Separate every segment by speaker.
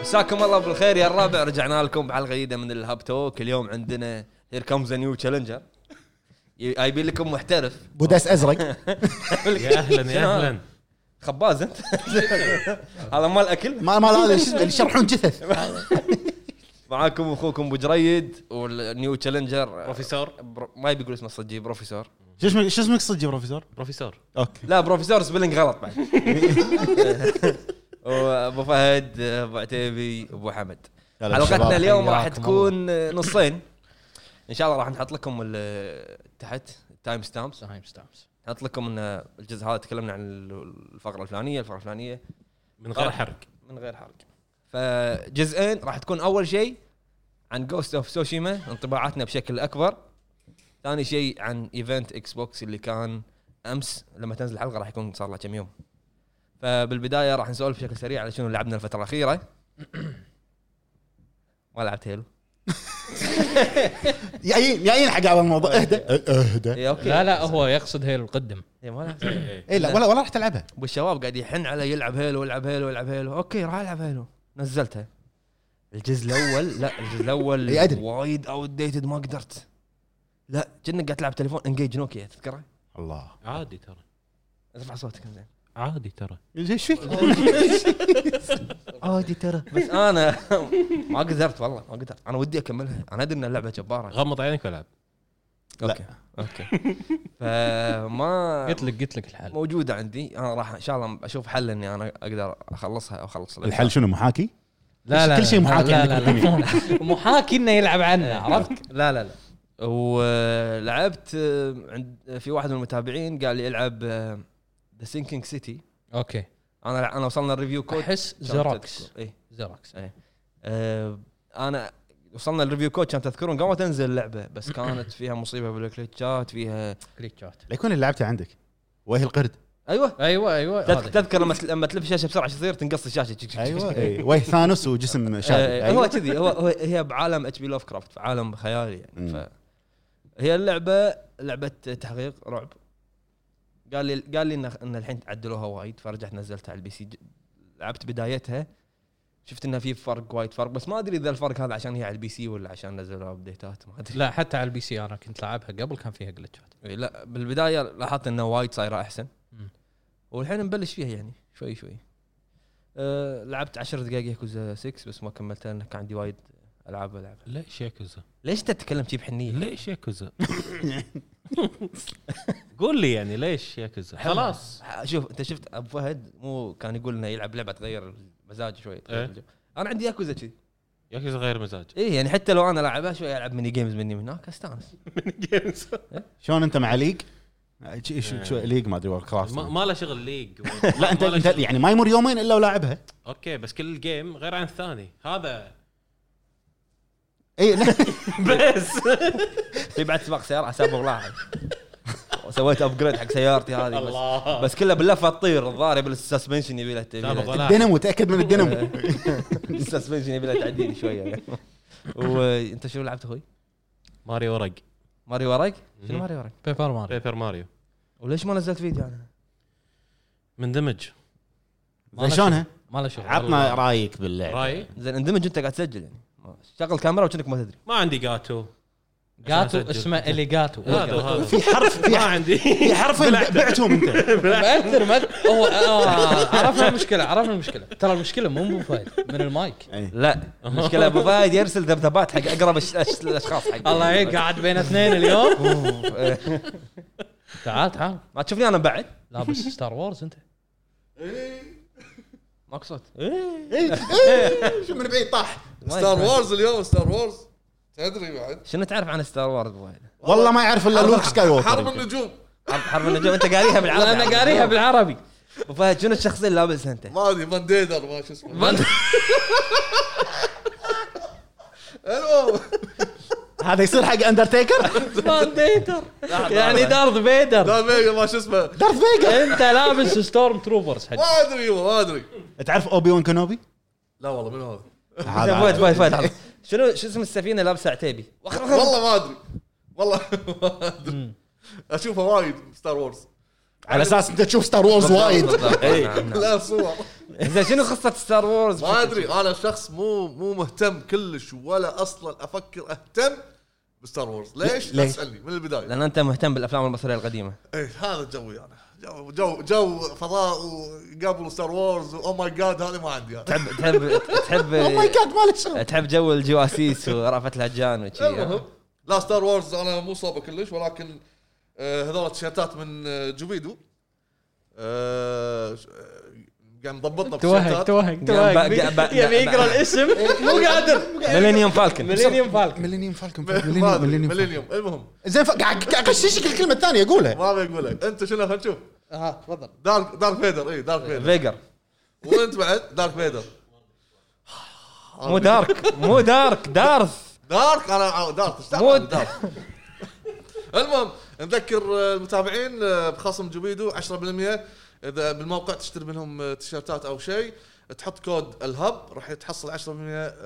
Speaker 1: مساكم الله بالخير يا الرابع رجعنا لكم بحلقه جديده من الهاب توك اليوم عندنا هير كمز نيو تشالنجر جايبين لكم محترف
Speaker 2: بوداس ازرق
Speaker 3: يا اهلا يا
Speaker 1: شنو؟
Speaker 3: اهلا
Speaker 1: خباز انت هذا مال اكل
Speaker 2: ما ما هذا شو اسمه اللي يشرحون جثث
Speaker 1: معاكم اخوكم ابو جريد والنيو تشالنجر
Speaker 3: بروفيسور
Speaker 1: برو- ما يبي يقول اسمه صجي بروفيسور
Speaker 4: شو اسمك شو اسمك صدق يا بروفيسور؟
Speaker 3: بروفيسور
Speaker 4: اوكي
Speaker 1: لا بروفيسور سبلنج غلط بعد وابو فهد ابو عتيبي ابو حمد
Speaker 4: هلا
Speaker 1: حلقتنا
Speaker 4: بالشباب.
Speaker 1: اليوم راح
Speaker 2: حياكم
Speaker 1: تكون نصين ان شاء الله راح نحط لكم ال- تحت تايم ستامبس
Speaker 5: تايم ستامبس
Speaker 1: نحط لكم ان الجزء هذا تكلمنا عن الفقره الفلانيه الفقره الفلانيه
Speaker 3: من غير حرق
Speaker 1: من غير حرق فجزئين راح تكون اول شيء عن جوست اوف سوشيما انطباعاتنا بشكل اكبر ثاني شيء عن ايفنت اكس بوكس اللي كان امس لما تنزل الحلقه راح يكون صار له كم يوم فبالبدايه راح نسولف بشكل سريع على شنو لعبنا الفتره الاخيره ما لعبت هيلو
Speaker 2: جايين جايين حق هذا الموضوع اهدى اهدى
Speaker 1: اي اوكي
Speaker 5: لا لا هو يقصد هيلو القدم
Speaker 1: إي، إيه، ما لعبت هيلو.
Speaker 4: إيه،
Speaker 2: اي لا ولا ولا راح تلعبها
Speaker 1: والشباب قاعد يحن علي يلعب هيلو يلعب هيلو يلعب هيلو اوكي راح العب هيلو نزلتها الجزء الاول لا الجزء الاول
Speaker 2: إي، أدري.
Speaker 1: وايد اوت ديتد ما قدرت لا كأنك قاعد تلعب تليفون انجيج نوكيا تذكره؟
Speaker 2: الله
Speaker 3: عادي ترى
Speaker 1: ارفع صوتك زين
Speaker 3: عادي ترى
Speaker 4: ايش فيك؟
Speaker 2: عادي ترى
Speaker 1: بس انا ما قدرت والله ما قدرت انا ودي اكملها انا ادري ان اللعبه جباره
Speaker 3: غمض عينك والعب
Speaker 1: اوكي اوكي فما
Speaker 5: قلت لك قلت لك الحل
Speaker 1: موجوده عندي انا راح ان شاء الله اشوف حل اني انا اقدر اخلصها او اخلص
Speaker 4: الحل شنو محاكي؟
Speaker 5: لا لا
Speaker 4: كل شيء
Speaker 5: لا،
Speaker 4: محاكي
Speaker 5: لا
Speaker 4: عندك
Speaker 5: لا لا محاكي انه يلعب عنه عرفت؟
Speaker 1: لا لا لا ولعبت آه، عند في واحد من المتابعين قال لي العب آه، ذا سينكينج سيتي
Speaker 5: اوكي
Speaker 1: انا لع- انا وصلنا الريفيو كود إيه.
Speaker 5: احس زيروكس
Speaker 1: اي
Speaker 5: زيروكس
Speaker 1: انا آه، وصلنا الريفيو كود كان تذكرون قبل ما تنزل اللعبه بس كانت فيها مصيبه بالكليتشات فيها
Speaker 5: كليتشات
Speaker 4: لا يكون اللي لعبته عندك وجه القرد
Speaker 1: ايوه
Speaker 5: ايوه ايوه
Speaker 1: تذ-
Speaker 5: هذا.
Speaker 1: تذكر لما تل- لما تلف الشاشه بسرعه شو يصير تنقص الشاشه تشك- تشك- تشك.
Speaker 4: إي، وجه إيه، ثانوس وجسم شاب
Speaker 1: آه،
Speaker 2: أيوه.
Speaker 1: هو
Speaker 4: أيوة.
Speaker 1: كذي هو هو- هي بعالم اتش بي لوف كرافت عالم خيالي
Speaker 4: مم.
Speaker 1: يعني ف هي اللعبه لعبه تحقيق رعب قال لي قال لي ان ان الحين تعدلوها وايد فرجعت نزلتها على البي سي ج- لعبت بدايتها شفت انها في فرق وايد فرق بس ما ادري اذا الفرق هذا عشان هي على البي سي ولا عشان نزلوا ابديتات ما ادري
Speaker 5: لا حتى على البي سي انا كنت لعبها قبل كان فيها جلتشات
Speaker 1: إي لا بالبدايه لاحظت انه وايد صايره احسن
Speaker 5: مم.
Speaker 1: والحين نبلش فيها يعني شوي شوي أه لعبت 10 دقائق ياكوزا 6 بس ما كملتها لان كان عندي وايد العاب العبها
Speaker 3: ليش ياكوزا؟
Speaker 1: ليش تتكلم شي بحنيه؟
Speaker 3: ليش ياكوزا؟ قول لي يعني ليش ياكوزا؟ خلاص
Speaker 1: شوف انت شفت ابو فهد مو كان يقول انه يلعب لعبه تغير المزاج شوي تغير
Speaker 3: إيه.
Speaker 1: الجو. انا عندي ياكوزا كذي
Speaker 3: ياكوزا غير مزاج
Speaker 1: اي يعني حتى لو انا لعبها شوي العب ميني جيمز مني من هناك استانس
Speaker 4: شلون انت مع ليج؟ شو- شو- شو ليج إيه. ما ادري وورد كرافت
Speaker 3: ما, ما له شغل ليج
Speaker 4: لا انت انت يعني ما يمر يومين الا ولاعبها
Speaker 3: اوكي بس كل جيم غير عن الثاني هذا
Speaker 4: اي إيه، لا
Speaker 3: بس
Speaker 1: في بعد سباق سياره على سباق لاعب وسويت ابجريد حق سيارتي هذه بس
Speaker 3: الله
Speaker 1: بس كلها باللفه تطير الظاهر يبي السسبنشن يبي له
Speaker 3: سابق
Speaker 1: تعديل.
Speaker 3: ولاعب.
Speaker 4: الدينامو تاكد من الدينامو
Speaker 1: السسبنشن يبي له تعديل شويه وانت شنو لعبت اخوي؟
Speaker 3: ماريو ورق
Speaker 1: ماري وراك؟ شنو
Speaker 3: مم.
Speaker 1: ماري وراك؟
Speaker 5: بيبر ماريو
Speaker 3: بيبر ماريو
Speaker 1: وليش ما نزلت فيديو عنها؟
Speaker 3: مندمج
Speaker 4: زين شلونها؟
Speaker 5: ما له شغل
Speaker 4: عطنا رايك باللعب
Speaker 3: راي
Speaker 1: زين اندمج انت قاعد تسجل يعني شغل كاميرا وكأنك ما تدري
Speaker 3: ما عندي جاتو
Speaker 5: جاتو
Speaker 3: عشان أسجل.
Speaker 5: اسمه اليجاتو
Speaker 3: هذا هذا
Speaker 4: في حرف في
Speaker 3: ما
Speaker 4: إيه، حرف-
Speaker 3: عندي
Speaker 4: في حرفين بعتهم انت
Speaker 5: مأثر مأثر هو آه، عرفنا المشكله عرفنا المشكله ترى المشكله مو من فهد من المايك
Speaker 4: إي.
Speaker 1: لا المشكله ابو فهد يرسل ذبذبات حق اقرب الش- الش- الاشخاص حق
Speaker 5: الله
Speaker 4: إيه،
Speaker 5: يعين قاعد بين اثنين اليوم تعال تعال
Speaker 1: ما تشوفني انا بعد
Speaker 5: لابس ستار وورز انت
Speaker 1: ماكو صوت إيه.
Speaker 4: شو من بعيد طاح
Speaker 6: ستار وورز اليوم ستار وورز تدري بعد
Speaker 1: شنو تعرف عن ستار وورز ابو فهد؟
Speaker 4: والله ما يعرف الا لوك سكاي
Speaker 6: حرب
Speaker 4: ووكر
Speaker 6: النجوم
Speaker 1: حرب حرب النجوم انت قاريها بالعربي
Speaker 5: انا قاريها بالعربي
Speaker 1: ابو فهد شنو الشخصيه اللي لابسها انت؟
Speaker 6: ما ادري فان ديدر ما شو اسمه المهم
Speaker 4: هذا يصير حق اندرتيكر
Speaker 5: فان ديتر يعني دارث فيدر
Speaker 6: لا بيجا ما شو اسمه
Speaker 4: دارث فيجر
Speaker 5: انت لابس ستورم تروبرز حق
Speaker 6: ما ادري والله ما ادري
Speaker 4: تعرف اوبي وان كنوبي؟
Speaker 6: لا والله من هذا
Speaker 1: زين، فهد
Speaker 4: هذا
Speaker 1: فهد فهد لحظة. شنو شو اسم السفينه لابسه عتيبي؟
Speaker 6: والله ما ادري والله ما ادري اشوفه وايد ستار وورز
Speaker 4: على اساس انت تشوف ستار وورز وايد
Speaker 1: بالضبط. نعم، نعم.
Speaker 6: لا صور
Speaker 1: زين شنو قصه ستار وورز؟
Speaker 6: ما ادري انا شخص مو مو مهتم كلش ولا اصلا افكر اهتم بستار وورز ليش؟ لا
Speaker 2: ليش؟
Speaker 6: تسالني من البدايه
Speaker 1: لان انت مهتم بالافلام المصريه القديمه
Speaker 6: ايه هذا جوي انا جو جو, جو فضاء وقبل ستار وورز او ماي جاد oh هذا ما عندي انا
Speaker 1: تحب تحب تحب
Speaker 2: او ماي جاد ما له شغل
Speaker 1: تحب جو الجواسيس ورافت الهجان وشي
Speaker 6: المهم لا ستار وورز انا مو صابه كلش ولكن آه، هذول تيشيرتات من آه، جوبيدو آه، ش- آه، قام ضبطنا
Speaker 5: توهق
Speaker 6: بالتيشيرتات
Speaker 5: توهق
Speaker 1: قام
Speaker 5: توهق
Speaker 1: بق- بق-
Speaker 5: يبي يقرا الاسم مو قادر
Speaker 1: ميلينيوم فالكن
Speaker 5: ميلينيوم فالكن
Speaker 2: ميلينيوم فالكون
Speaker 6: ما أدري،
Speaker 2: ميلينيوم فالكون.
Speaker 6: ميلينيوم المهم
Speaker 2: زين ف- قاعد قاعد اغششك الكلمه الثانيه قولها
Speaker 6: ما بقول لك انت شنو خلينا نشوف
Speaker 5: ها تفضل
Speaker 6: دارك دارك فيدر اي دارك فيدر
Speaker 1: فيجر
Speaker 6: وانت بعد دارك فيدر
Speaker 1: مو دارك مو دارك دارث
Speaker 6: دارك انا دارك إيش دعوة
Speaker 1: مو
Speaker 6: أنا دارك المهم نذكر آه، المتابعين آه، بخصم جوبيدو 10% اذا بالموقع تشتري منهم آه، تيشيرتات او شيء تحط كود الهب راح تحصل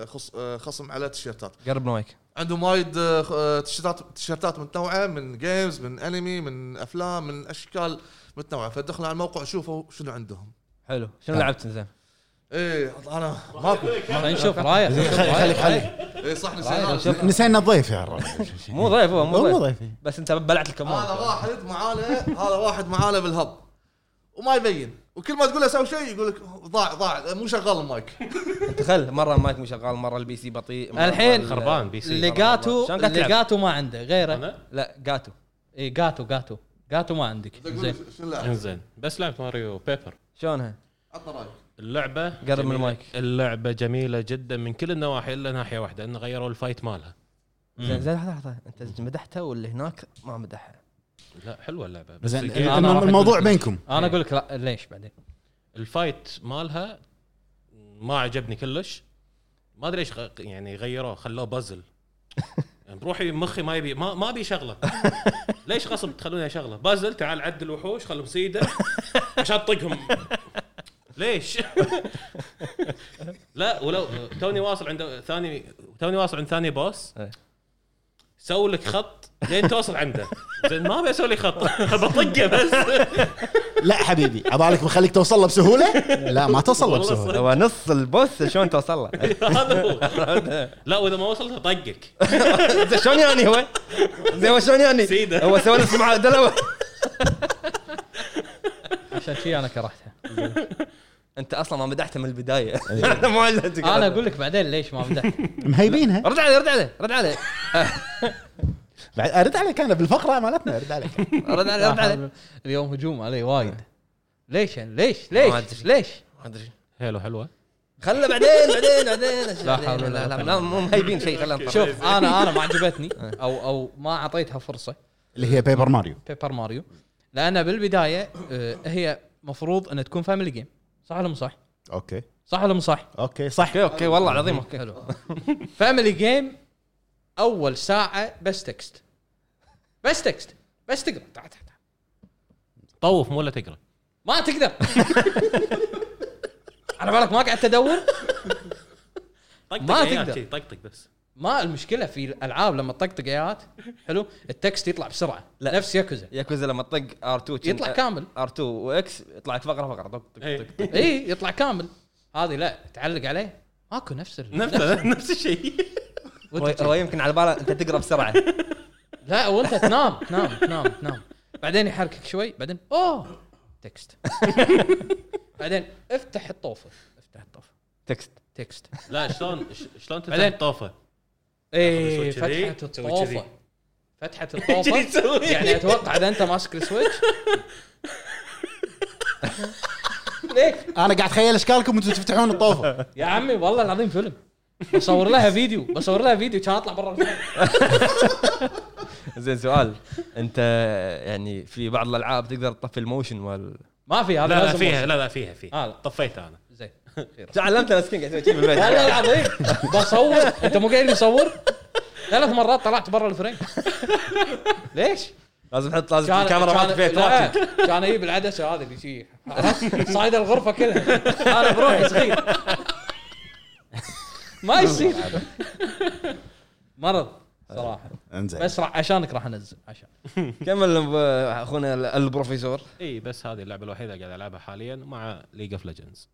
Speaker 6: 10% خص- آه، خصم على التيشيرتات
Speaker 1: قرب نويك
Speaker 6: عندهم وايد آه، خ- آه، تيشيرتات تيشيرتات متنوعه من جيمز من انمي من افلام من اشكال متنوعه فدخلوا على الموقع شوفوا شنو عندهم
Speaker 1: حلو طيب. شنو لعبت زين؟
Speaker 6: ايه انا ماكو
Speaker 5: خلينا نشوف رايه
Speaker 2: خليك خليك
Speaker 6: ايه صح نسينا
Speaker 2: نسينا الضيف يا الرجل
Speaker 1: مو ضيف هو
Speaker 2: هو
Speaker 1: مو
Speaker 2: مو
Speaker 1: ضيف آه،
Speaker 2: ضيف
Speaker 1: بس انت بلعت
Speaker 6: هذا
Speaker 1: الكمون
Speaker 6: واحد معانا هذا واحد معانا بالهب وما يبين وكل ما تقول له سوي شيء يقول لك ضاع ضاع مو شغال المايك
Speaker 1: انت خل مره المايك مو شغال مره البي سي بطيء مرة
Speaker 5: الحين
Speaker 1: ال-
Speaker 3: خربان بي سي
Speaker 5: لقاتو
Speaker 1: شلون قاعد تلعب؟
Speaker 5: لقاتو ما عنده غيره إيه،
Speaker 3: انا
Speaker 1: لا جاتو
Speaker 5: اي قاتو قاتو قاتو ما عندك زين
Speaker 6: تقول شنو اللعب؟
Speaker 3: انزين بس لعبت ماريو بيبر
Speaker 1: شلونها؟
Speaker 6: عطنا رايك
Speaker 3: اللعبه
Speaker 1: من
Speaker 3: جميلة-
Speaker 1: المايك.
Speaker 3: اللعبه جميله جدا من كل النواحي الا ناحيه واحده انه غيروا الفايت مالها
Speaker 1: زين زين لحظه لحظه انت مدحته واللي هناك ما مدحها
Speaker 3: لا حلوه اللعبه بس
Speaker 2: زين
Speaker 3: الجيم-
Speaker 5: أنا راح أقول-
Speaker 2: الموضوع بينكم
Speaker 5: انا اقول لك لا- ليش بعدين
Speaker 3: الفايت مالها ما عجبني كلش ما ادري ايش غ- يعني غيروه خلوه بازل يعني بروحي مخي ما يبي ما ما ابي شغله ليش غصب تخلوني شغله بازل تعال عد الوحوش خلهم سيده عشان اطقهم ليش؟ لا ولو توني واصل عند ثاني توني واصل عند ثاني بوس
Speaker 1: إيه.
Speaker 3: سوي لك خط لين توصل عنده زين ما ابي اسوي لي خط بطقه بس
Speaker 2: لا حبيبي عبالك بخليك توصل له بسهوله لا ما توصل له
Speaker 3: والله
Speaker 2: بسهوله
Speaker 1: هو نص البوس شلون توصل له؟
Speaker 3: هذا هو لا واذا ما وصلت طقك
Speaker 1: زين شلون يعني هو؟ زين هو شلون يعني؟
Speaker 3: سيدة.
Speaker 1: هو سوى نفسه معادله
Speaker 5: عشان شي انا كرهتها
Speaker 1: انت اصلا ما مدحته من البدايه انا ما علمتك.
Speaker 5: انا اقول لك بعدين ليش ما مدحت
Speaker 2: مهيبينها
Speaker 1: رد عليه رد عليه رد عليه
Speaker 2: بعد ارد عليك انا بالفقره مالتنا ارد عليك
Speaker 1: رد عليه رد عليه
Speaker 5: اليوم هجوم علي وايد ليش يعني ليش
Speaker 1: ما
Speaker 5: ليش
Speaker 1: أدري.
Speaker 5: ليش
Speaker 1: ما ادري
Speaker 3: حلو حلوه
Speaker 1: خله بعدين بعدين بعدين
Speaker 5: لا حول ولا
Speaker 1: لا لا
Speaker 5: قوة.
Speaker 1: لا مو مهيبين شيء خله
Speaker 5: شوف انا انا ما عجبتني او او ما اعطيتها فرصه
Speaker 2: اللي هي بيبر ماريو
Speaker 5: بيبر ماريو لانها بالبدايه آه، هي مفروض انها تكون فاميلي جيم صح ولا مو صح؟
Speaker 2: اوكي
Speaker 5: صح ولا مو صح؟
Speaker 2: اوكي صح
Speaker 1: اوكي اوكي والله العظيم اوكي
Speaker 5: حلو فاميلي جيم اول ساعه بس تكست بس تكست بس تقرا تعال تعال تعال.
Speaker 3: طوف مو ولا تقرا
Speaker 5: ما تقدر على بالك ما قاعد تدور
Speaker 3: طقطق
Speaker 5: ما
Speaker 3: إياك
Speaker 5: تقدر.
Speaker 3: شي، طقطق بس
Speaker 5: ما المشكله في الالعاب لما تطقطق ايات حلو التكست يطلع بسرعه
Speaker 1: لا.
Speaker 5: نفس ياكوزا
Speaker 1: ياكوزا لما تطق ار2
Speaker 5: يطلع كامل
Speaker 1: ار2 واكس يطلع لك فقره فقره طق طق طق
Speaker 3: إيه.
Speaker 5: اي يطلع كامل هذه لا تعلق عليه ماكو نفس ال-
Speaker 3: نفس نفس الشيء
Speaker 1: هو- هو يمكن على باله انت تقرا بسرعه
Speaker 5: لا وانت تنام تنام تنام تنام بعدين يحركك شوي بعدين اوه تكست بعدين افتح الطوفه افتح الطوفه
Speaker 1: تكست
Speaker 5: تكست
Speaker 3: لا شلون ش- شلون
Speaker 5: بعدين.
Speaker 3: تفتح الطوفه؟
Speaker 5: اي
Speaker 3: تسوي كذي،
Speaker 5: فتحه
Speaker 3: تسوي
Speaker 5: الطوفه
Speaker 3: كذي.
Speaker 5: فتحه
Speaker 3: كذي
Speaker 5: الطوفه
Speaker 3: تسوي.
Speaker 5: يعني اتوقع اذا انت ماسك السويتش ليك
Speaker 2: انا قاعد اتخيل اشكالكم وانتم تفتحون الطوفه
Speaker 5: يا عمي والله العظيم فيلم بصور لها فيديو بصور لها فيديو كان اطلع برا الفيلم.
Speaker 1: زين سؤال انت يعني في بعض الالعاب تقدر تطفي الموشن مال
Speaker 5: ما في
Speaker 3: لا
Speaker 5: هذا
Speaker 3: لا
Speaker 5: لازم
Speaker 3: فيها لا لا فيها فيها
Speaker 5: آه، لا.
Speaker 3: طفيت انا
Speaker 5: زين
Speaker 1: تعلمت انا سكين قاعد اسوي شي بالبيت
Speaker 5: والله العظيم بصور انت مو قايل يصور ثلاث مرات طلعت برا الفريم ليش؟
Speaker 1: لازم تحط لازم
Speaker 5: كان-
Speaker 1: الكاميرا
Speaker 5: كان-
Speaker 1: مالت البيت
Speaker 5: لا،
Speaker 1: راكب
Speaker 5: كان اجيب العدسه هذه اللي شي عرفت؟ صايده الغرفه كلها انا بروحي صغير ما يصير مرض صراحه
Speaker 2: انزين
Speaker 5: بس راح عشانك راح انزل عشان
Speaker 1: كمل أبو- اخونا ال- البروفيسور
Speaker 3: اي بس هذه اللعبه الوحيده اللي قاعد العبها حاليا مع ليج اوف ليجندز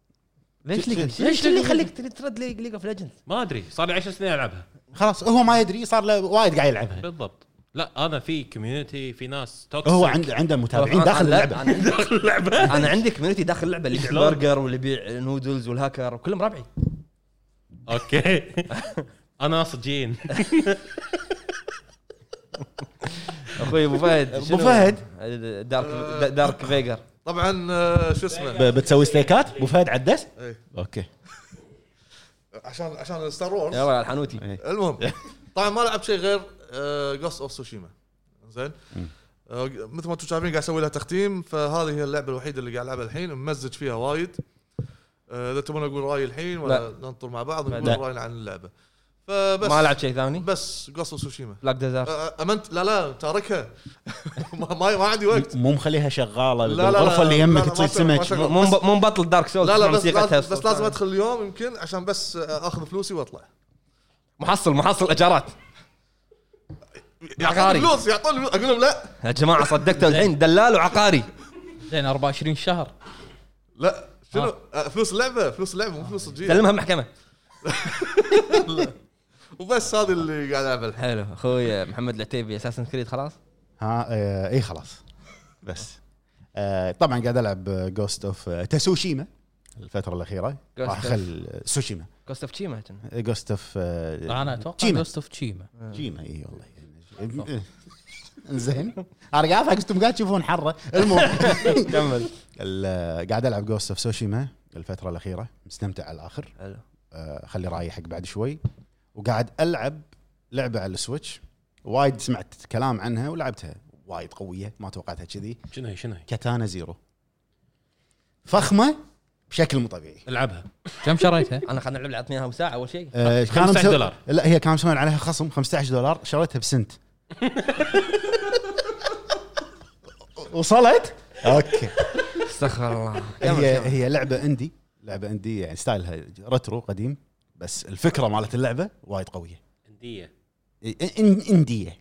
Speaker 1: ليش ليج
Speaker 5: ليش
Speaker 1: ليش اللي
Speaker 5: ليج-
Speaker 1: يخليك تري- ترد ليج ليج اوف ليجندز
Speaker 3: ما ادري صار لي 10 سنين العبها
Speaker 2: خلاص هو ما يدري صار له وايد قاعد يلعبها
Speaker 3: بالضبط لا انا في كوميونتي في ناس توكسيك
Speaker 2: هو عنده عنده متابعين داخل اللعبه
Speaker 1: داخل اللعبه انا عندي كوميونتي داخل اللعبه اللي يبيع برجر واللي يبيع نودلز والهاكر وكلهم ربعي
Speaker 3: اوكي انا صجين
Speaker 1: اخوي ابو فهد
Speaker 2: أبو
Speaker 1: شنو؟
Speaker 2: فهد.
Speaker 1: دارك دارك فيجر
Speaker 6: طبعا آه، شو اسمه
Speaker 2: ب- بتسوي ستيكات ابو فهد عدس
Speaker 6: إيه.
Speaker 2: اوكي
Speaker 6: عشان عشان ستار
Speaker 1: يا
Speaker 6: وورز
Speaker 1: ولد الحانوتي
Speaker 6: المهم طبعا ما لعب شيء غير آه، جوست اوف سوشيما زين آه، مثل ما انتم شايفين قاعد اسوي لها تختيم فهذه هي اللعبه الوحيده اللي قاعد العبها الحين ممزج فيها وايد آه، اذا تبون اقول رايي الحين ولا ننطر مع بعض
Speaker 1: لا.
Speaker 6: ونقول راينا عن اللعبه فبس
Speaker 1: ما لعب شيء ثاني
Speaker 6: بس جوست اوف سوشيما
Speaker 1: بلاك ديزارت
Speaker 6: آه، امنت لا لا تاركها ما ما ما عندي وقت
Speaker 2: مو مخليها شغاله
Speaker 6: لا، لا، لا،
Speaker 2: بالغرفه اللي
Speaker 6: لا، لا،
Speaker 2: يمك
Speaker 6: ما
Speaker 2: تصيد
Speaker 6: شغل- ما
Speaker 2: سمك
Speaker 6: شغل.
Speaker 1: مو
Speaker 6: بس-
Speaker 1: مو مبطل دارك سولز
Speaker 6: لا لا بس لازم, بس لازم ادخل اليوم يمكن عشان بس آه، اخذ فلوسي واطلع
Speaker 1: محصل محصل اجارات
Speaker 6: يعطوني
Speaker 1: عقاري.
Speaker 6: فلوس يعطوني فلوس اقول لهم لا
Speaker 1: يا جماعه صدقتوا الحين دلال وعقاري
Speaker 5: زين 24 شهر
Speaker 6: لا شنو آه، فلوس اللعبه فلوس اللعبه مو فلوس الجيل
Speaker 1: سلمها محكمه
Speaker 6: وبس هذه اللي قاعد العبها الحين
Speaker 1: حلو اخوي محمد العتيبي اساسن كريد خلاص
Speaker 2: ها آه، اي خلاص بس آه، طبعا قاعد العب جوست اوف آه، تسوشيما الفتره الاخيره
Speaker 1: Ghost
Speaker 2: راح
Speaker 1: of-
Speaker 2: اخل سوشيما
Speaker 1: كوست اوف تشيما
Speaker 2: جوست اوف
Speaker 5: انا اتوقع
Speaker 2: تشيما
Speaker 5: جوست اوف تشيما
Speaker 1: آه.
Speaker 2: جيما اي والله زين انا قاعد اضحك انتم قاعد تشوفون حره المهم كمل قاعد العب جوست اوف سوشيما الفتره الاخيره مستمتع على الاخر
Speaker 1: حلو
Speaker 2: آه، خلي رايي حق بعد شوي وقاعد العب لعبه على السويتش وايد سمعت كلام عنها ولعبتها وايد قويه ما توقعتها كذي
Speaker 3: شنو هي شنو هي
Speaker 2: كاتانا زيرو فخمه بشكل مو طبيعي
Speaker 3: العبها
Speaker 5: كم شريتها؟
Speaker 1: انا خلينا نلعب عطني اياها وساعه اول شيء
Speaker 2: آه، كانوا
Speaker 3: 15
Speaker 2: مسوي-
Speaker 3: طيب، دولار.
Speaker 2: لا هي كانوا مسوين عليها خصم 15 دولار شريتها بسنت وصلت اوكي
Speaker 1: استغفر الله
Speaker 2: هي هي لعبه اندي لعبه اندي يعني ستايلها رترو قديم بس الفكره مالت اللعبه وايد قويه
Speaker 3: انديه
Speaker 2: إن- إن- انديه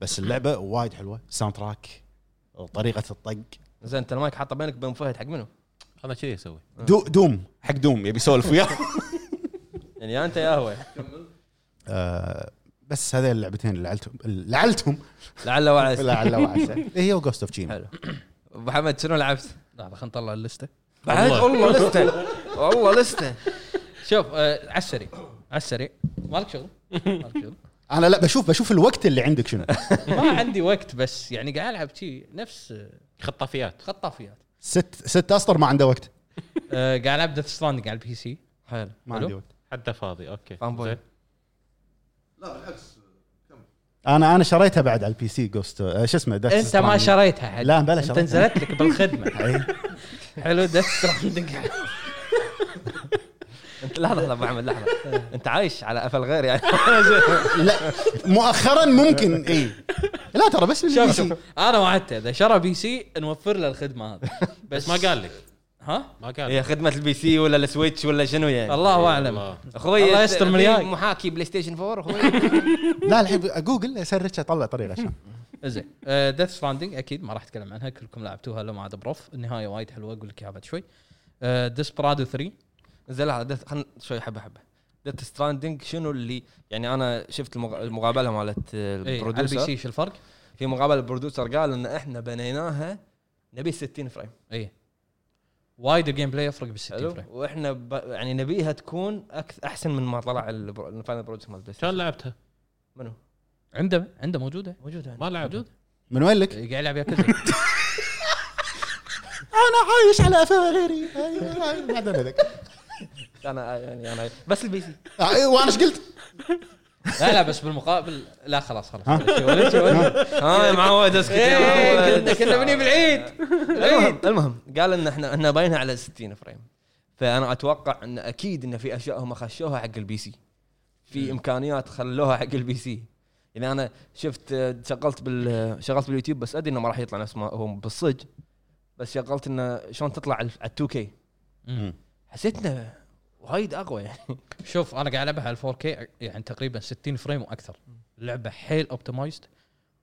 Speaker 2: بس اللعبه وايد حلوه ساوند تراك طريقه الطق
Speaker 1: زين انت المايك حاطه بينك وبين فهد حق منو؟
Speaker 3: انا كذي اسوي
Speaker 2: دو دوم حق دوم يبي يسولف وياه
Speaker 1: يعني يا انت يا هو
Speaker 2: آه، بس هذين اللعبتين اللي لعلتهم لعلتهم
Speaker 1: لعله وعسى
Speaker 2: لعل وعسى هي وجوست اوف تشيما
Speaker 1: حلو ابو حمد شنو لعبت؟
Speaker 5: لحظه خلينا نطلع اللسته
Speaker 1: بعد
Speaker 3: والله.
Speaker 1: والله لسته والله لسته
Speaker 5: شوف آه على السريع على السريع مالك شغل مالك شغل
Speaker 2: انا لا بشوف بشوف الوقت اللي عندك شنو
Speaker 5: ما عندي وقت بس يعني قاعد العب شي نفس آه،
Speaker 3: خطافيات
Speaker 5: خطافيات
Speaker 2: ست ست اسطر ما عنده وقت
Speaker 5: آه قاعد العب ديث ستراندنج على البي سي
Speaker 1: حلو
Speaker 2: ما
Speaker 5: حلو.
Speaker 2: عندي وقت
Speaker 3: حتى فاضي اوكي
Speaker 1: فان بوي.
Speaker 3: زين.
Speaker 6: لا بالعكس
Speaker 2: انا انا شريتها بعد على البي سي جوست شو اسمه Death
Speaker 5: انت ما
Speaker 2: Stranding.
Speaker 5: شريتها حد
Speaker 2: لا، بلا
Speaker 5: انت
Speaker 2: شريتها. إيه.
Speaker 5: نزلت لك بالخدمه
Speaker 2: أي.
Speaker 5: حلو ديث ستراندنج
Speaker 1: انت لحظه لحظه ابو حمد لحظه انت عايش على قفل غير يعني
Speaker 2: لا مؤخرا ممكن اي لا ترى بس البي
Speaker 5: شوف
Speaker 2: سي
Speaker 5: شوف انا وعدته اذا شرى بي سي نوفر له الخدمه هذه
Speaker 3: بس ما قال لك
Speaker 5: ها
Speaker 3: ما قال
Speaker 1: هي
Speaker 3: لك
Speaker 1: خدمه البي سي ولا السويتش ولا شنو يعني
Speaker 2: إيه،
Speaker 5: الله اعلم
Speaker 3: والله.
Speaker 1: اخوي
Speaker 5: الله يستر من
Speaker 1: في
Speaker 5: وياي.
Speaker 1: محاكي بلاي ستيشن 4 اخوي
Speaker 2: لا الحين جوجل اسرش اطلع طريقه عشان
Speaker 5: زين ديث ستراندنج اكيد ما راح اتكلم عنها كلكم لعبتوها لو ما عاد بروف النهايه وايد حلوه اقول لك اياها بعد شوي آه، ديسبرادو 3
Speaker 1: زين لحظه دث- خلنا شوي حبه حبه ديث ستراندنج شنو اللي يعني انا شفت المغ- المقابله مالت
Speaker 5: إيه، على البي
Speaker 1: البروديوسر
Speaker 5: سي شو الفرق؟
Speaker 1: في مقابله البروديوسر قال ان احنا بنيناها نبي 60 فريم
Speaker 5: اي إيه. وايد الجيم بلاي يفرق بال 60
Speaker 1: حلو
Speaker 5: فريم
Speaker 1: واحنا ب... يعني نبيها تكون أكث... احسن من ما طلع البرو... الفاينل برودكت مال بلاي ستيشن
Speaker 3: شلون لعبتها؟
Speaker 1: منو
Speaker 5: عنده عنده موجوده
Speaker 1: موجود هنا
Speaker 3: ما لعبتها
Speaker 2: من وين لك؟
Speaker 5: قاعد يلعب ياكوزا
Speaker 2: انا عايش على أيوة، افلام غيري أي- أي- ما عندنا ذاك.
Speaker 1: انا يعني انا بس البي سي
Speaker 2: أي، وانا ايش أيوة، قلت؟
Speaker 5: لا لا بس بالمقابل لا خلاص خلاص
Speaker 2: ها؟
Speaker 5: ولا شيء، ولا شيء.
Speaker 1: ها معود اسكت آه، يا
Speaker 5: إيه،
Speaker 1: معود.
Speaker 5: كنا كنا بني بالعيد
Speaker 1: المهم المهم قال ان احنا احنا باينها على 60 فريم فانا اتوقع ان اكيد ان في اشياء هم خشوها حق البي سي في امكانيات خلوها حق البي سي يعني انا شفت آه، شغلت بال شغلت باليوتيوب بس ادري انه ما راح يطلع نفس ما هو بالصج بس شغلت انه شلون تطلع على 2 كي
Speaker 5: مم.
Speaker 1: حسيت انه وايد اقوى يعني
Speaker 5: شوف انا قاعد العبها على 4K يعني تقريبا 60 فريم واكثر اللعبه حيل اوبتمايزد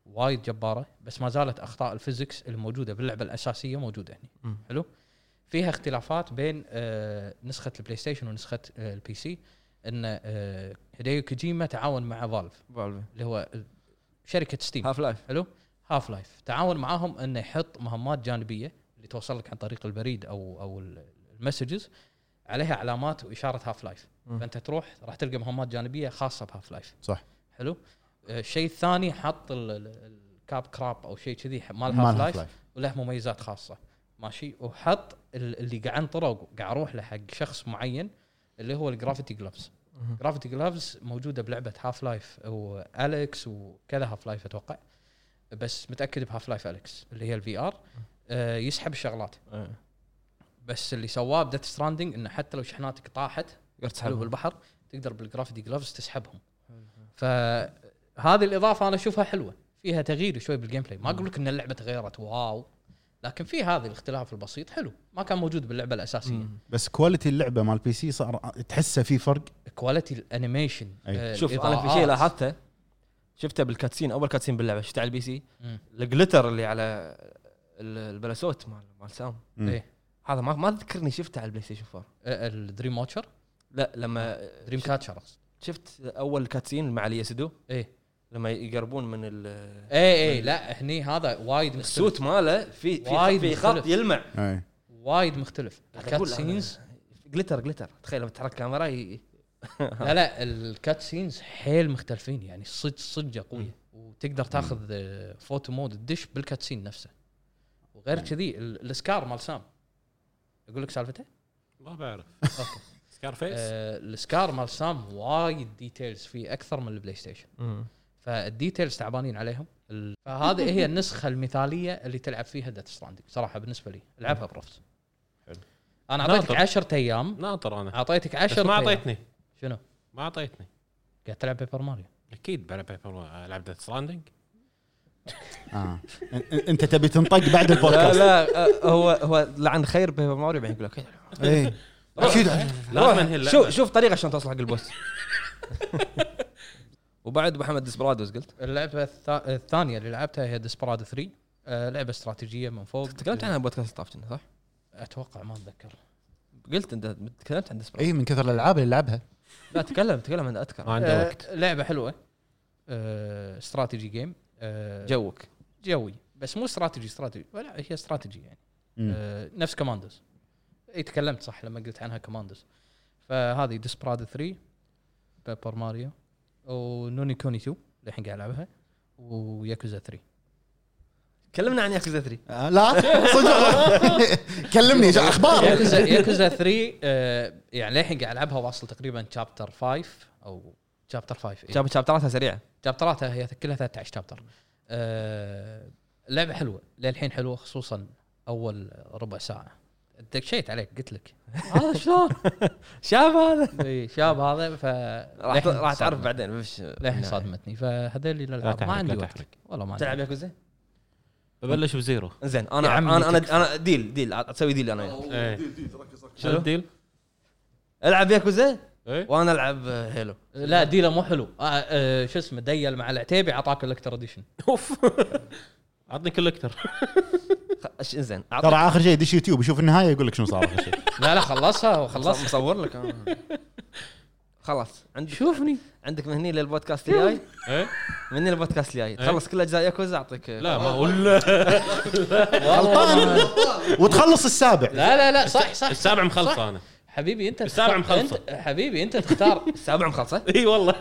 Speaker 5: وايد جباره بس ما زالت اخطاء الفيزكس الموجوده باللعبه الاساسيه موجوده هنا حلو فيها اختلافات بين آه، نسخه البلاي ستيشن ونسخه آه، البي سي ان آه، هيديو كوجيما تعاون مع فالف
Speaker 1: فالفي
Speaker 5: اللي هو آه، شركه ستيم
Speaker 1: هاف لايف
Speaker 5: حلو هاف لايف تعاون معاهم انه يحط مهمات جانبيه اللي توصل لك عن طريق البريد او او ال- المسجز عليها علامات واشاره هاف لايف
Speaker 1: مم.
Speaker 5: فانت تروح راح تلقى مهمات جانبيه خاصه بهاف لايف
Speaker 2: صح.
Speaker 5: حلو آه، الشيء الثاني حط ال- ال- الكاب كراب او شيء كذي مال هاف
Speaker 2: مال
Speaker 5: لايف
Speaker 2: Half-Life.
Speaker 5: وله مميزات خاصه ماشي وحط ال- اللي قاعد انطره قاعد اروح له حق شخص معين اللي هو الجرافيتي جلوفز
Speaker 1: مهم.
Speaker 5: جرافيتي جلوفز موجوده بلعبه هاف لايف والكس وكذا هاف لايف اتوقع بس متاكد بهاف لايف الكس اللي هي الفي ار آه، يسحب الشغلات بس اللي سواه بديث ستراندنج انه حتى لو شحناتك طاحت
Speaker 1: تقدر
Speaker 5: حلو
Speaker 1: تسحب
Speaker 5: بالبحر تقدر بالجرافيتي جلوفز تسحبهم فهذه الاضافه انا اشوفها حلوه فيها تغيير شوي بالجيم بلاي ما اقول لك ان اللعبه تغيرت واو لكن في هذا الاختلاف البسيط حلو ما كان موجود باللعبه الاساسيه
Speaker 2: بس كواليتي اللعبه مال بي سي صار تحسه في فرق
Speaker 5: كواليتي الانيميشن
Speaker 2: أي.
Speaker 5: آه،
Speaker 1: شوف انا في
Speaker 5: الإضاءات.
Speaker 1: شيء لاحظته شفته بالكاتسين اول كاتسين باللعبه شفته على البي سي
Speaker 5: مم.
Speaker 1: الجلتر اللي على ال- البلاسوت مال مال سام
Speaker 2: مم.
Speaker 5: إيه.
Speaker 1: هذا ما ما تذكرني شفته على البلاي ستيشن 4
Speaker 5: آه، الدريم واتشر
Speaker 1: لا لما
Speaker 5: دريم كاتشر أقصد.
Speaker 1: شفت اول كاتسين مع اليسدو
Speaker 5: ايه
Speaker 1: لما يقربون من ال-
Speaker 5: ايه ايه لا هني هذا وايد مختلف
Speaker 1: السوت ماله في في
Speaker 5: وايد
Speaker 1: في خط
Speaker 5: مختلف.
Speaker 1: يلمع
Speaker 2: إيه.
Speaker 5: وايد مختلف
Speaker 1: قاعد
Speaker 5: الكات
Speaker 1: أقول
Speaker 5: سينز
Speaker 1: جلتر جلتر تخيل لما تحرك الكاميرا ي-
Speaker 5: لا لا الكات سينز حيل مختلفين يعني صدق صدق قويه وتقدر تاخذ آه، فوتو مود تدش بالكات سين نفسه وغير كذي ال- السكار مال سام اقول لك سالفته
Speaker 3: ما بعرف
Speaker 5: أوكي.
Speaker 3: سكار فيس
Speaker 5: آه السكار مال سام وايد ديتيلز فيه اكثر من البلاي ستيشن فالديتيلز تعبانين عليهم ال- فهذه هي النسخه المثاليه اللي تلعب فيها ديث ستراندنج صراحه بالنسبه لي العبها برفس
Speaker 3: حلو.
Speaker 5: انا اعطيتك
Speaker 3: ناطر.
Speaker 5: 10 ايام
Speaker 3: ناطر انا
Speaker 5: اعطيتك
Speaker 3: بس
Speaker 5: 10
Speaker 3: ما اعطيتني
Speaker 5: شنو؟
Speaker 3: ما اعطيتني
Speaker 5: قاعد تلعب بيبر ماريو
Speaker 3: اكيد بلعب بيبر العب ديث ستراندنج
Speaker 2: آه. إن- إن- انت تبي تنطق بعد
Speaker 1: لا
Speaker 2: البودكاست
Speaker 1: لا آه، هو هو لعن خير بيبر ماريو بعدين يقول لك
Speaker 2: إيه. اكيد
Speaker 3: لا
Speaker 1: روح،
Speaker 3: تنهي
Speaker 1: شوف
Speaker 3: اللعبه
Speaker 1: شوف طريقه عشان توصل حق البوس وبعد محمد دسبرادوس قلت
Speaker 5: اللعبه الثا- الثانيه اللي لعبتها هي ديسبراد 3 آه، لعبه استراتيجيه من فوق
Speaker 1: تكلمت عنها بودكاست طاف كنا، صح؟
Speaker 5: اتوقع ما اتذكر
Speaker 1: قلت انت تكلمت عن دسبرادوس
Speaker 2: اي من كثر الالعاب اللي لعبها
Speaker 1: لا تكلم تكلم انا اذكر
Speaker 3: ما عنده
Speaker 5: آه،
Speaker 3: وقت
Speaker 5: لعبه حلوه آه، استراتيجي جيم جو
Speaker 1: جوك
Speaker 5: جوي بس مو استراتيجي استراتيجي ولا هي استراتيجي يعني
Speaker 2: مم.
Speaker 5: آه، نفس كوماندوز اي تكلمت صح لما قلت عنها كوماندوز فهذه ديسبراد 3 بيبر ماريو ونوني كوني 2 الحين قاعد العبها وياكوزا 3
Speaker 1: كلمنا عن ياكوزا 3
Speaker 2: آه، لا صدق كلمني جا- اخبار
Speaker 5: ياكوزا ياكوزا 3 آه، يعني للحين قاعد العبها واصل تقريبا شابتر 5 او شابتر 5 إيه.
Speaker 1: شاب شابتراتها سريعه
Speaker 5: شابتراتها هي كلها 13 شابتر آه، اللعبه حلوه للحين حلوه خصوصا اول ربع ساعه دكشيت عليك قلت لك هذا
Speaker 1: آه،
Speaker 5: شلون
Speaker 1: شاب هذا
Speaker 5: إي، شاب هذا ف
Speaker 1: راح
Speaker 5: للحين
Speaker 1: راح تعرف
Speaker 5: صدمت.
Speaker 1: بعدين وش
Speaker 5: للحين صدمتني فهذول الالعاب
Speaker 3: تحرك،
Speaker 5: ما
Speaker 3: لا
Speaker 5: عندي وقت
Speaker 3: تحرك.
Speaker 5: والله ما عندي
Speaker 1: تلعب
Speaker 5: وقت.
Speaker 1: ياكوزا
Speaker 3: ببلش بزيرو
Speaker 1: زين
Speaker 5: يا
Speaker 1: انا
Speaker 5: عمي
Speaker 1: انا انا انا ديل ديل اسوي ديل انا وياك.
Speaker 3: إيه.
Speaker 6: ديل ديل ركز ركز
Speaker 3: شنو الديل؟
Speaker 1: العب ياكوزا
Speaker 3: ايه
Speaker 1: وانا العب هيلو
Speaker 5: أه، لا ديله مو حلو آه، آه، شو اسمه ديل مع العتيبي اعطاك الكتر اديشن
Speaker 3: اوف عطني كولكتر
Speaker 1: خ- إيش زين
Speaker 2: ترى اخر شيء يدش يوتيوب يشوف النهايه يقول لك شنو صار آخر شيء
Speaker 5: لا لا خلصها وخلصت
Speaker 1: خلاص مصور لك آه. أنا. خلاص عندك
Speaker 5: شوفني
Speaker 1: عندك من هني للبودكاست الجاي
Speaker 3: ايه
Speaker 1: من هني للبودكاست الجاي تخلص كل اجزاء ياكوزا اعطيك
Speaker 3: لا ما ولا
Speaker 2: غلطان وتخلص السابع
Speaker 5: لا لا لا صح صح
Speaker 3: السابع مخلص انا
Speaker 5: حبيبي انت
Speaker 3: السابعة
Speaker 5: تختار-
Speaker 3: مخلصة.
Speaker 5: انت حبيبي انت تختار
Speaker 1: السابع مخلصه
Speaker 3: اي والله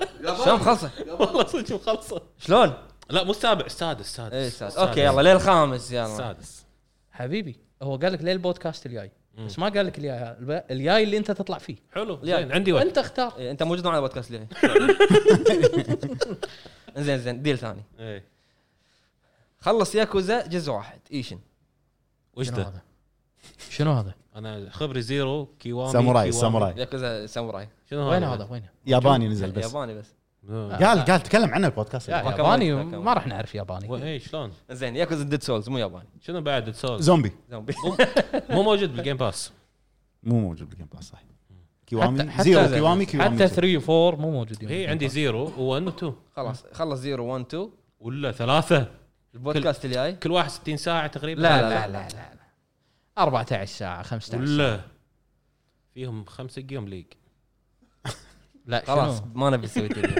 Speaker 1: شلون مخلصه
Speaker 3: والله صدق مخلصه
Speaker 1: شلون
Speaker 3: لا مو السابع السادس السادس
Speaker 5: إيه،
Speaker 1: اي استاذ اوكي إيه، يلا للخامس يلا
Speaker 3: السادس
Speaker 5: حبيبي هو قال لك ليه البودكاست الجاي بس ما قال لك الجاي الب- الجاي اللي انت تطلع فيه
Speaker 3: حلو
Speaker 1: لا.
Speaker 3: زين عندي وقت
Speaker 5: انت اختار
Speaker 1: إيه، انت موجود معنا البودكاست الجاي زين زين ديل ثاني
Speaker 3: ايه
Speaker 1: خلص ياكوزا جزء واحد ايشن
Speaker 3: وش
Speaker 5: شنو
Speaker 3: ذا؟
Speaker 5: هذا؟ شنو هذا؟
Speaker 3: انا خبري زيرو كيوامي
Speaker 2: ساموراي
Speaker 3: كيوامي.
Speaker 2: ساموراي
Speaker 1: ياكوزا ساموراي
Speaker 3: شنو
Speaker 5: وين هذا؟ وين؟
Speaker 2: ياباني نزل بس
Speaker 1: ياباني بس
Speaker 3: آه.
Speaker 2: قال قال تكلم عنه البودكاست
Speaker 5: لا،
Speaker 1: كملت،
Speaker 5: ياباني
Speaker 1: ما كملت.
Speaker 5: ما راح نعرف ياباني
Speaker 3: اي إيه، شلون؟
Speaker 1: زين ياكوزا ديد سولز مو ياباني
Speaker 3: شنو بعد تسولز
Speaker 2: زومبي
Speaker 1: زومبي
Speaker 3: مو موجود بالجيم باس
Speaker 2: مو موجود بالجيم باس صح
Speaker 5: حتى-
Speaker 2: كيوامي
Speaker 5: حتى-
Speaker 2: زيرو كيوامي كيوامي
Speaker 5: حتى
Speaker 2: زيرو.
Speaker 5: 3 و4 مو موجودين
Speaker 3: هي عندي زيرو و1 و2
Speaker 1: خلاص خلص زيرو 1 2
Speaker 3: ولا ثلاثه
Speaker 1: البودكاست الجاي
Speaker 3: كل واحد 60 ساعه تقريبا
Speaker 5: لا لا لا لا 14 ساعه 15 ساعة.
Speaker 3: ولا فيهم خمسة جيم ليج
Speaker 5: لا
Speaker 1: خلاص
Speaker 5: خلاص
Speaker 1: ما نبي نسوي كذي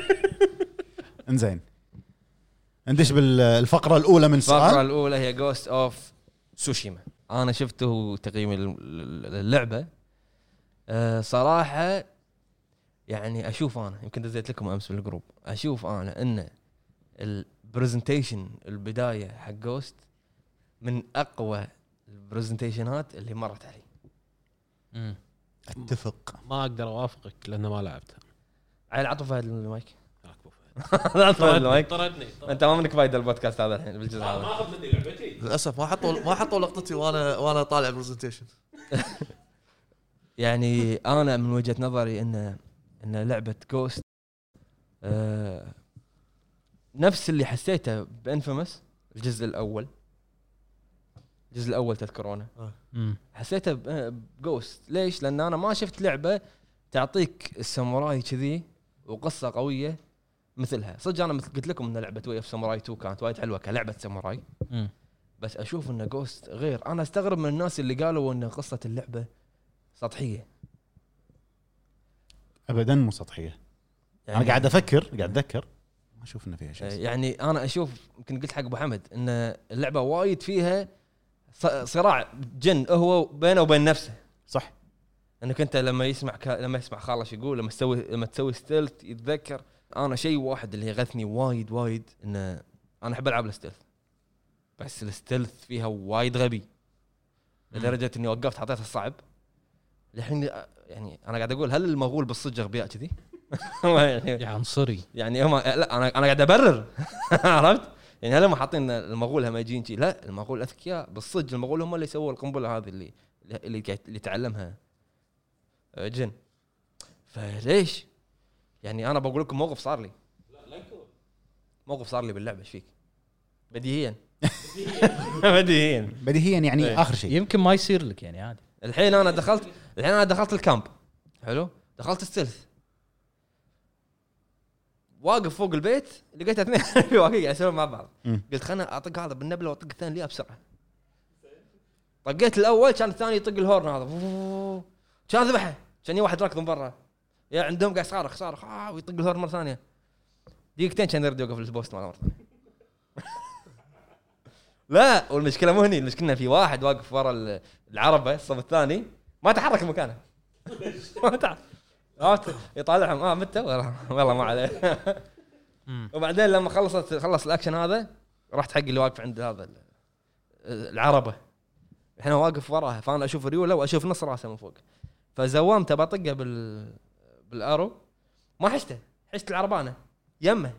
Speaker 2: انزين ندش بالفقره الاولى من
Speaker 1: الفقره
Speaker 2: سؤال
Speaker 1: الاولى هي جوست اوف سوشيما انا شفته تقييم الل- اللعبه أه صراحه يعني اشوف انا يمكن دزيت لكم امس بالجروب اشوف انا ان البرزنتيشن البدايه حق جوست من اقوى البرزنتيشنات اللي مرت علي
Speaker 5: مم.
Speaker 2: اتفق
Speaker 3: ما اقدر اوافقك لانه ما لعبتها
Speaker 1: عيل عطوا فهد المايك
Speaker 3: هاك أبو فهد.
Speaker 1: عطوا المايك
Speaker 3: طردني طردني.
Speaker 1: انت ما منك فايده البودكاست هذا الحين بالجزء
Speaker 3: ما
Speaker 1: هذا
Speaker 3: ما اخذ مني لعبتي
Speaker 6: للاسف ما حطوا ما حطوا لقطتي وانا وانا طالع برزنتيشن
Speaker 1: يعني انا من وجهه نظري ان ان لعبه جوست آه نفس اللي حسيته بانفيمس الجزء الاول الجزء الاول تذكرونه
Speaker 5: مم.
Speaker 1: حسيته بجوست ليش؟ لان انا ما شفت لعبه تعطيك الساموراي كذي وقصه قويه مثلها صدق انا مثل قلت لكم ان لعبه ويف ساموراي 2 كانت وايد حلوه كلعبه ساموراي
Speaker 5: مم.
Speaker 1: بس اشوف ان جوست غير انا استغرب من الناس اللي قالوا ان قصه اللعبه سطحيه
Speaker 2: ابدا مو سطحيه انا قاعد افكر قاعد اتذكر ما اشوف انه فيها شيء
Speaker 1: يعني انا اشوف يمكن قلت حق ابو حمد ان اللعبه وايد فيها ص- صراع جن هو بينه وبين نفسه
Speaker 2: صح
Speaker 1: انك انت لما يسمع ك... لما يسمع خالص يقول لما تسوي لما تسوي ستيلت يتذكر انا شيء واحد اللي يغثني وايد وايد انه انا احب العاب الستيلث بس الستيلث فيها وايد غبي لدرجه اني وقفت حطيتها الصعب الحين يعني انا قاعد اقول هل المغول بالصدق اغبياء كذي؟ يعني
Speaker 5: يا عنصري
Speaker 1: يعني هم لا انا انا قاعد ابرر عرفت؟ يعني هل هم حاطين المغول همجيين شي؟ لا المغول اذكياء بالصدق المغول هم اللي سووا القنبله هذه اللي اللي كانت- اللي تعلمها آه، جن فليش؟ يعني انا بقول لكم موقف صار لي موقف صار لي باللعبه ايش فيك؟ بديهيا بديهيا
Speaker 2: بديهيا يعني اخر شيء
Speaker 5: يمكن ما يصير لك يعني عادي
Speaker 1: الحين انا دخلت الحين انا دخلت الكامب حلو دخلت السلث واقف فوق البيت لقيت اثنين في واقف قاعد يسولفون مع بعض
Speaker 2: مم.
Speaker 1: قلت خلنا اطق هذا بالنبله واطق الثاني ليه بسرعه طقيت الاول كان الثاني يطق الهورن هذا فوووو. كان ذبحه كان يجي واحد راكض من برا يا عندهم قاعد صارخ صارخ آه ويطق الهورن مره ثانيه دقيقتين كان يرد يوقف البوست مره ثانيه لا والمشكله مو هني المشكله إن في واحد واقف ورا ال- العربه الصف الثاني ما تحرك مكانه ما تحرك عرفت؟ يطالعهم اه متى والله- والله ما عليه وبعدين لما خلصت خلص الاكشن هذا رحت حق اللي واقف عند هذا ال- العربه الحين هو واقف وراها فانا اشوف ريوله واشوف نص راسه من فوق فزومته بطقه بال بالارو ما حشته حشت العربانه يمه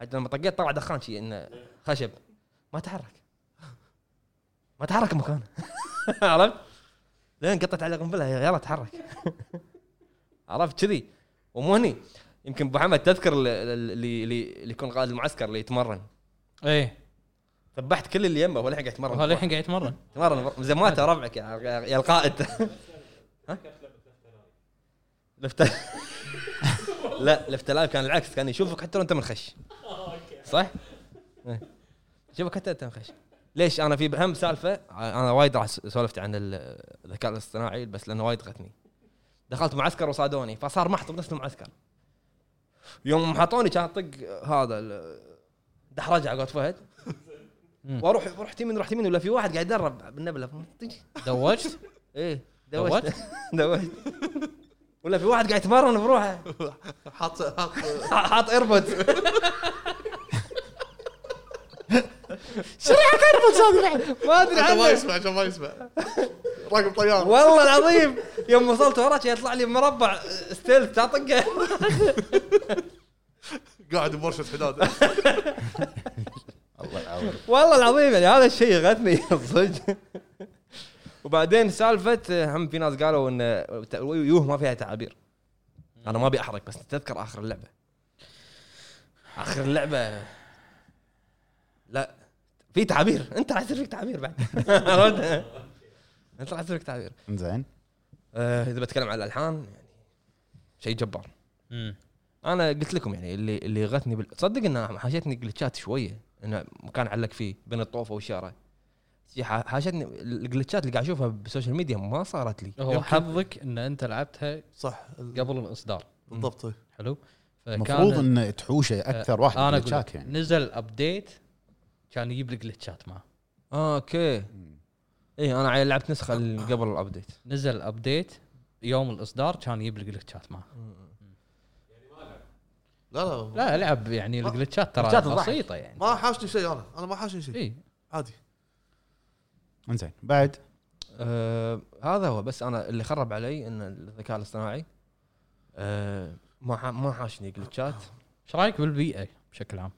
Speaker 1: حتى لما طقيت طلع دخان شي انه خشب ما تحرك ما تحرك مكانه عرفت؟ لين قطت على قنبله يلا تحرك عرفت كذي ومو هني يمكن ابو حمد تذكر ال- ال- اللي اللي اللي يكون قائد المعسكر اللي يتمرن
Speaker 5: ايه
Speaker 3: إيه.
Speaker 1: ذبحت كل اللي يمه ولا قاعد يتمرن
Speaker 5: هو للحين قاعد يتمرن
Speaker 1: تمرن بر- مزماته ربعك يا يا القائد ها؟ لفت لا لفت لايف كان العكس كان يشوفك حتى لو انت منخش صح؟ إيه. يشوفك حتى انت منخش ليش انا في بهم سالفه انا وايد راح سولفت عن ال- الذكاء الاصطناعي بس لانه وايد غثني دخلت معسكر وصادوني فصار محط بنفس المعسكر يوم حطوني كان طق هذا ال- دحرجه على قولة فهد واروح رحت يمين رحت يمين ولا في واحد قاعد يدرب بالنبله طيش.
Speaker 5: دوجت
Speaker 1: ايه
Speaker 5: دوت؟
Speaker 1: دوشت دوشت ولا في واحد قاعد يتمرن بروحه
Speaker 6: حاط حاط
Speaker 1: حاط ايربود
Speaker 2: شريحه ايربودز هذه بعد
Speaker 1: ما ادري
Speaker 6: عشان ما
Speaker 1: عنه
Speaker 6: يسمع عشان ما يسمع راكب طياره
Speaker 1: والله العظيم يوم وصلت وراك يطلع لي مربع ستيلث اطقه
Speaker 6: قاعد بورشه حداد
Speaker 2: الله يعاونك
Speaker 1: والله العظيم يعني هذا الشيء غثني صدق وبعدين سالفه هم في ناس قالوا ان يوه ما فيها تعابير انا ما ابي احرق بس تذكر اخر اللعبه اخر اللعبه لا في تعابير انت راح يصير فيك تعابير بعد عرفت؟ انت راح يصير فيك تعابير
Speaker 2: انزين
Speaker 1: آه، اذا بتكلم عن الالحان يعني شيء جبار انا قلت لكم يعني اللي اللي غثني بال... تصدق انها حاشتني جلتشات شويه انه مكان علق فيه بين الطوفه والشارع شي ح- حاشتني الجلتشات اللي قاعد اشوفها بالسوشيال ميديا ما صارت لي
Speaker 5: هو حظك ان انت لعبتها
Speaker 6: صح
Speaker 5: قبل الاصدار
Speaker 6: بالضبط إيه.
Speaker 5: حلو
Speaker 2: المفروض ان تحوشه اكثر واحد
Speaker 5: انا اقول
Speaker 2: بالشات
Speaker 5: آه، لك
Speaker 2: يعني
Speaker 5: نزل ابديت كان يجيب لك جلتشات معه
Speaker 1: اه اوكي اي انا عيل لعبت نسخه اللي قبل الابديت
Speaker 5: نزل ابديت يوم الاصدار كان يجيب لك جلتشات معه
Speaker 6: لا لا
Speaker 5: لا العب يعني
Speaker 6: ما-
Speaker 5: الجلتشات ترى
Speaker 1: جلتشات ضاعت.
Speaker 5: بسيطه يعني
Speaker 6: ما حاشني شيء انا انا ما حاشني شيء
Speaker 5: اي
Speaker 6: عادي
Speaker 2: انزين بعد
Speaker 1: آه هذا هو بس انا اللي خرب علي ان الذكاء الاصطناعي آه ما ح- ما حاشني جلتشات
Speaker 5: ايش رايك بالبيئه بشكل عام؟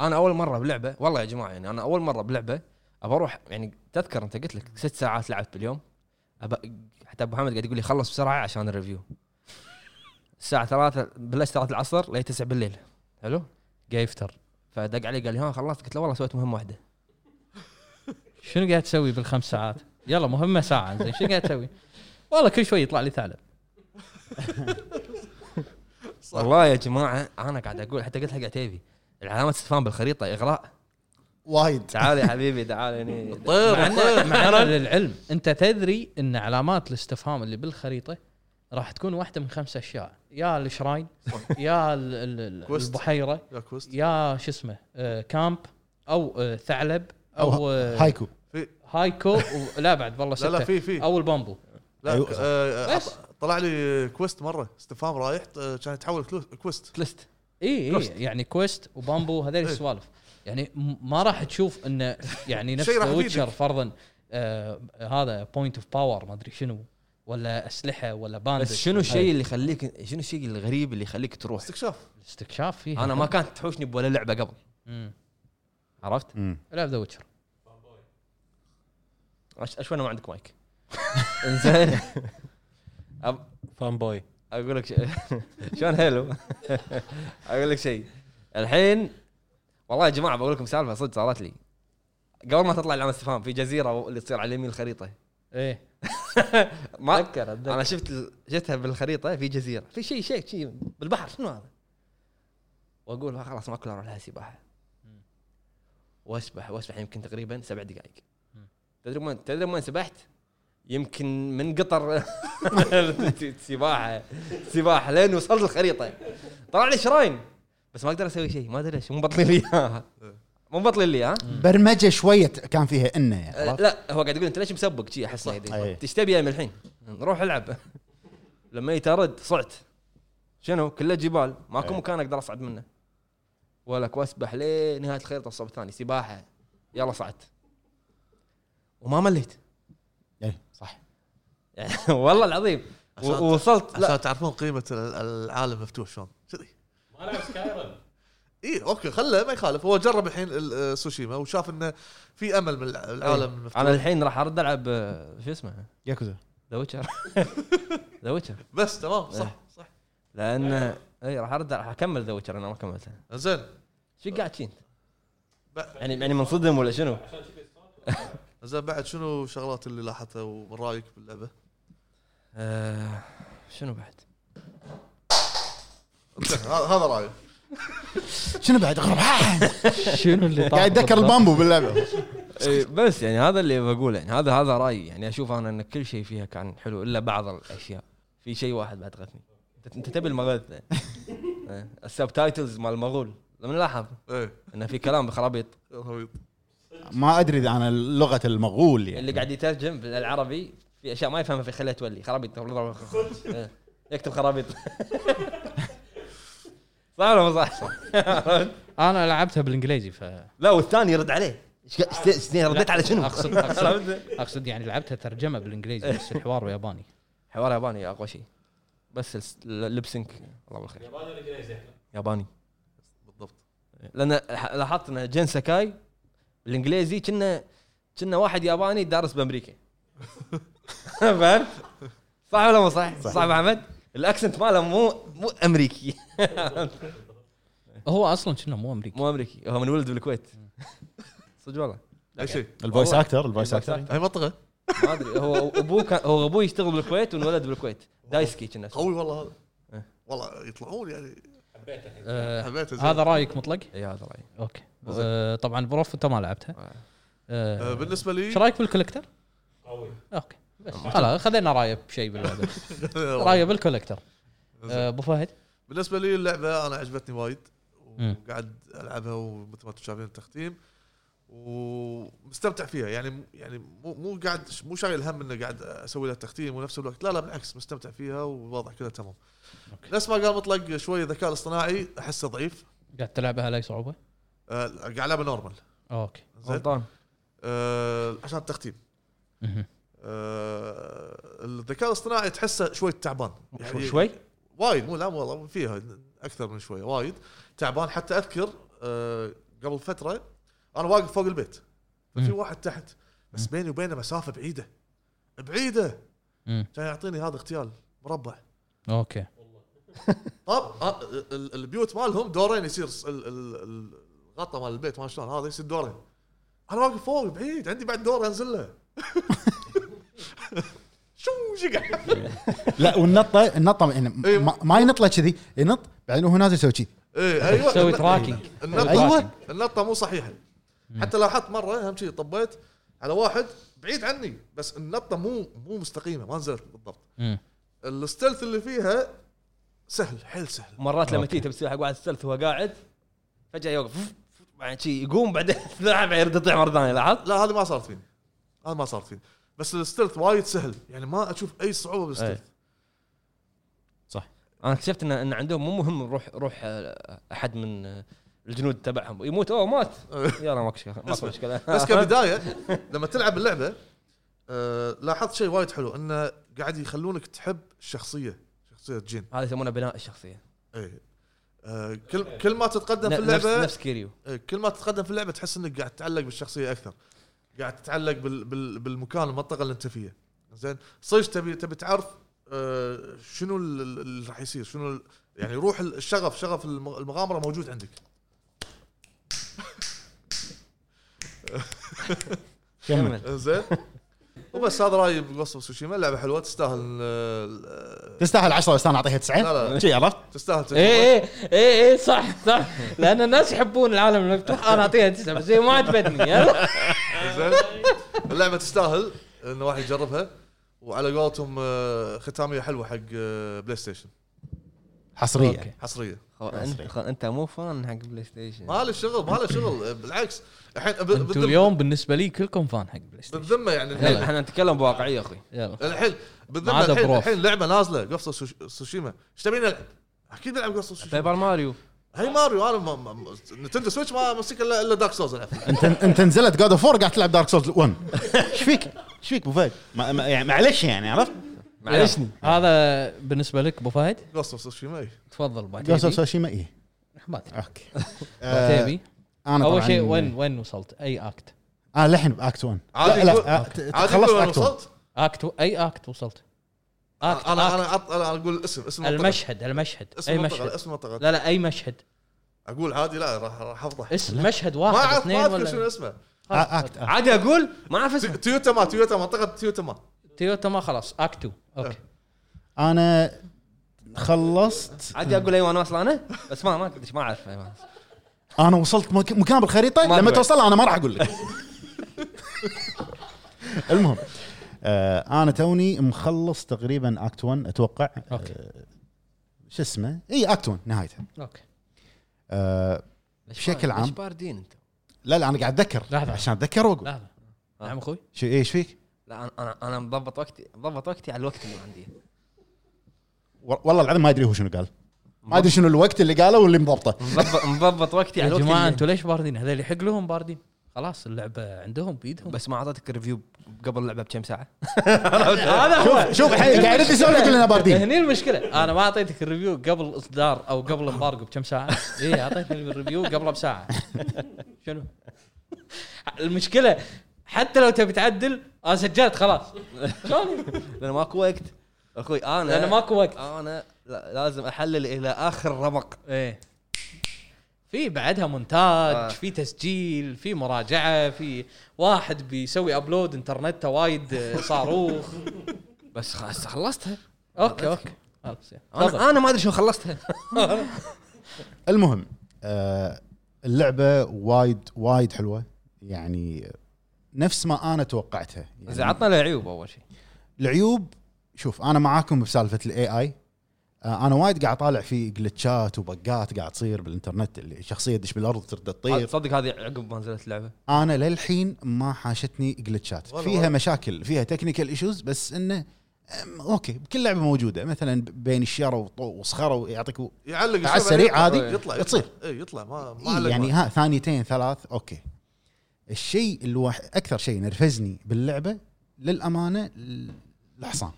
Speaker 1: انا اول مره بلعبه والله يا جماعه يعني انا اول مره بلعبه ابى اروح يعني تذكر انت قلت لك ست ساعات لعبت باليوم أبا حتى ابو حمد قاعد يقول لي خلص بسرعه عشان الريفيو الساعه 3 بلشت 3 العصر لين 9 بالليل حلو
Speaker 5: جايفتر
Speaker 1: فدق علي قال لي ها خلصت قلت له والله سويت مهمه واحده
Speaker 5: شنو قاعد تسوي بالخمس ساعات؟ يلا مهمه ساعه زين شنو قاعد تسوي؟ والله كل شوي يطلع لي ثعلب
Speaker 1: والله يا جماعه انا قاعد اقول حتى قلت حق عتيبي العلامه استفهام بالخريطه اغراء
Speaker 2: وايد
Speaker 1: تعال يا حبيبي تعال هني
Speaker 5: مع
Speaker 6: طير
Speaker 5: إن- مع إن للعلم انت تدري ان علامات الاستفهام اللي بالخريطه راح تكون واحده من خمس اشياء يا الشراين يا ال- ال- ال-
Speaker 6: كويست.
Speaker 5: البحيره
Speaker 6: يا كوست
Speaker 5: يا شو اسمه آه، كامب او آه، ثعلب او
Speaker 2: أو
Speaker 5: آه،
Speaker 2: هايكو
Speaker 5: هايكو و- لا بعد والله
Speaker 6: لا لا
Speaker 5: سته
Speaker 6: في في
Speaker 5: او البامبو
Speaker 6: لا
Speaker 2: أيوة.
Speaker 6: آه، آه،
Speaker 5: بس.
Speaker 6: طلع لي كويست مره استفهام رايح آه، كان يتحول كلو- كويست
Speaker 1: كلست
Speaker 5: اي
Speaker 6: كوست.
Speaker 5: اي يعني كويست وبامبو هذول
Speaker 6: إيه.
Speaker 5: السوالف يعني م- ما راح تشوف انه يعني نفس
Speaker 6: شيء راح
Speaker 5: ذا ويتشر
Speaker 6: يفيدك.
Speaker 5: فرضا آه هذا بوينت اوف باور ما ادري شنو ولا اسلحه ولا باندج
Speaker 1: بس شنو الشيء اللي يخليك شنو الشيء الغريب اللي يخليك تروح
Speaker 6: استكشاف
Speaker 5: الاستكشاف فيه
Speaker 1: انا ما كانت تحوشني بولا لعبه قبل عرفت
Speaker 5: العب ذا ويتشر
Speaker 1: أش- اشوي انا ما عندك مايك زين أب-
Speaker 3: فان بوي
Speaker 1: اقول لك شيء. شلون حلو اقول لك شيء الحين والله يا جماعه بقول لكم سالفه صدق صارت لي قبل ما تطلع العلامه استفهام في جزيره اللي تصير على يمين الخريطه
Speaker 5: ايه
Speaker 1: ما اتذكر انا شفت ال- شفتها بالخريطه في جزيره في شيء شيء شيء بالبحر شنو هذا؟ واقول آه خلاص ماكو إلا اروح لها سباحه واسبح واسبح يمكن تقريبا سبع دقائق
Speaker 5: مم.
Speaker 1: تدري وين تدري وين سبحت؟ يمكن من قطر سباحه سباحه لين وصلت الخريطه طلع لي شراين بس ما اقدر اسوي شيء ما ادري ليش مو مبطلين لي اياها مو مبطلين لي ها
Speaker 2: برمجه شويه كان فيها انه يعني
Speaker 1: آه،
Speaker 2: عرفت؟
Speaker 1: لا هو قاعد يقول انت ليش مسبق شي احس
Speaker 2: أي.
Speaker 1: ايش تبي من الحين؟ روح العب لما يترد صعت شنو كله جبال ماكو
Speaker 2: أي.
Speaker 1: مكان اقدر اصعد منه ولك واسبح لين نهايه الخريطه الصوب الثاني سباحه يلا صعدت وما مليت
Speaker 2: أي،
Speaker 1: صح يعني والله العظيم و-
Speaker 6: عشان-
Speaker 1: ووصلت لا
Speaker 6: عشان تعرفون قيمه ال- العالم مفتوح شلون كذي
Speaker 3: ما لعب سكايرن
Speaker 6: اي اوكي خله ما يخالف هو جرب الحين ال- آه، سوشيما وشاف انه في امل من الع- العالم المفتوح
Speaker 1: انا الحين راح ارد العب آه، شو اسمه
Speaker 2: ياكوزا
Speaker 1: ذا ويتشر ذا ويتشر
Speaker 6: بس تمام صح صح
Speaker 1: لان
Speaker 6: إيه.
Speaker 1: اي إيه، راح ارد راح اكمل ذا ويتشر انا ما كملته
Speaker 6: زين
Speaker 1: شو قاعد شين
Speaker 6: ب-
Speaker 1: يعني يعني منصدم ولا شنو؟
Speaker 6: زين بعد شنو الشغلات اللي لاحظتها ومن رايك باللعبه؟
Speaker 1: آه شنو بعد؟
Speaker 6: زين، هذا هذا رايي
Speaker 2: شنو بعد غرب
Speaker 5: شنو اللي طاف
Speaker 2: قاعد يتذكر
Speaker 5: بالضبط؟
Speaker 2: البامبو باللعبه
Speaker 1: إيه، بس يعني هذا اللي بقوله يعني هذا هذا رايي يعني اشوف انا ان كل شيء فيها كان حلو الا بعض الاشياء في شيء واحد بعد غثني أنت- انت تبي المغث إيه، السبتايتلز مال المغول لما نلاحظ
Speaker 6: ايه
Speaker 1: انه في كلام بخرابيط
Speaker 6: رهيب.
Speaker 2: ما ادري اذا انا لغه المغول
Speaker 1: اللي
Speaker 2: يعني
Speaker 1: قاعد يترجم بالعربي في اشياء ما يفهمها في خليه تولي خرابيط إيه، يكتب خرابيط صح ولا مو صح؟
Speaker 5: انا لعبتها بالانجليزي ف
Speaker 1: لا والثاني يرد عليه ايش قا- إيش- إيش- رديت على شنو؟
Speaker 5: اقصد اقصد اقصد يعني لعبتها ترجمه بالانجليزي بس الحوار ياباني
Speaker 1: حوار ياباني اقوى شيء بس الس- اللبسنك الله بالخير ياباني ولا انجليزي ياباني
Speaker 6: بالضبط
Speaker 1: لان ح- لاحظت ان جين ساكاي بالانجليزي كنا كنا واحد ياباني دارس بامريكا فهمت؟ صح ولا مو صح؟ صح ابو احمد؟ الاكسنت ماله مو مو امريكي
Speaker 5: هو اصلا كنا مو امريكي
Speaker 1: مو امريكي هو من ولد بالكويت صدق والله
Speaker 6: اي شيء
Speaker 2: الفويس
Speaker 1: والله. إيه،
Speaker 2: اكتر الفويس اكتر
Speaker 6: اي منطقه
Speaker 1: ما ادري هو ابوه كان هو ابوه يشتغل بالكويت وانولد بالكويت دايسكي كنا اسمه.
Speaker 6: قوي والله هذا
Speaker 1: إيه.
Speaker 6: والله يطلعون يعني
Speaker 5: آه،
Speaker 6: حبيت زين.
Speaker 5: هذا رايك مطلق
Speaker 1: اي هذا رايي
Speaker 5: اوكي آه، طبعا بروف انت ما لعبتها
Speaker 6: آه،
Speaker 5: آه،
Speaker 6: بالنسبه
Speaker 5: ايش
Speaker 6: لي
Speaker 5: رايك بالكولكتر؟
Speaker 3: قوي
Speaker 5: اوكي بس خلاص خذينا رايه بشيء باللعبه رايه بالكولكتر آه، ابو فهد
Speaker 6: بالنسبه لي اللعبه انا عجبتني وايد
Speaker 5: مم.
Speaker 6: وقاعد العبها ومثل ما انتم شايفين التختيم ومستمتع فيها يعني يعني مو مو قاعد مو شايل هم انه قاعد اسوي لها تختيم ونفس الوقت لا لا بالعكس مستمتع فيها والوضع كله تمام نفس ما قال مطلق شوي الذكاء الاصطناعي احسه ضعيف
Speaker 5: قاعد تلعبها على اي صعوبه؟
Speaker 6: آه، قاعد العبه نورمال
Speaker 5: اوكي
Speaker 6: زين
Speaker 1: غلطان
Speaker 6: آه، عشان التختيم
Speaker 5: مهم.
Speaker 6: آه، الذكاء الاصطناعي تحسه شوي تعبان يعني
Speaker 1: شو- شوي
Speaker 6: وايد مو لا مو والله فيها اكثر من شويه وايد تعبان حتى اذكر آه، قبل فتره انا واقف فوق البيت ففي
Speaker 5: مم.
Speaker 6: واحد تحت بس بيني وبينه مسافه بعيده بعيده
Speaker 5: مم.
Speaker 6: كان يعطيني هذا اغتيال مربع
Speaker 5: اوكي
Speaker 6: طب آه، ال- البيوت مالهم دورين يصير س- ال- ال- ال- الغطا مال البيت ما شلون هذا يصير دورين انا واقف فوق بعيد عندي بعد دور انزل له شو شقع
Speaker 2: لا والنطه النطه يعني
Speaker 6: إيه.
Speaker 2: ما, ما ينط له كذي ينط بعدين وهو نازل يسوي كذي
Speaker 6: ايه ايوه
Speaker 5: تسوي
Speaker 6: الن-
Speaker 5: تراكنج.
Speaker 6: النطه
Speaker 2: أيوة.
Speaker 6: النطه مو صحيحه حتى لاحظت مره اهم شيء طبيت على واحد بعيد عني بس النطه مو مو مستقيمه ما نزلت بالضبط
Speaker 5: مم.
Speaker 6: الستلث اللي فيها سهل حيل سهل
Speaker 1: مرات لما تيجي تبي حق واحد ستلث وهو قاعد فجاه يوقف بعدين شي يقوم بعدين لاعب يرد يطيح مره ثانيه لاحظت؟
Speaker 6: لا هذه ما صارت فيني هذا ما صارت فيني بس الستلث وايد سهل يعني ما اشوف اي صعوبه بالستلث
Speaker 1: انا اكتشفت ان ان عندهم مو مهم روح روح آه، احد من آه، الجنود تبعهم يموت اوه مات يلا ماكو شغل- ماكو مشكله
Speaker 6: بس كبدايه لما تلعب اللعبه آه لاحظت شيء وايد حلو انه قاعد يخلونك تحب الشخصيه شخصيه جين
Speaker 1: هذا يسمونه بناء الشخصيه
Speaker 6: ايه آه كل كل ما تتقدم في
Speaker 1: ن- نفس
Speaker 6: اللعبه
Speaker 1: نفس كيريو
Speaker 6: إيه، كل ما تتقدم في اللعبه تحس انك قاعد تتعلق بالشخصيه اكثر قاعد تتعلق بال بال بالمكان المنطقه اللي انت فيها زين صدق تبي تبي تعرف آه، شنو ال- ال- اللي راح يصير شنو ال- يعني روح ال- الشغف شغف الم- المغامره موجود عندك
Speaker 1: كمل
Speaker 6: زين وبس هذا رايي بقصه سوشيما لعبه حلوه تستاهل آه، آه،
Speaker 2: تستاهل 10 بس انا اعطيها
Speaker 6: لا
Speaker 2: 9
Speaker 6: لا
Speaker 2: شي عرفت
Speaker 6: تستاهل تجربة.
Speaker 5: اي اي اي اي إيه، صح صح لان الناس يحبون العالم المفتوح انا اعطيها تسعه بس هي ما عجبتني يلا
Speaker 6: زين اللعبه تستاهل ان واحد يجربها وعلى قولتهم آه، ختاميه حلوه حق آه، بلاي ستيشن
Speaker 2: حصريه
Speaker 6: حصريه
Speaker 1: خو- انت خو- انت مو فان حق بلاي ستيشن
Speaker 6: ما له شغل ما له شغل بالعكس الحين ب-
Speaker 5: انتم
Speaker 6: بالذمة-
Speaker 5: اليوم بالنسبه لي كلكم فان حق بلاي ستيشن
Speaker 6: بالذمه يعني
Speaker 1: يلا،
Speaker 6: الحين
Speaker 1: احنا نتكلم بواقعيه يا اخوي
Speaker 5: يلا
Speaker 6: الحين بالذمه
Speaker 5: ما عدا
Speaker 6: الحين
Speaker 5: بروف.
Speaker 6: الحين لعبه نازله قصه سوش- سوشيما ايش تبي نلعب؟ اكيد نلعب قصه سوشيما
Speaker 1: بيبر ماريو
Speaker 6: هي ماريو انا ما- ما- ما- نتندو سويتش ما امسك الا إلا دارك سوز العب
Speaker 2: انت انت نزلت جود اوف 4 قاعد تلعب دارك سولز 1 ايش فيك؟
Speaker 4: ايش فيك ابو فهد؟ ما- ما- يعني معلش يعني عرفت؟
Speaker 1: معلشني
Speaker 5: هذا بالنسبه لك ابو فهد
Speaker 6: قصه سوشيما اي
Speaker 5: تفضل بعد
Speaker 2: جوست اوف سوشيما اي اوكي آه،
Speaker 5: عتيبي
Speaker 2: انا
Speaker 5: اول
Speaker 2: طبعاً- يعني. آه،
Speaker 5: شيء وين وين وصلت اي اكت
Speaker 2: انا للحين باكت 1
Speaker 6: عادي
Speaker 2: لا لا
Speaker 6: يقول-
Speaker 2: آه، ت- ت-
Speaker 6: عادي
Speaker 2: خلصت
Speaker 6: يقول أنا
Speaker 2: اكت 1
Speaker 6: وصلت
Speaker 5: اكت و- اي اكت وصلت اكت
Speaker 6: انا
Speaker 5: انا
Speaker 6: انا عط- انا اقول اسم اسم المنطقة.
Speaker 5: المشهد المشهد
Speaker 6: اسم
Speaker 5: اي
Speaker 6: المنطقه لا،
Speaker 5: مشهد
Speaker 6: اسم المنطقه
Speaker 5: لا لا اي مشهد
Speaker 6: اقول عادي لا راح راح افضح
Speaker 5: اسم مشهد
Speaker 6: ما
Speaker 5: واحد
Speaker 6: اعرف ما
Speaker 5: اثنين
Speaker 6: اذكر شنو
Speaker 5: ولا
Speaker 6: اسمه
Speaker 2: اكت آه.
Speaker 1: عادي اقول ما اعرف
Speaker 6: تي-
Speaker 1: اسمه
Speaker 6: تويوتا ما تويوتا منطقه تويوتا ما
Speaker 5: تويوتا ما خلاص اكت 2 اوكي
Speaker 2: انا خلصت
Speaker 1: عادي اقول ايوه انا واصل انا بس ما ما أدري، ما اعرف أيوة.
Speaker 2: انا وصلت مك- مكان بالخريطه
Speaker 1: ما
Speaker 2: لما
Speaker 1: تبعد.
Speaker 2: توصل انا ما راح اقول لك المهم آه انا توني مخلص تقريبا اكت 1 اتوقع
Speaker 5: أوكي.
Speaker 2: آه، شو اسمه؟ اي اكت 1 نهايته
Speaker 5: اوكي
Speaker 2: آه
Speaker 1: ليش
Speaker 2: بشكل
Speaker 1: بار-
Speaker 2: عام.
Speaker 1: ليش باردين انت؟
Speaker 2: لا لا انا قاعد اتذكر
Speaker 5: لحظة.
Speaker 2: عشان اتذكر واقول
Speaker 5: لحظه نعم اخوي
Speaker 2: شو ايش فيك؟
Speaker 1: لا أنا- انا انا مضبط وقتي مضبط وقتي على الوقت اللي عندي
Speaker 2: و- والله العظيم ما ادري هو شنو قال ما ادري شنو الوقت اللي قاله واللي مضبطه
Speaker 1: مضبط مضبط وقتي
Speaker 5: يا
Speaker 1: على الوقت
Speaker 5: جماعه
Speaker 1: اللي-
Speaker 5: انتم ليش باردين هذول يحق لهم باردين خلاص اللعبه عندهم بايدهم
Speaker 1: بس ما اعطيتك الريفيو قبل اللعبه بكم ساعه
Speaker 5: هذا هو
Speaker 2: شوف الحين قاعد يرد يسولف يقول لنا باردين
Speaker 5: هني المشكله انا ما اعطيتك الريفيو قبل اصدار او قبل امبارجو بكم ساعه اي اعطيتك الريفيو قبله بساعه شنو المشكله حتى لو تبي تعدل انا سجلت خلاص شلون
Speaker 1: لان ماكو وقت اخوي انا
Speaker 5: لان ماكو وقت
Speaker 1: انا لا- لازم احلل الى اخر رمق
Speaker 5: ايه في بعدها مونتاج
Speaker 1: آه.
Speaker 5: آه. في تسجيل في مراجعه في واحد بيسوي ابلود انترنت وايد آه، صاروخ
Speaker 1: بس خلاص خلصتها
Speaker 5: اوكي اوكي خلاص يلا.
Speaker 1: انا انا ما ادري شو خلصتها
Speaker 2: المهم آه اللعبه وايد وايد حلوه يعني نفس ما انا توقعتها
Speaker 1: زين
Speaker 2: يعني
Speaker 1: عطنا العيوب اول شيء
Speaker 2: العيوب شوف انا معاكم بسالفه الاي اي انا آه، وايد قاعد اطالع في جلتشات وبقات قاعد تصير بالانترنت اللي شخصيه تدش بالارض ترد تطير
Speaker 1: تصدق هذه عقب ما نزلت اللعبه
Speaker 2: انا للحين ما حاشتني جلتشات
Speaker 6: ولا
Speaker 2: فيها
Speaker 6: ولا.
Speaker 2: مشاكل فيها تكنيكال ايشوز بس انه أم، اوكي بكل لعبه موجوده مثلا بين الشيره وط- وصخره ويعطيك
Speaker 6: يعلق
Speaker 2: على
Speaker 6: الشبكة،
Speaker 2: السريع
Speaker 6: يطلع-
Speaker 2: عادي
Speaker 6: يطلع
Speaker 2: تصير.
Speaker 6: اي يطلع ما ما علق
Speaker 2: إيه يعني
Speaker 6: يعني
Speaker 2: ها ثانيتين ثلاث اوكي الشيء الواحد اكثر شيء نرفزني باللعبه للامانه ال- الحصان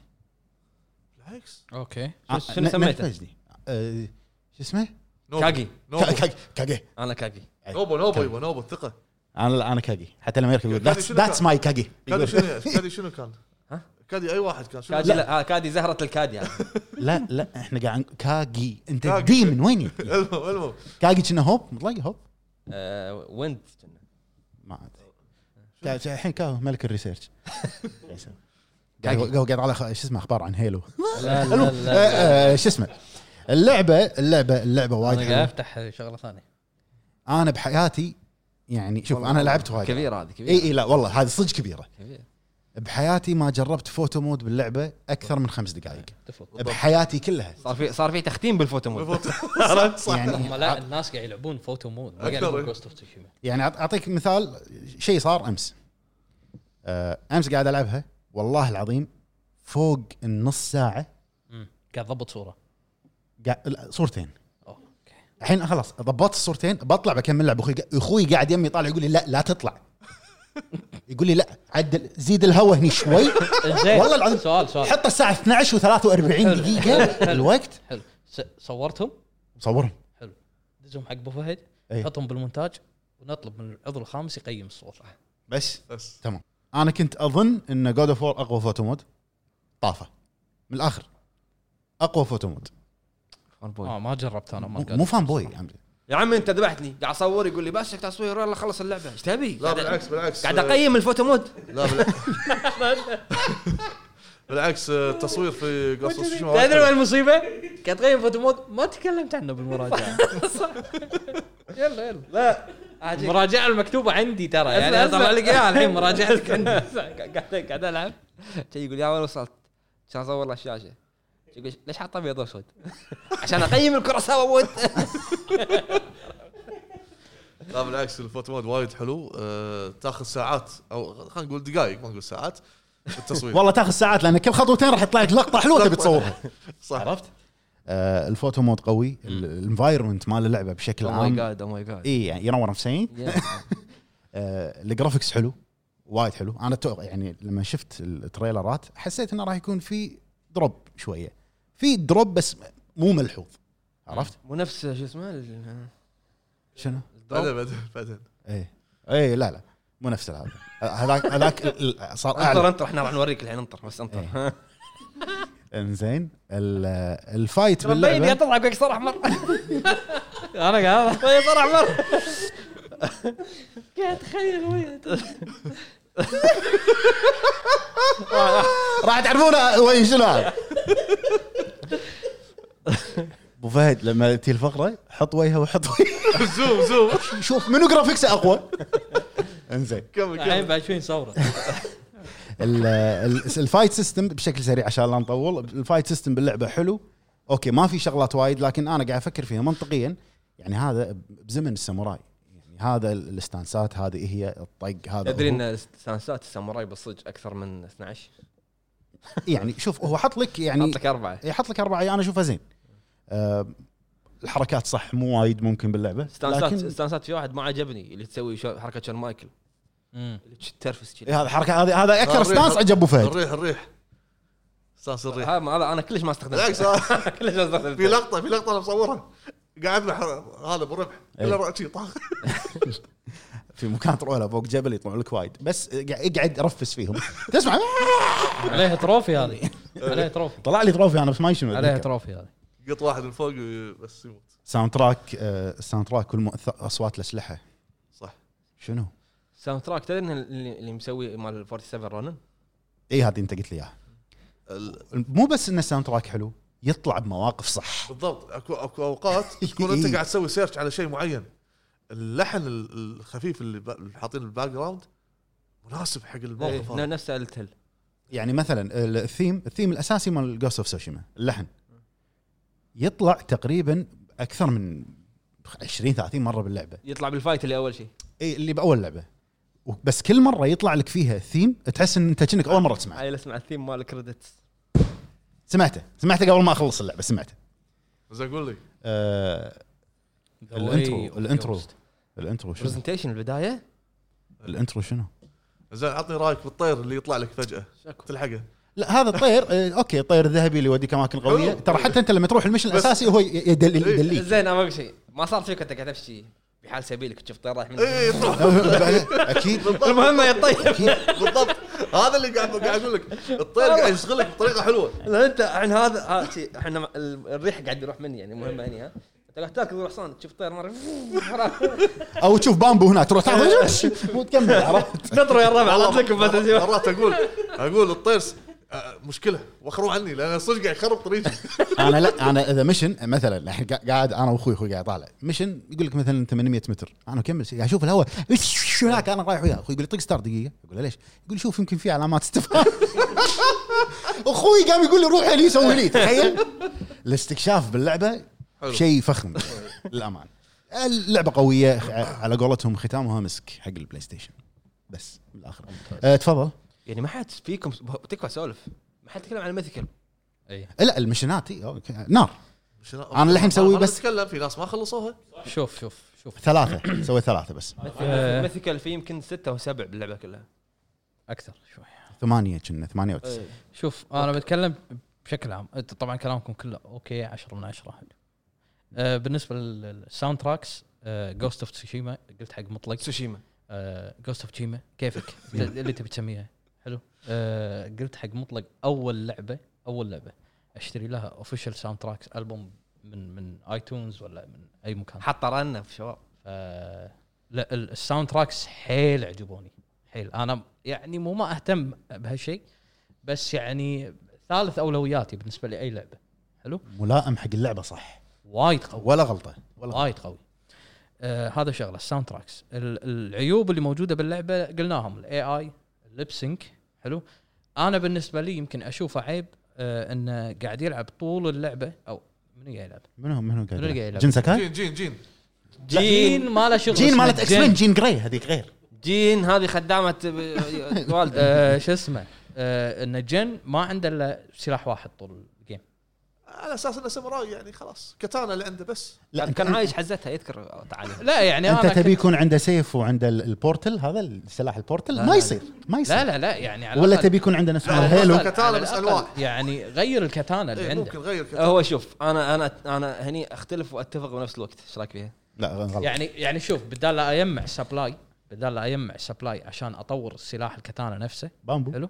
Speaker 6: بالعكس
Speaker 5: اوكي
Speaker 1: شو-
Speaker 2: آه،
Speaker 1: شنو
Speaker 2: ن-
Speaker 1: سميته؟
Speaker 2: نرفزني. آه، شو اسمه؟
Speaker 6: نوبو.
Speaker 1: كاجي
Speaker 6: نوبو.
Speaker 2: كا- كا- كاجي
Speaker 1: انا كاجي
Speaker 6: نوبو نوبو يبا نوبو ثقه
Speaker 2: انا انا كاجي حتى الامريكي يقول
Speaker 6: كاجي
Speaker 2: ذاتس
Speaker 6: شنو
Speaker 2: ذاتس
Speaker 6: كان؟
Speaker 2: ماي كاجي
Speaker 6: كادي شنو يعني؟ كادي شنو كان؟
Speaker 1: ها؟
Speaker 6: كادي اي واحد كان شنو؟
Speaker 1: كاجي لا آه، كادي زهره الكادي هذه.
Speaker 2: لا لا احنا قاعد كاجي انت
Speaker 6: كاجي.
Speaker 2: دي من وين يجي؟
Speaker 6: المهم المهم
Speaker 2: كاجي كنا هوب مطلق هوب
Speaker 1: آه، ويند كنا.
Speaker 2: ما ادري قاعد- قاعد- الحين كاهو ملك الريسيرش قاعد
Speaker 1: كاجي.
Speaker 2: قاعد على خ- شو اسمه اخبار عن هيلو
Speaker 5: لا لا
Speaker 2: المهم، آه، آه، شو اسمه اللعبه اللعبه اللعبه وايد
Speaker 5: انا قاعد
Speaker 2: حلوه
Speaker 5: افتح شغله ثانيه
Speaker 2: انا بحياتي يعني شوف انا لعبت وايد اي
Speaker 1: كبيره هذه كبيره
Speaker 2: اي لا والله هذه صدق كبيره
Speaker 1: كبيرة.
Speaker 2: بحياتي ما جربت فوتو مود باللعبه اكثر من خمس دقائق
Speaker 5: تفوت
Speaker 2: بحياتي كلها
Speaker 1: صار في صار في تختيم بالفوتو مود
Speaker 6: عرفت صح
Speaker 5: هم
Speaker 2: يعني
Speaker 5: لا الناس قاعد يلعبون فوتو مود ما قاعد
Speaker 6: أكثر.
Speaker 5: يلعبون جوست اوف تسوشيما
Speaker 2: يعني أعط- اعطيك مثال شيء صار امس آه، امس قاعد العبها والله العظيم فوق النص ساعه
Speaker 5: قاعد ضبط صوره
Speaker 2: قاعد لا، صورتين
Speaker 5: اوكي
Speaker 2: الحين خلاص ضبطت الصورتين بطلع بكمل لعب اخوي اخوي قاعد يمي طالع يقول لي لا لا تطلع يقول لي لا عدل زيد الهواء هني شوي
Speaker 5: زين
Speaker 2: والله العظيم.
Speaker 5: سؤال سؤال
Speaker 2: حط الساعه 12 و43
Speaker 5: حلو.
Speaker 2: دقيقه الوقت
Speaker 5: حلو س- صورتهم
Speaker 2: صورهم
Speaker 5: دزهم حق ابو فهد
Speaker 2: إيه.
Speaker 5: حطهم بالمونتاج ونطلب من العضو الخامس يقيم الصوره
Speaker 2: بس
Speaker 6: بس
Speaker 2: انا كنت اظن ان جود اوف وور اقوى فوتو مود طافه من الاخر اقوى فوتو مود
Speaker 1: فان بوي.
Speaker 5: اه ما جربت انا ما
Speaker 2: مو مو فان بوي يعني. عمري.
Speaker 1: يا عمي انت ذبحتني قاعد اصور يقول لي بس تصوير يلا خلص اللعبه ايش تبي؟
Speaker 6: لا
Speaker 1: قاعد-
Speaker 6: بالعكس بالعكس
Speaker 1: قاعد اقيم الفوتو مود
Speaker 6: لا بالعكس بالعكس التصوير في قصص شو
Speaker 5: تدري وين المصيبه؟ قاعد تقيم فوتو مود ما تكلمت عنه بالمراجعه يلا يلا
Speaker 1: لا
Speaker 5: المراجعه المكتوبه عندي ترى يعني
Speaker 1: أسمع.
Speaker 5: طلع لك اياها الحين مراجعتك عندي
Speaker 1: قاعد قاعد العب شي يقول يا وين وصلت؟ عشان اصور له الشاشه شي يقول ليش حاط Oh ابيض واسود؟ عشان اقيم الكراسة مود
Speaker 6: لا بالعكس الفوتو مود وايد حلو آه، تاخذ ساعات او خلينا نقول دقائق ما نقول ساعات التصوير
Speaker 2: والله تاخذ ساعات لان كل خطوتين راح يطلع لك لقطه حلوه تبي تصورها
Speaker 6: صح
Speaker 2: عرفت؟ آه الفوتو مود قوي الانفايرمنت مال اللعبه بشكل
Speaker 1: او ماي
Speaker 2: عام
Speaker 1: جاد او ماي جاد
Speaker 2: اي يعني ينور نفسين آه الجرافكس حلو وايد حلو انا تو يعني لما شفت التريلرات حسيت انه راح يكون في دروب شويه في دروب بس مو ملحوظ عرفت
Speaker 1: مو نفس شو اسمه ال-
Speaker 2: شنو
Speaker 6: بعدين بعدين بعدين
Speaker 2: ايه ايه لا لا مو نفس هذا هذاك هذاك ال- ال- صار
Speaker 1: انطر
Speaker 2: اعلى
Speaker 1: انطر احنا راح نوريك الحين انطر بس انطر
Speaker 2: انزين ال- الفايت
Speaker 5: مبين
Speaker 2: باللعبه
Speaker 5: يطلع قصر احمر انا قاعد قصر احمر قاعد اتخيل وين
Speaker 2: راح تعرفونه وين شنو هذا
Speaker 4: ابو فهد لما تجي الفقره حط وجهه وحط وجهه
Speaker 6: زوم زوم
Speaker 2: شوف منو جرافيكسه اقوى انزين
Speaker 6: كمل
Speaker 5: الحين
Speaker 6: كمل
Speaker 5: بعد شوي نصوره
Speaker 2: ال- ال- الفايت سيستم بشكل سريع عشان لا نطول الفايت سيستم باللعبه حلو اوكي ما في شغلات وايد لكن انا قاعد افكر فيها منطقيا يعني هذا بزمن الساموراي يعني هذا ال- الاستانسات هذه هي الطق هذا
Speaker 1: تدري
Speaker 2: هو.
Speaker 1: ان استانسات الساموراي بالصج اكثر من 12
Speaker 2: يعني شوف هو حط لك يعني
Speaker 1: حط لك اربعه
Speaker 2: يحط لك اربعه انا اشوفها زين أه الحركات صح مو وايد ممكن باللعبه
Speaker 1: استانسات
Speaker 2: لكن
Speaker 1: استانسات في واحد ما عجبني اللي تسوي شو- حركه شون مايكل اللي ترفس كذي
Speaker 2: إيه هذا حركه هذا هذا اكثر
Speaker 6: الريح-
Speaker 2: استانس عجب ابو فهد
Speaker 6: الريح الريح استانس الريح
Speaker 1: هذا هذا انا كلش ما استخدمته
Speaker 6: بالعكس آه،
Speaker 1: إيه. كلش ما استخدمته
Speaker 6: في لقطه في لقطه انا مصورها قاعد مع هذا ابو ربح الا رأسي طاخ
Speaker 2: في مكان تروح له فوق جبل يطلع لك وايد بس قاعد- اقعد رفس فيهم تسمع
Speaker 5: عليها تروفي هذه عليها تروفي
Speaker 2: طلع لي تروفي انا بس ما شنو
Speaker 5: عليها
Speaker 2: أتذكر.
Speaker 5: تروفي هذه
Speaker 6: قط واحد من فوق وي- بس يموت
Speaker 2: ساوند تراك آه، الساوند تراك كل اصوات الاسلحه
Speaker 6: صح
Speaker 2: شنو؟
Speaker 1: ساوند تراك تدري إن اللي اللي مسوي مال 47 رونن
Speaker 2: اي إيه، هذه انت قلت لي اياها
Speaker 6: ال-
Speaker 2: مو بس ان الساوند تراك حلو يطلع بمواقف صح
Speaker 6: بالضبط اكو اكو اوقات تكون
Speaker 1: إيه.
Speaker 6: انت قاعد تسوي سيرش على شيء معين اللحن ال- الخفيف اللي ب- اللي حاطينه بالباك جراوند مناسب حق الموقف
Speaker 1: إيه،
Speaker 6: هذا
Speaker 1: نفس التل
Speaker 2: يعني مثلا ال- الثيم الثيم الاساسي مال جوست اوف سوشيما اللحن يطلع تقريبا اكثر من 20 30 مره باللعبه
Speaker 1: يطلع بالفايت اللي اول شيء
Speaker 2: اي اللي باول لعبه و- بس كل مره يطلع لك فيها ثيم تحس ان انت كأنك اول مره تسمعه
Speaker 1: هاي اسمع الثيم مال الكريدتس
Speaker 2: سمعته سمعته قبل ما اخلص اللعبه سمعته
Speaker 6: زين قول لي
Speaker 2: آه الانترو الانترو الانترو شنو
Speaker 1: برزنتيشن البدايه
Speaker 2: الانترو شنو
Speaker 6: زين عطني رايك بالطير اللي يطلع لك فجاه تلحقه
Speaker 2: لا هذا الطير آه، اوكي الطير الذهبي اللي يوديك اماكن قويه ترى حتى انت لما تروح المشن الاساسي هو ي- يدل- يدليك
Speaker 1: إيه، زين انا ما أقول شيء ما صار فيك انت قاعد تمشي بحال سبيلك تشوف طير رايح منك
Speaker 6: اي إيه، يطلع
Speaker 2: اكيد
Speaker 1: المهمه يا طير
Speaker 6: بالضبط هذا اللي قاعد قاعد اقول لك الطير قاعد يشغلك بطريقه حلوه
Speaker 1: لا انت عن هذا ها، شي، احنا مع- ال- الريح قاعد يروح مني يعني مهمه هني ها انت قاعد تاكل الحصان تشوف طير مره وراك.
Speaker 2: او تشوف بامبو هنا تروح تاخذ وتكمل عرفت
Speaker 1: قطروا يا الربع
Speaker 6: والله
Speaker 1: عاد لكم بس
Speaker 6: مرات مرات اقول اقول الطير س- آه، مشكله وخروا عني لان صدق قاعد يخرب طريقي
Speaker 2: انا لا انا اذا مشن مثلا الحين قا- قاعد انا واخوي اخوي قاعد طالع مشن يقول لك مثلا 800 متر انا اكمل قاعد اشوف الهواء هناك انا رايح وياه اخوي يقول لي طق ستار دقيقه اقول له ليش؟ يقول لي شوف يمكن في علامات استفهام اخوي قام يقول لي روح لي سوي لي تخيل الاستكشاف باللعبه
Speaker 6: حلو.
Speaker 2: شيء فخم للامان اللعبه قويه خ- على قولتهم ختامها مسك حق البلاي ستيشن بس بالاخر أه تفضل
Speaker 1: يعني ما حد فيكم تكفى سولف ما حد يتكلم عن الميثيكال
Speaker 2: لا المشنات إي، أوكي. نار
Speaker 6: شنو-
Speaker 2: أنا الحين مسوي
Speaker 6: أنا
Speaker 2: بس-
Speaker 6: اتكلم في ناس ما خلصوها
Speaker 5: شوف شوف شوف
Speaker 2: ثلاثه سوي ثلاثه بس
Speaker 5: آه.
Speaker 1: الميثيكال في يمكن ستة او سبع باللعبه كلها
Speaker 5: اكثر شوي
Speaker 2: ثمانيه كنا ثمانيه وتسعه
Speaker 5: إيه. شوف انا بتكلم بشكل عام أنت طبعا كلامكم كله اوكي 10 من 10 حلو آه، بالنسبه للساوند تراكس جوست اوف تسوشيما قلت حق مطلق آه،
Speaker 1: تسوشيما
Speaker 5: جوست اوف تشيما كيفك اللي اللي تبي تسميها حلو آه، قلت حق مطلق اول لعبه اول لعبه اشتري لها اوفيشال ساوند تراكس البوم من من ايتونز ولا من اي مكان
Speaker 1: حط رنه في شباب
Speaker 5: ف آه، لا ال- الساوند تراكس حيل عجبوني حيل انا يعني مو ما اهتم بهالشيء بس يعني ثالث اولوياتي بالنسبه لاي لعبه حلو
Speaker 2: ملائم حق اللعبه صح
Speaker 5: وايد قوي
Speaker 2: ولا غلطه ولا
Speaker 5: وايد قوي آه هذا شغله الساوند تراكس ال- العيوب اللي موجوده باللعبه قلناهم الاي اي اللبسينك حلو انا بالنسبه لي يمكن اشوفه عيب آه انه قاعد يلعب طول اللعبه او من قاعد يلعب؟
Speaker 2: منو منو
Speaker 5: منو اللي قاعد
Speaker 2: قاعد
Speaker 5: يلعب؟
Speaker 2: جين ساكاي
Speaker 6: جين جين جين
Speaker 5: جين ما له شغل
Speaker 2: جين
Speaker 5: اسمه
Speaker 2: مالت اكس
Speaker 5: جين.
Speaker 2: مان جين جراي هذيك غير
Speaker 1: جين هذه خدامه ب- والده
Speaker 5: آه، شو اسمه آه، ان جن ما عنده الا سلاح واحد طول الجيم
Speaker 6: على اساس انه ساموراي يعني خلاص كتانا اللي عنده بس
Speaker 2: لا انت,
Speaker 1: كان عايش حزتها يذكر تعالي
Speaker 5: لا يعني
Speaker 2: انت
Speaker 5: انا
Speaker 2: تبي
Speaker 5: كنت-
Speaker 2: يكون عنده سيف وعنده ال- البورتل هذا السلاح البورتل ما يصير ما يصير
Speaker 5: لا لا لا يعني على
Speaker 2: ولا
Speaker 5: الأقل-
Speaker 2: تبي يكون عنده نفس
Speaker 6: لا،
Speaker 2: مال
Speaker 6: لا،
Speaker 2: هيلو
Speaker 6: لا. كتانة
Speaker 5: على
Speaker 6: بس
Speaker 5: الأقل
Speaker 6: أنواع.
Speaker 5: يعني غير الكتانا اللي
Speaker 6: إيه ممكن
Speaker 5: عنده
Speaker 6: غير كتانا
Speaker 1: هو شوف انا انا انا هني اختلف واتفق بنفس الوقت ايش رايك فيها؟
Speaker 2: لا غلط
Speaker 5: يعني يعني شوف بدال لا اجمع سبلاي بدال لا اجمع سبلاي عشان اطور سلاح الكتانا نفسه
Speaker 2: بامبو
Speaker 5: حلو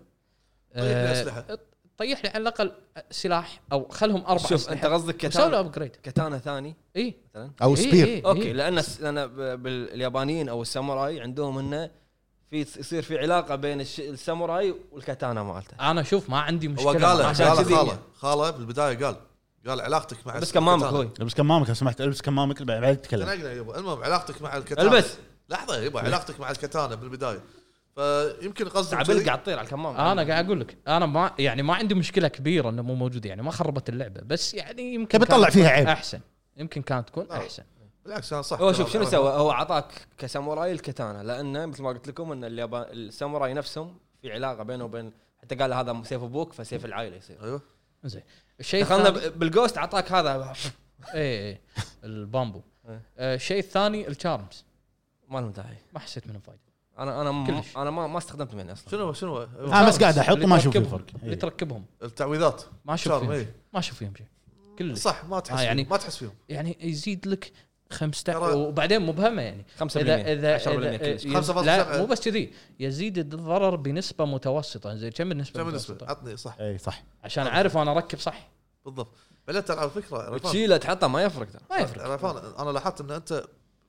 Speaker 6: طيح لي طيب، أسلحة.
Speaker 5: آه، طيح لي على الاقل سلاح او خلهم اربع
Speaker 1: شوف انت قصدك
Speaker 5: سوي له إيه،
Speaker 1: كتانا
Speaker 5: ابجريد
Speaker 1: كتانا ثاني
Speaker 5: اي
Speaker 1: مثلا
Speaker 2: او سبير
Speaker 5: إيه.
Speaker 1: اوكي لان الس- انا ب- باليابانيين او الساموراي عندهم انه في يصير في علاقه بين الش- الساموراي والكاتانا مالته
Speaker 5: انا شوف ما عندي
Speaker 6: هو
Speaker 5: مشكله
Speaker 6: قاله
Speaker 5: عشان
Speaker 6: قاله
Speaker 5: كذي-
Speaker 6: خاله خاله بالبدايه قال قال علاقتك مع
Speaker 1: بس كمامك
Speaker 6: الكتانا.
Speaker 1: هوي
Speaker 2: البس كمامك لو سمحت البس كمامك بعد تتكلم
Speaker 6: تنقنا يبا المهم علاقتك مع الكتانا
Speaker 1: البس
Speaker 6: لحظه يبا علاقتك مع الكتانا بالبدايه فيمكن قصدك
Speaker 1: تعبل
Speaker 6: كذي.
Speaker 1: قاعد تطير على الكمام
Speaker 5: انا قاعد اقول لك انا ما يعني ما عندي مشكله كبيره انه مو موجود يعني ما خربت اللعبه بس يعني يمكن
Speaker 2: تبي
Speaker 5: كانت
Speaker 2: تطلع فيها عيب
Speaker 5: احسن يمكن كانت تكون
Speaker 6: لا.
Speaker 5: احسن
Speaker 6: بالعكس كان صح
Speaker 1: هو شوف شنو سوى هو اعطاك كساموراي الكتانا لانه مثل ما قلت لكم ان اليابان الساموراي نفسهم في علاقه بينه وبين حتى قال هذا سيف ابوك فسيف العائله يصير
Speaker 6: ايوه
Speaker 5: زين الشيء
Speaker 1: دخلنا
Speaker 5: الثاني
Speaker 1: ب- بالجوست اعطاك هذا
Speaker 5: اي اي البامبو
Speaker 1: إيه.
Speaker 5: آه، الشيء الثاني الشارمز
Speaker 1: ما لهم داعي
Speaker 5: ما حسيت منه فايده
Speaker 1: انا انا م-
Speaker 5: كلش.
Speaker 1: انا ما ما استخدمت منه اصلا
Speaker 6: شنو شنو أيوة.
Speaker 2: انا بس قاعد احط
Speaker 5: اللي
Speaker 2: وما اشوف في
Speaker 5: تركبهم-
Speaker 2: فرق
Speaker 5: اللي
Speaker 2: إي.
Speaker 5: تركبهم
Speaker 6: التعويذات
Speaker 5: ما اشوف
Speaker 6: شارم،
Speaker 5: فيهم
Speaker 6: إيه.
Speaker 5: شيء ما اشوف فيهم شيء كلش
Speaker 6: صح ما تحس
Speaker 5: آه،
Speaker 6: يعني
Speaker 5: يعني-
Speaker 6: ما تحس فيهم
Speaker 5: يعني يزيد لك
Speaker 6: ترى-
Speaker 5: 15 وبعدين مبهمه يعني
Speaker 1: 5%
Speaker 5: اذا اذا,
Speaker 1: 10%
Speaker 5: إذا
Speaker 1: كلش.
Speaker 5: يز-
Speaker 6: 5.7.
Speaker 5: لا مو بس كذي يزيد الضرر بنسبه متوسطه زين كم النسبه
Speaker 6: شنو بالنسبه
Speaker 5: المتوسطه
Speaker 6: عطني صح
Speaker 2: اي إيه، صح
Speaker 5: عشان اعرف انا اركب صح
Speaker 6: بالضبط بعدين ترى على فكره عرفان-
Speaker 1: تشيله تحطه ما يفرق ترى
Speaker 5: ما يفرق
Speaker 6: عرفان انا لاحظت ان انت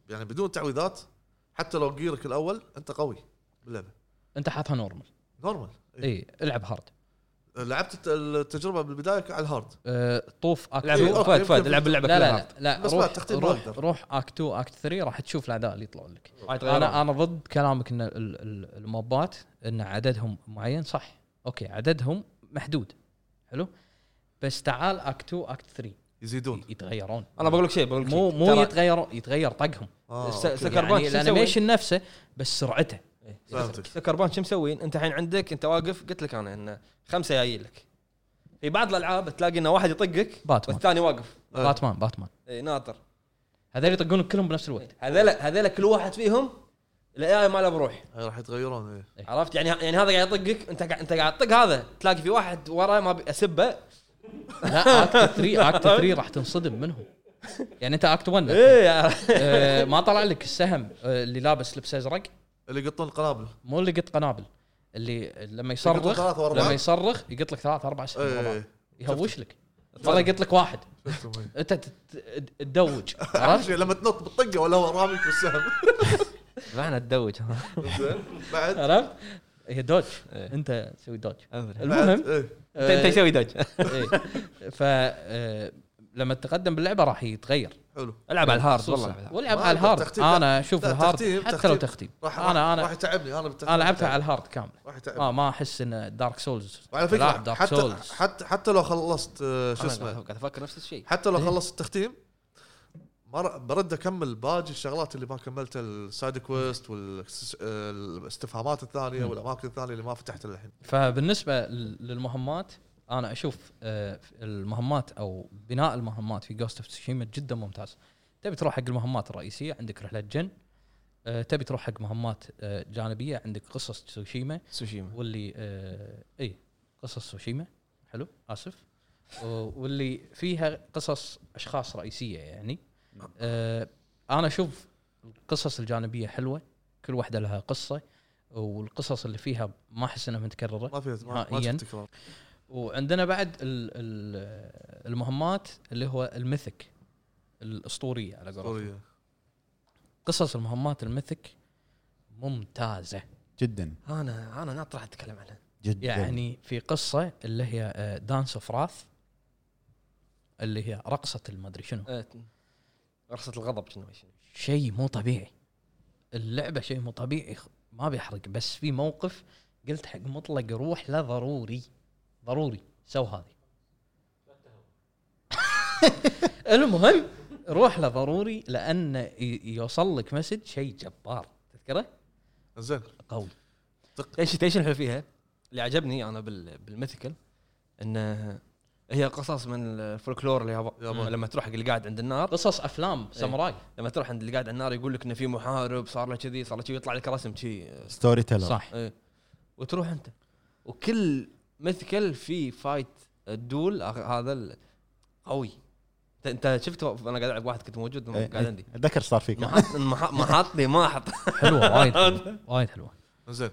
Speaker 6: يعني بدون تعويذات حتى لو جيرك الاول انت قوي باللعبه
Speaker 5: انت حاطها نورمال
Speaker 6: نورمال
Speaker 5: اي العب هارد
Speaker 6: لعبت الت- التجربه بالبدايه على الهارد
Speaker 5: آه، طوف اكت
Speaker 1: لعب
Speaker 6: أوكي،
Speaker 1: فهد فهد
Speaker 6: يمكن-
Speaker 1: لعب اللعبه
Speaker 5: لا لا
Speaker 1: كلها
Speaker 5: لا, لا
Speaker 6: بس بعد
Speaker 5: روح
Speaker 6: تختيم ما
Speaker 5: روح,
Speaker 6: أقدر.
Speaker 5: روح اكت 2 اكت 3 راح تشوف الاعداء اللي يطلعون لك
Speaker 1: راح يتغيرون.
Speaker 5: انا انا ضد كلامك ان ال- ال- الموبات ان عددهم معين صح اوكي عددهم محدود حلو بس تعال اكت 2 اكت 3
Speaker 6: يزيدون
Speaker 5: يتغيرون
Speaker 1: انا بقول لك شيء بقول لك
Speaker 5: مو
Speaker 1: شيء.
Speaker 5: مو
Speaker 1: ترى
Speaker 5: يتغير يتغير طقهم
Speaker 6: آه،
Speaker 1: س-
Speaker 6: أوكي.
Speaker 1: سكر بانك
Speaker 5: يعني
Speaker 1: شو مسوي؟
Speaker 5: الانيميشن نفسه بس سرعته
Speaker 1: إيه.
Speaker 6: فهمتك.
Speaker 1: سكربان شو مسوين؟ انت الحين عندك انت واقف قلت لك انا ان خمسه جايين لك في بعض الالعاب تلاقي ان واحد يطقك
Speaker 5: باتمان
Speaker 1: والثاني واقف
Speaker 6: آه.
Speaker 5: باتمان باتمان
Speaker 1: اي ناطر
Speaker 5: هذول يطقونك كلهم بنفس الوقت
Speaker 1: هذيلا هذيلا كل واحد فيهم الاي ما له بروح
Speaker 6: هاي راح يتغيرون إيه.
Speaker 1: عرفت يعني يعني هذا قاعد يطقك انت قاعد انت قاعد تطق هذا تلاقي في واحد ورا ما بي- اسبه
Speaker 5: لا اكت 3 اكت 3 راح تنصدم منهم يعني انت اكت 1
Speaker 6: إيه.
Speaker 1: ايه
Speaker 5: آه، ما طلع لك السهم آه، اللي لابس لبس ازرق
Speaker 6: اللي يقطون القنابل
Speaker 5: مو اللي قط قنابل اللي لما
Speaker 6: يقطون
Speaker 5: يصرخ
Speaker 6: ثلاثة واربعة
Speaker 5: لما يصرخ يقط لك ثلاث اربع سهم
Speaker 6: إيه،
Speaker 5: ورا بعض.
Speaker 6: إيه.
Speaker 5: يهوش لك مره يقط لك واحد
Speaker 6: شفتهم، إيه.
Speaker 5: انت تت- تدوج
Speaker 6: أهم
Speaker 5: عرفت؟
Speaker 6: شيء لما تنط بالطقه ولا هو راميك بالسهم
Speaker 1: معنى تدوج
Speaker 6: زين بعد
Speaker 5: عرفت؟ هي دوج
Speaker 6: إيه.
Speaker 5: انت تسوي دوج
Speaker 6: بعد
Speaker 5: المهم
Speaker 6: إيه.
Speaker 1: انت انت
Speaker 5: آه،
Speaker 1: يسوي دوج
Speaker 5: إيه. ف آه، لما تتقدم باللعبه راح يتغير
Speaker 6: حلو
Speaker 1: العب على الهارد
Speaker 5: خصوصاً.
Speaker 1: والله
Speaker 5: والعب
Speaker 6: ما
Speaker 5: على
Speaker 6: أقدر
Speaker 5: الهارد
Speaker 6: تختيم.
Speaker 5: انا اشوف
Speaker 6: لا،
Speaker 5: الهارد
Speaker 6: تختيم،
Speaker 5: حتى
Speaker 6: تختيم.
Speaker 5: لو تختيم
Speaker 6: راح
Speaker 5: انا
Speaker 6: راح
Speaker 5: انا
Speaker 6: يتعبني انا بالتحديد
Speaker 5: انا لعبتها على آه. الهارد كامله
Speaker 6: راح يتعبني
Speaker 5: ما ما احس ان دارك سولز
Speaker 6: وعلى
Speaker 5: العب
Speaker 6: فكره
Speaker 5: دارك
Speaker 6: حتى
Speaker 5: سولز
Speaker 6: حتى حتى لو خلصت آه، شو اسمه
Speaker 1: قاعد افكر نفس الشيء
Speaker 6: حتى لو خلصت التختيم مر- برد اكمل باقي الشغلات اللي ما كملتها السايد كويست آه، والاستفهامات الثانيه والاماكن الثانيه اللي ما فتحتها للحين
Speaker 5: فبالنسبه لل- للمهمات انا اشوف آه، المهمات او بناء المهمات في جوست اوف تسوشيما جدا ممتاز تبي تروح حق المهمات الرئيسيه عندك رحله جن آه، تبي تروح حق مهمات آه، جانبيه عندك قصص تسوشيما
Speaker 1: سوشيما
Speaker 5: واللي آه، اي قصص سوشيما حلو اسف و- واللي فيها قصص اشخاص رئيسيه يعني آه، انا اشوف القصص الجانبيه حلوه كل واحده لها قصه والقصص اللي فيها ما احس انها متكرره
Speaker 6: ما فيها ما- ما
Speaker 5: نهائياً.
Speaker 6: شفت تكرار
Speaker 5: وعندنا بعد ال- ال- المهمات اللي هو الميثك الاسطوريه على قولتهم
Speaker 6: طورية.
Speaker 5: قصص المهمات الميثك ممتازه
Speaker 2: جدا
Speaker 1: انا انا ناطر راح اتكلم عنها
Speaker 2: جدا
Speaker 5: يعني في قصه اللي هي آه, دانس اوف راث اللي هي رقصه المدري شنو
Speaker 1: آه، رخصة الغضب شنو
Speaker 5: شيء مو طبيعي اللعبه شيء مو طبيعي خ- ما بيحرق بس في موقف قلت حق مطلق روح لا ضروري ضروري سو هذه المهم روح لا ضروري لان ي- يوصل لك مسج شيء جبار تذكره
Speaker 6: زين
Speaker 5: قوي
Speaker 1: ايش ايش الحلو فيها؟ اللي عجبني انا بال- بالميثيكال انه هي قصص من الفولكلور الياباني
Speaker 6: ياباني.
Speaker 1: لما تروح حق اللي قاعد عند النار
Speaker 5: قصص افلام ساموراي
Speaker 1: لما تروح عند اللي قاعد على النار يقول لك انه في محارب صار له كذي صار له كذي يطلع لك رسم كذي
Speaker 2: ستوري تيلر
Speaker 5: صح
Speaker 1: وتروح انت وكل مثكل في فايت الدول آخ- هذا ال- قوي انت انت شفت انا قاعد العب واحد كنت موجود
Speaker 2: إيه،
Speaker 1: قاعد عندي
Speaker 2: إيه. اتذكر صار فيك
Speaker 1: محط محط- محط لي ما حط
Speaker 5: حلوه وايد حلوة، وايد حلوه
Speaker 6: زين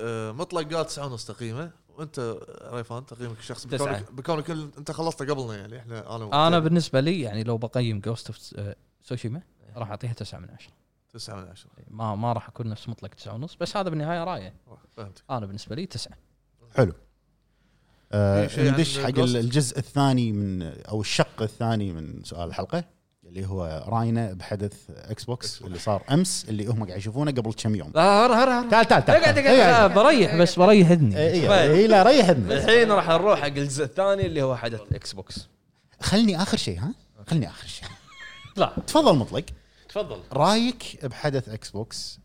Speaker 6: آه، مطلق قال 9 ونص تقييمه وانت آه، ريفان تقييمك الشخصي
Speaker 1: تسعة.
Speaker 6: بكونك بكونك ال- انت خلصته قبلنا يعني احنا انا وأنت.
Speaker 5: انا بالنسبه لي يعني لو بقيم جوست اوف سوشيما آه، راح اعطيها 9 من 10
Speaker 6: 9 من 10
Speaker 5: ما ما راح اكون نفس مطلق 9 ونص بس هذا بالنهايه رايه
Speaker 6: فهمتك
Speaker 5: انا بالنسبه لي 9
Speaker 2: حلو آه،
Speaker 6: في شيء عن
Speaker 2: ندش حق
Speaker 6: Ghost؟
Speaker 2: الجزء الثاني من او الشق الثاني من سؤال الحلقه اللي هو راينا بحدث اكس بوكس اللي صار امس اللي هم قاعد يشوفونه قبل كم يوم
Speaker 1: لا هرا هرا هرا
Speaker 2: تعال تعال تعال
Speaker 1: اقعد
Speaker 2: إيه، إيه،
Speaker 1: اقعد
Speaker 5: بريح بس بريح اذني
Speaker 2: إيه، إيه، لا ريح اذنك
Speaker 1: الحين راح نروح حق الجزء الثاني اللي هو حدث اكس بوكس
Speaker 2: خلني اخر شيء ها خلني اخر شيء
Speaker 5: لا
Speaker 2: تفضل مطلق
Speaker 3: تفضل
Speaker 2: رايك بحدث اكس بوكس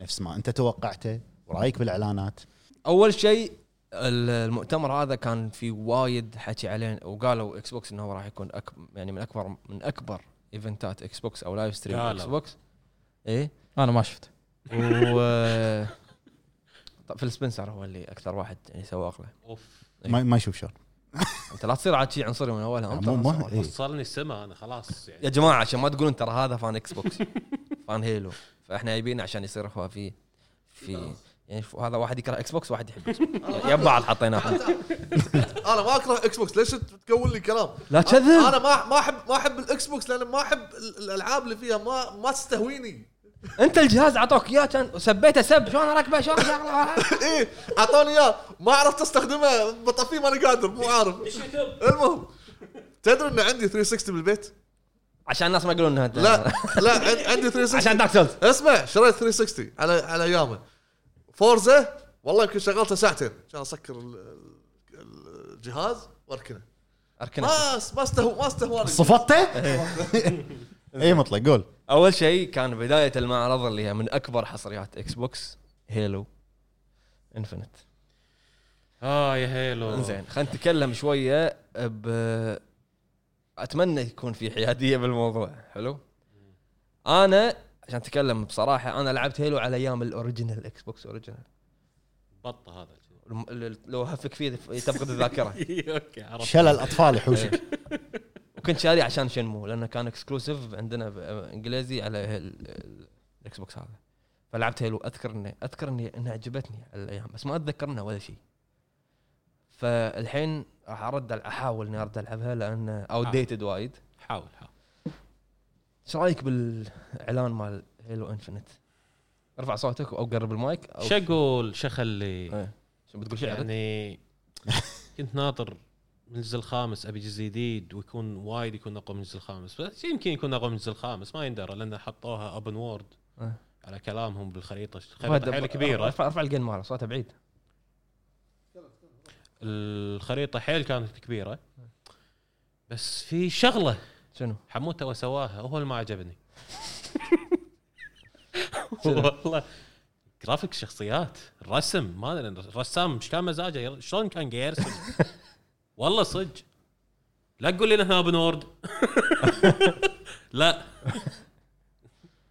Speaker 2: نفس ما انت توقعته ورايك بالاعلانات
Speaker 1: اول شيء ال- المؤتمر هذا كان في وايد حكي عليه وقالوا اكس بوكس انه هو راح يكون أك... يعني من اكبر من اكبر ايفنتات اكس بوكس او لايف ستريم
Speaker 3: قالوا.
Speaker 1: اكس بوكس ايه
Speaker 5: انا ما شفت
Speaker 1: و طب فيل سبنسر هو اللي اكثر واحد يعني سواق له
Speaker 3: اوف
Speaker 2: ما, ما يشوف شر
Speaker 1: انت لا تصير عاد شي عنصري من اولها
Speaker 2: مو
Speaker 1: أنت
Speaker 2: مو إيه.
Speaker 3: وصلني السما انا خلاص يعني
Speaker 1: يا جماعه عشان ما تقولون ترى هذا فان اكس بوكس فان هيلو فاحنا جايبينه عشان يصير هو في في يعني هذا واحد يكره اكس بوكس واحد يحب اكس بوكس يب بعض حطيناهم
Speaker 6: انا ما اكره اكس بوكس ليش انت تقول لي كلام
Speaker 1: لا
Speaker 6: انا
Speaker 1: تكذب
Speaker 6: ما ما احب ما احب الاكس بوكس لان ما احب ال- الالعاب اللي فيها ما ما تستهويني
Speaker 1: انت الجهاز اعطوك اياه كان سبيته سب شلون اركبه شلون شغله
Speaker 6: ايه اعطوني اياه ما عرفت استخدمه بطفيه ماني قادر مو عارف المهم تدري ان عندي 360 بالبيت؟
Speaker 1: عشان الناس ما يقولون انها
Speaker 6: لا لا عن- عندي 360
Speaker 1: عشان دارك سولز
Speaker 6: اسمع شريت 360 على على ايامه فورزا والله يمكن شغلته ساعتين عشان اسكر ال- ال- الجهاز واركنه
Speaker 1: اركنها
Speaker 6: ما ما استهو ما استهواني
Speaker 2: صفطته؟ اي إيه، مطلق قول
Speaker 1: اول شيء كان بدايه المعرض اللي هي من اكبر حصريات اكس بوكس هيلو انفنت
Speaker 3: اه يا هيلو
Speaker 1: انزين خلينا نتكلم شويه ب اتمنى يكون في حياديه بالموضوع حلو انا عشان اتكلم بصراحه انا لعبت هيلو على ايام الاوريجينال اكس بوكس اوريجينال
Speaker 3: بط هذا
Speaker 1: الم- ال- لو هفك فيه تفقد الذاكره
Speaker 3: اوكي عرفت
Speaker 2: شلل الاطفال يحوشك
Speaker 1: وكنت شاري عشان شنمو لانه كان اكسكلوسيف عندنا ب- انجليزي على ال- ال- الاكس بوكس هذا فلعبت هيلو اذكر اني اذكر اني انها عجبتني على الايام بس ما اتذكر منها ولا شيء فالحين راح ارد أل- احاول اني ارد العبها لان اوت ديتد وايد
Speaker 3: حاول حاول
Speaker 1: ايش رايك بالاعلان مال هيلو انفنت؟ ارفع صوتك او قرب المايك او
Speaker 3: شو اقول شخ اللي
Speaker 1: إيه. شو بتقول شيء يعني
Speaker 3: يعني كنت ناطر من الجزء الخامس ابي جزء جديد ويكون وايد يكون اقوى من الجزء الخامس بس يمكن يكون اقوى من الجزء الخامس ما يندرى لان حطوها ابن وورد
Speaker 1: إيه.
Speaker 3: على كلامهم بالخريطه خريطه حيل كبيره
Speaker 1: ارفع ارفع الجن ماله صوته بعيد
Speaker 3: الخريطه حيل كانت كبيره بس في شغله
Speaker 1: شنو؟
Speaker 3: حموته وسواها هو اللي ما عجبني والله جرافيك شخصيات الرسم ما ادري الرسام مش كان مزاجه ير- شلون كان قاعد يرسم والله صدق لا تقول لي انها بنورد لا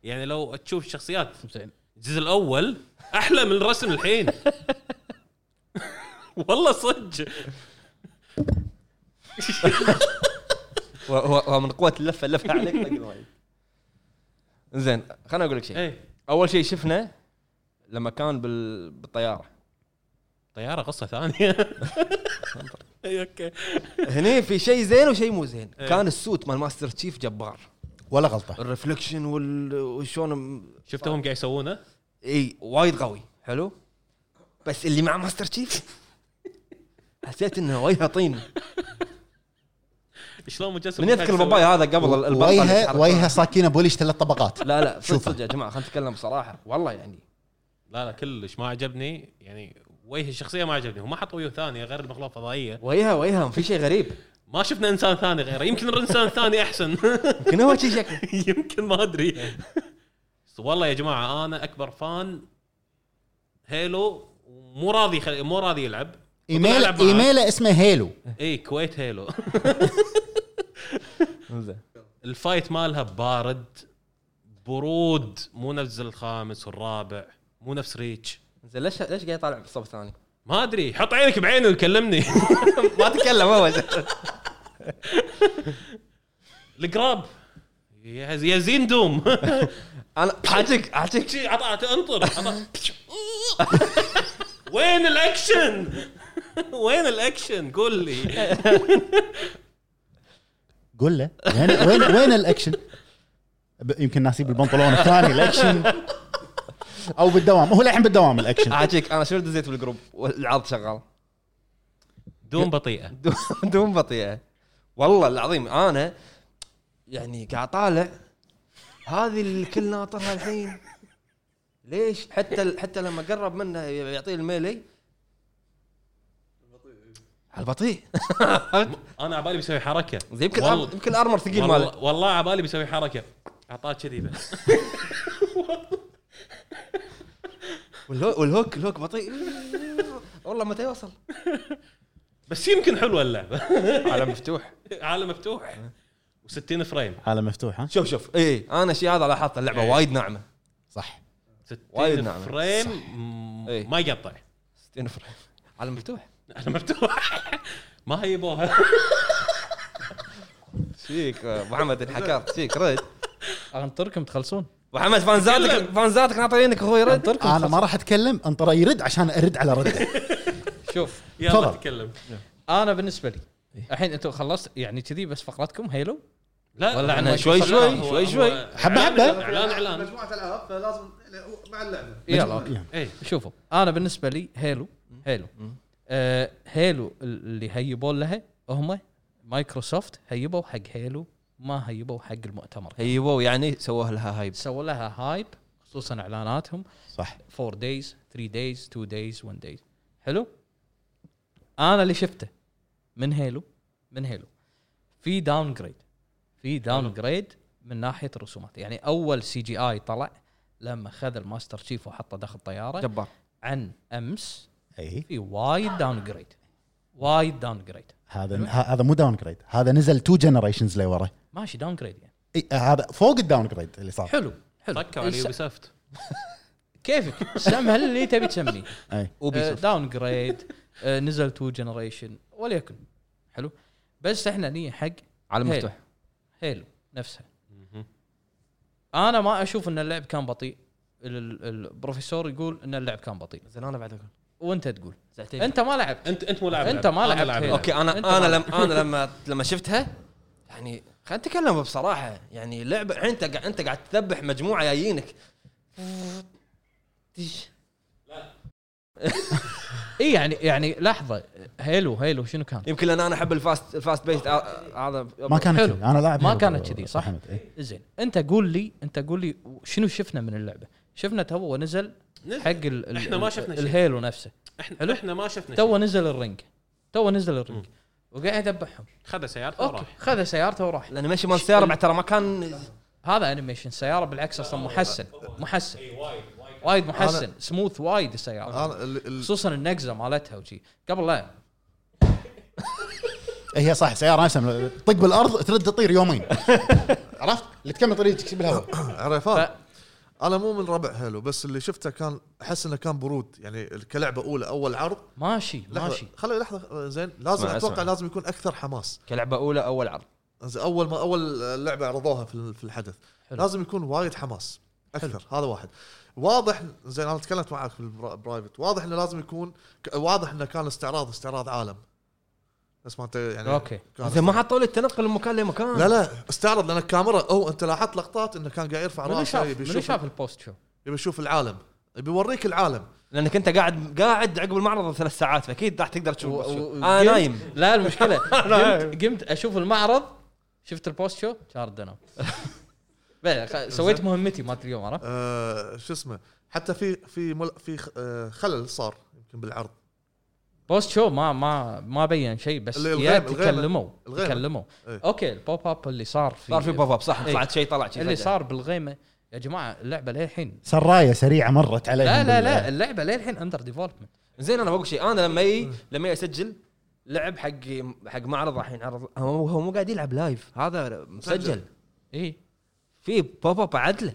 Speaker 3: يعني لو تشوف الشخصيات
Speaker 5: زين
Speaker 3: الجزء الاول احلى من الرسم الحين والله صدق
Speaker 1: هو- هو هو من قوه اللفه لف عليك طق وايد. زين خليني اقول لك شيء
Speaker 3: ايه
Speaker 1: اول شيء شفنا لما كان بال... بالطياره
Speaker 3: طياره قصه ثانيه اي اوكي
Speaker 1: هني في شيء زين وشيء مو زين كان السوت مال ماستر تشيف جبار
Speaker 2: ولا غلطه
Speaker 1: الرفلكشن وال... وشلون م-
Speaker 3: شفتهم قاعد يسوونه؟
Speaker 1: اي وايد قوي حلو بس اللي مع ماستر تشيف حسيت انه وجهه طين
Speaker 3: شلون مجسم
Speaker 1: من يذكر باباي هذا قبل ال- البطل اللي
Speaker 2: وجهه
Speaker 1: يتحرك.
Speaker 2: وجهه ساكينه بوليش ثلاث طبقات
Speaker 1: لا لا صدق
Speaker 2: شوفه.
Speaker 1: صدق يا جماعه خلينا نتكلم بصراحه والله يعني
Speaker 3: لا لا كلش ما عجبني يعني وجه الشخصيه ما عجبني وما حط وجوه ثانيه غير المخلوق الفضائيه
Speaker 1: وجهه وجهه في شيء غريب
Speaker 3: ما شفنا انسان ثاني غيره يمكن الانسان الثاني احسن
Speaker 1: يمكن هو شيء شكله
Speaker 3: يمكن ما ادري بس والله يا جماعه انا اكبر فان هيلو مو راضي خل... مو راضي يلعب
Speaker 2: ايميل
Speaker 3: ألعب معاه.
Speaker 2: ايميله اسمه هيلو
Speaker 3: اي كويت هيلو
Speaker 1: زين
Speaker 3: الفايت مالها بارد برود مو نفس الخامس والرابع مو نفس ريتش
Speaker 1: زين ليش ليش قاعد يطالع بالصوب الثاني؟
Speaker 3: ما ادري حط عينك بعينه وكلمني
Speaker 1: ما تكلم هو
Speaker 3: القراب يا يا زين دوم
Speaker 1: انا حاجك حاجك
Speaker 3: شي عطاته انطر عطا- وين الاكشن؟ وين الاكشن؟ قول لي
Speaker 2: قول له وين وين وين الاكشن؟ ب- يمكن ناسي بالبنطلون الثاني الاكشن او بالدوام هو الحين بالدوام الاكشن
Speaker 1: حاجك انا شنو دزيت بالجروب والعرض شغال
Speaker 3: دوم بطيئه
Speaker 1: دو- دوم بطيئه والله العظيم انا يعني قاعد طالع هذه اللي الكل ناطرها الحين ليش حتى حتى لما قرب منه يعطيه الميلي على البطيء
Speaker 3: انا عبالي بيسوي حركه
Speaker 1: زين يمكن
Speaker 3: والله-
Speaker 1: أر- يمكن ارمر ثقيل ماله
Speaker 3: والله, والله عبالي بيسوي حركه اعطاه كذي بس
Speaker 1: والهو- والهوك الهوك بطيء والله متى يوصل
Speaker 3: بس يمكن حلوه اللعبه
Speaker 1: عالم مفتوح
Speaker 3: عالم مفتوح و60 فريم
Speaker 2: حاله مفتوحه
Speaker 1: شوف شوف إيه. اي انا الشيء هذا لاحظته اللعبه وايد ناعمه
Speaker 2: صح
Speaker 3: 60
Speaker 1: وايد نعم.
Speaker 3: فريم م-
Speaker 1: إيه.
Speaker 3: ما يقطع
Speaker 1: 60 فريم عالم مفتوح
Speaker 3: عالم مفتوح ما هيبوها
Speaker 1: شيك ابو حمد انحكرت شيك رد
Speaker 5: انطركم تخلصون
Speaker 1: ابو حمد فانزاتك فانزاتك ناطرينك اخوي رد
Speaker 5: انطركم
Speaker 2: انا ما
Speaker 5: تخلصون.
Speaker 2: راح اتكلم انطر يرد عشان ارد على رده
Speaker 5: شوف
Speaker 3: يلا
Speaker 2: تفضل.
Speaker 3: تكلم
Speaker 5: انا بالنسبه لي الحين انتم خلصت يعني كذي بس فقرتكم هيلو
Speaker 3: لا
Speaker 5: ولا
Speaker 3: لا،
Speaker 5: عنا
Speaker 1: شوي
Speaker 3: لا،
Speaker 1: شوي،
Speaker 3: هو-
Speaker 1: شوي
Speaker 3: هو
Speaker 1: شوي.
Speaker 2: حبة
Speaker 3: إعلان-
Speaker 2: حبة.
Speaker 3: اعلان اعلان
Speaker 6: مجموعه العاب فلازم يعني مع اللعبه
Speaker 5: يلا أوكي.
Speaker 3: اي
Speaker 5: شوفوا انا بالنسبه لي هيلو هيلو آه هيلو اللي هيبون لها هم مايكروسوفت هيبوا حق هيلو ما هيبوا حق المؤتمر
Speaker 1: هيبوا يعني سووها لها هايب
Speaker 5: سووا لها هايب خصوصا اعلاناتهم
Speaker 2: صح
Speaker 5: 4 دايز 3 دايز 2 دايز 1 دايز حلو انا اللي شفته من هيلو من هيلو في داون جريد في داون جريد من ناحيه الرسومات يعني اول سي جي اي طلع لما خذ الماستر شيف وحطه داخل طياره
Speaker 1: جبار
Speaker 5: عن امس
Speaker 2: اي
Speaker 5: في وايد داون جريد وايد داون جريد
Speaker 2: هذا ه- هذا مو داون جريد هذا نزل تو جنريشنز لورا
Speaker 5: ماشي داون جريد يعني
Speaker 2: إي، هذا فوق الداون جريد اللي صار
Speaker 5: حلو حلو
Speaker 3: طقوا على
Speaker 5: يس-
Speaker 3: يوبي سوفت
Speaker 5: كيفك سمها اللي تبي تسميه
Speaker 2: اي
Speaker 5: داون جريد نزل تو جنريشن وليكن حلو بس احنا نية حق
Speaker 1: عالم
Speaker 5: هيل.
Speaker 1: مفتوح
Speaker 5: هيلو نفسها انا ما اشوف ان اللعب كان بطيء ال- ال- البروفيسور يقول ان اللعب كان بطيء
Speaker 1: زين انا بعد اقول
Speaker 5: وانت تقول
Speaker 1: زعتين
Speaker 5: انت ما لعبت
Speaker 3: انت انت مو لاعب
Speaker 5: أنت
Speaker 3: لعب.
Speaker 5: ما
Speaker 3: أنا
Speaker 5: لعبت
Speaker 3: لاعب
Speaker 5: هيل.
Speaker 3: لعب.
Speaker 1: اوكي انا
Speaker 5: أنت
Speaker 1: انا
Speaker 5: ما-
Speaker 1: لم انا لما لما شفتها يعني خلينا نتكلم بصراحه يعني لعبه الحين انت قاعد انت قاعد تذبح مجموعه جايينك تيش.
Speaker 5: اي يعني يعني لحظه هيلو هيلو شنو كان؟
Speaker 1: يمكن لان انا احب الفاست الفاست بيست آه، هذا
Speaker 2: ما كانت
Speaker 5: حلو.
Speaker 2: كذي. انا لاعب
Speaker 5: ما
Speaker 2: هذا
Speaker 5: كانت كذي، صح؟
Speaker 2: أحمد، إيه. إي.
Speaker 5: زين انت قول لي انت قول لي شنو شفنا من اللعبه؟ شفنا تو نزل
Speaker 3: نزل.
Speaker 5: حق ال ال
Speaker 3: إحنا ما شفنا شيء.
Speaker 5: الهيلو نفسه
Speaker 3: احنا
Speaker 5: حلو.
Speaker 3: احنا ما شفنا شيء.
Speaker 5: تو نزل الرنج تو نزل الرنج وقاعد يذبحهم
Speaker 3: خذ سيارته
Speaker 5: اوكي
Speaker 3: وراح
Speaker 5: خذ سيارته وراح
Speaker 1: الانيميشن مال السياره بعد ترى ما كان
Speaker 5: هذا انيميشن سياره بالعكس اصلا محسن محسن وايد محسن سموث وايد السياره
Speaker 6: انا ال- ال-
Speaker 5: خصوصا النقزه مالتها وشي قبل لا
Speaker 2: هي صح سياره نفسها طق بالارض ترد تطير يومين عرفت اللي تكمل طريقك بالهواء
Speaker 6: عرفان انا مو من ربع هيلو بس اللي شفته كان احس انه كان برود يعني كلعبه اولى اول عرض
Speaker 5: ماشي ماشي
Speaker 6: لحظه خلي لحظه زين لازم
Speaker 1: اسمع،
Speaker 6: اتوقع
Speaker 1: اسمع.
Speaker 6: لازم يكون اكثر حماس
Speaker 1: كلعبه اولى اول عرض
Speaker 6: زين، اول ما اول لعبه عرضوها في في الحدث
Speaker 5: حلو.
Speaker 6: لازم يكون وايد حماس اكثر هذا واحد واضح زين انا تكلمت معاك في البرا- برايفت واضح انه لازم يكون ك- واضح انه كان استعراض استعراض عالم بس ما انت يعني
Speaker 5: اوكي.
Speaker 6: كان
Speaker 1: زين ما حطوا لي التنقل من مكان لمكان
Speaker 6: لا لا استعرض لان الكاميرا او انت لاحظت لقطات انه كان قاعد يرفع
Speaker 5: منو
Speaker 6: راسه
Speaker 5: شاف
Speaker 6: يبي
Speaker 5: منو
Speaker 6: يشوف
Speaker 5: شاف البوست شو؟
Speaker 6: يبي يشوف العالم يبي يوريك العالم
Speaker 1: لانك انت قاعد قاعد عقب المعرض ثلاث ساعات فاكيد راح تقدر
Speaker 5: و-
Speaker 1: تشوف
Speaker 5: و-
Speaker 1: انا
Speaker 5: قمت-
Speaker 1: نايم
Speaker 5: لا المشكله قمت, قمت اشوف المعرض شفت البوست شو شارد انا بلا، خ- سويت مهمتي مالت اليوم عرفت؟
Speaker 6: آه شو اسمه حتى في في مل في خ- آه خلل صار يمكن بالعرض
Speaker 5: بوست شو ما ما ما بين شيء بس
Speaker 6: اللي-
Speaker 5: يا
Speaker 6: الغيمة- الغيمة.
Speaker 5: تكلموا
Speaker 6: الغيمة.
Speaker 5: تكلموا
Speaker 6: إيه.
Speaker 5: اوكي البوب اب اللي صار في
Speaker 1: صار في بوب اب صح
Speaker 5: إيه.
Speaker 1: طلعت شيء طلع شيء
Speaker 5: اللي
Speaker 1: فجأة.
Speaker 5: صار بالغيمه يا جماعه اللعبه للحين
Speaker 2: سرايه سريعه مرت علي
Speaker 5: لا لا لا اللعبه للحين اندر ديفلوبمنت
Speaker 1: زين انا بقول شيء انا لما ي... لما ي اسجل لعب حق حق معرض راح ينعرض هو هو مو قاعد يلعب لايف هذا مسجل
Speaker 5: اي
Speaker 1: في بوب اب عدله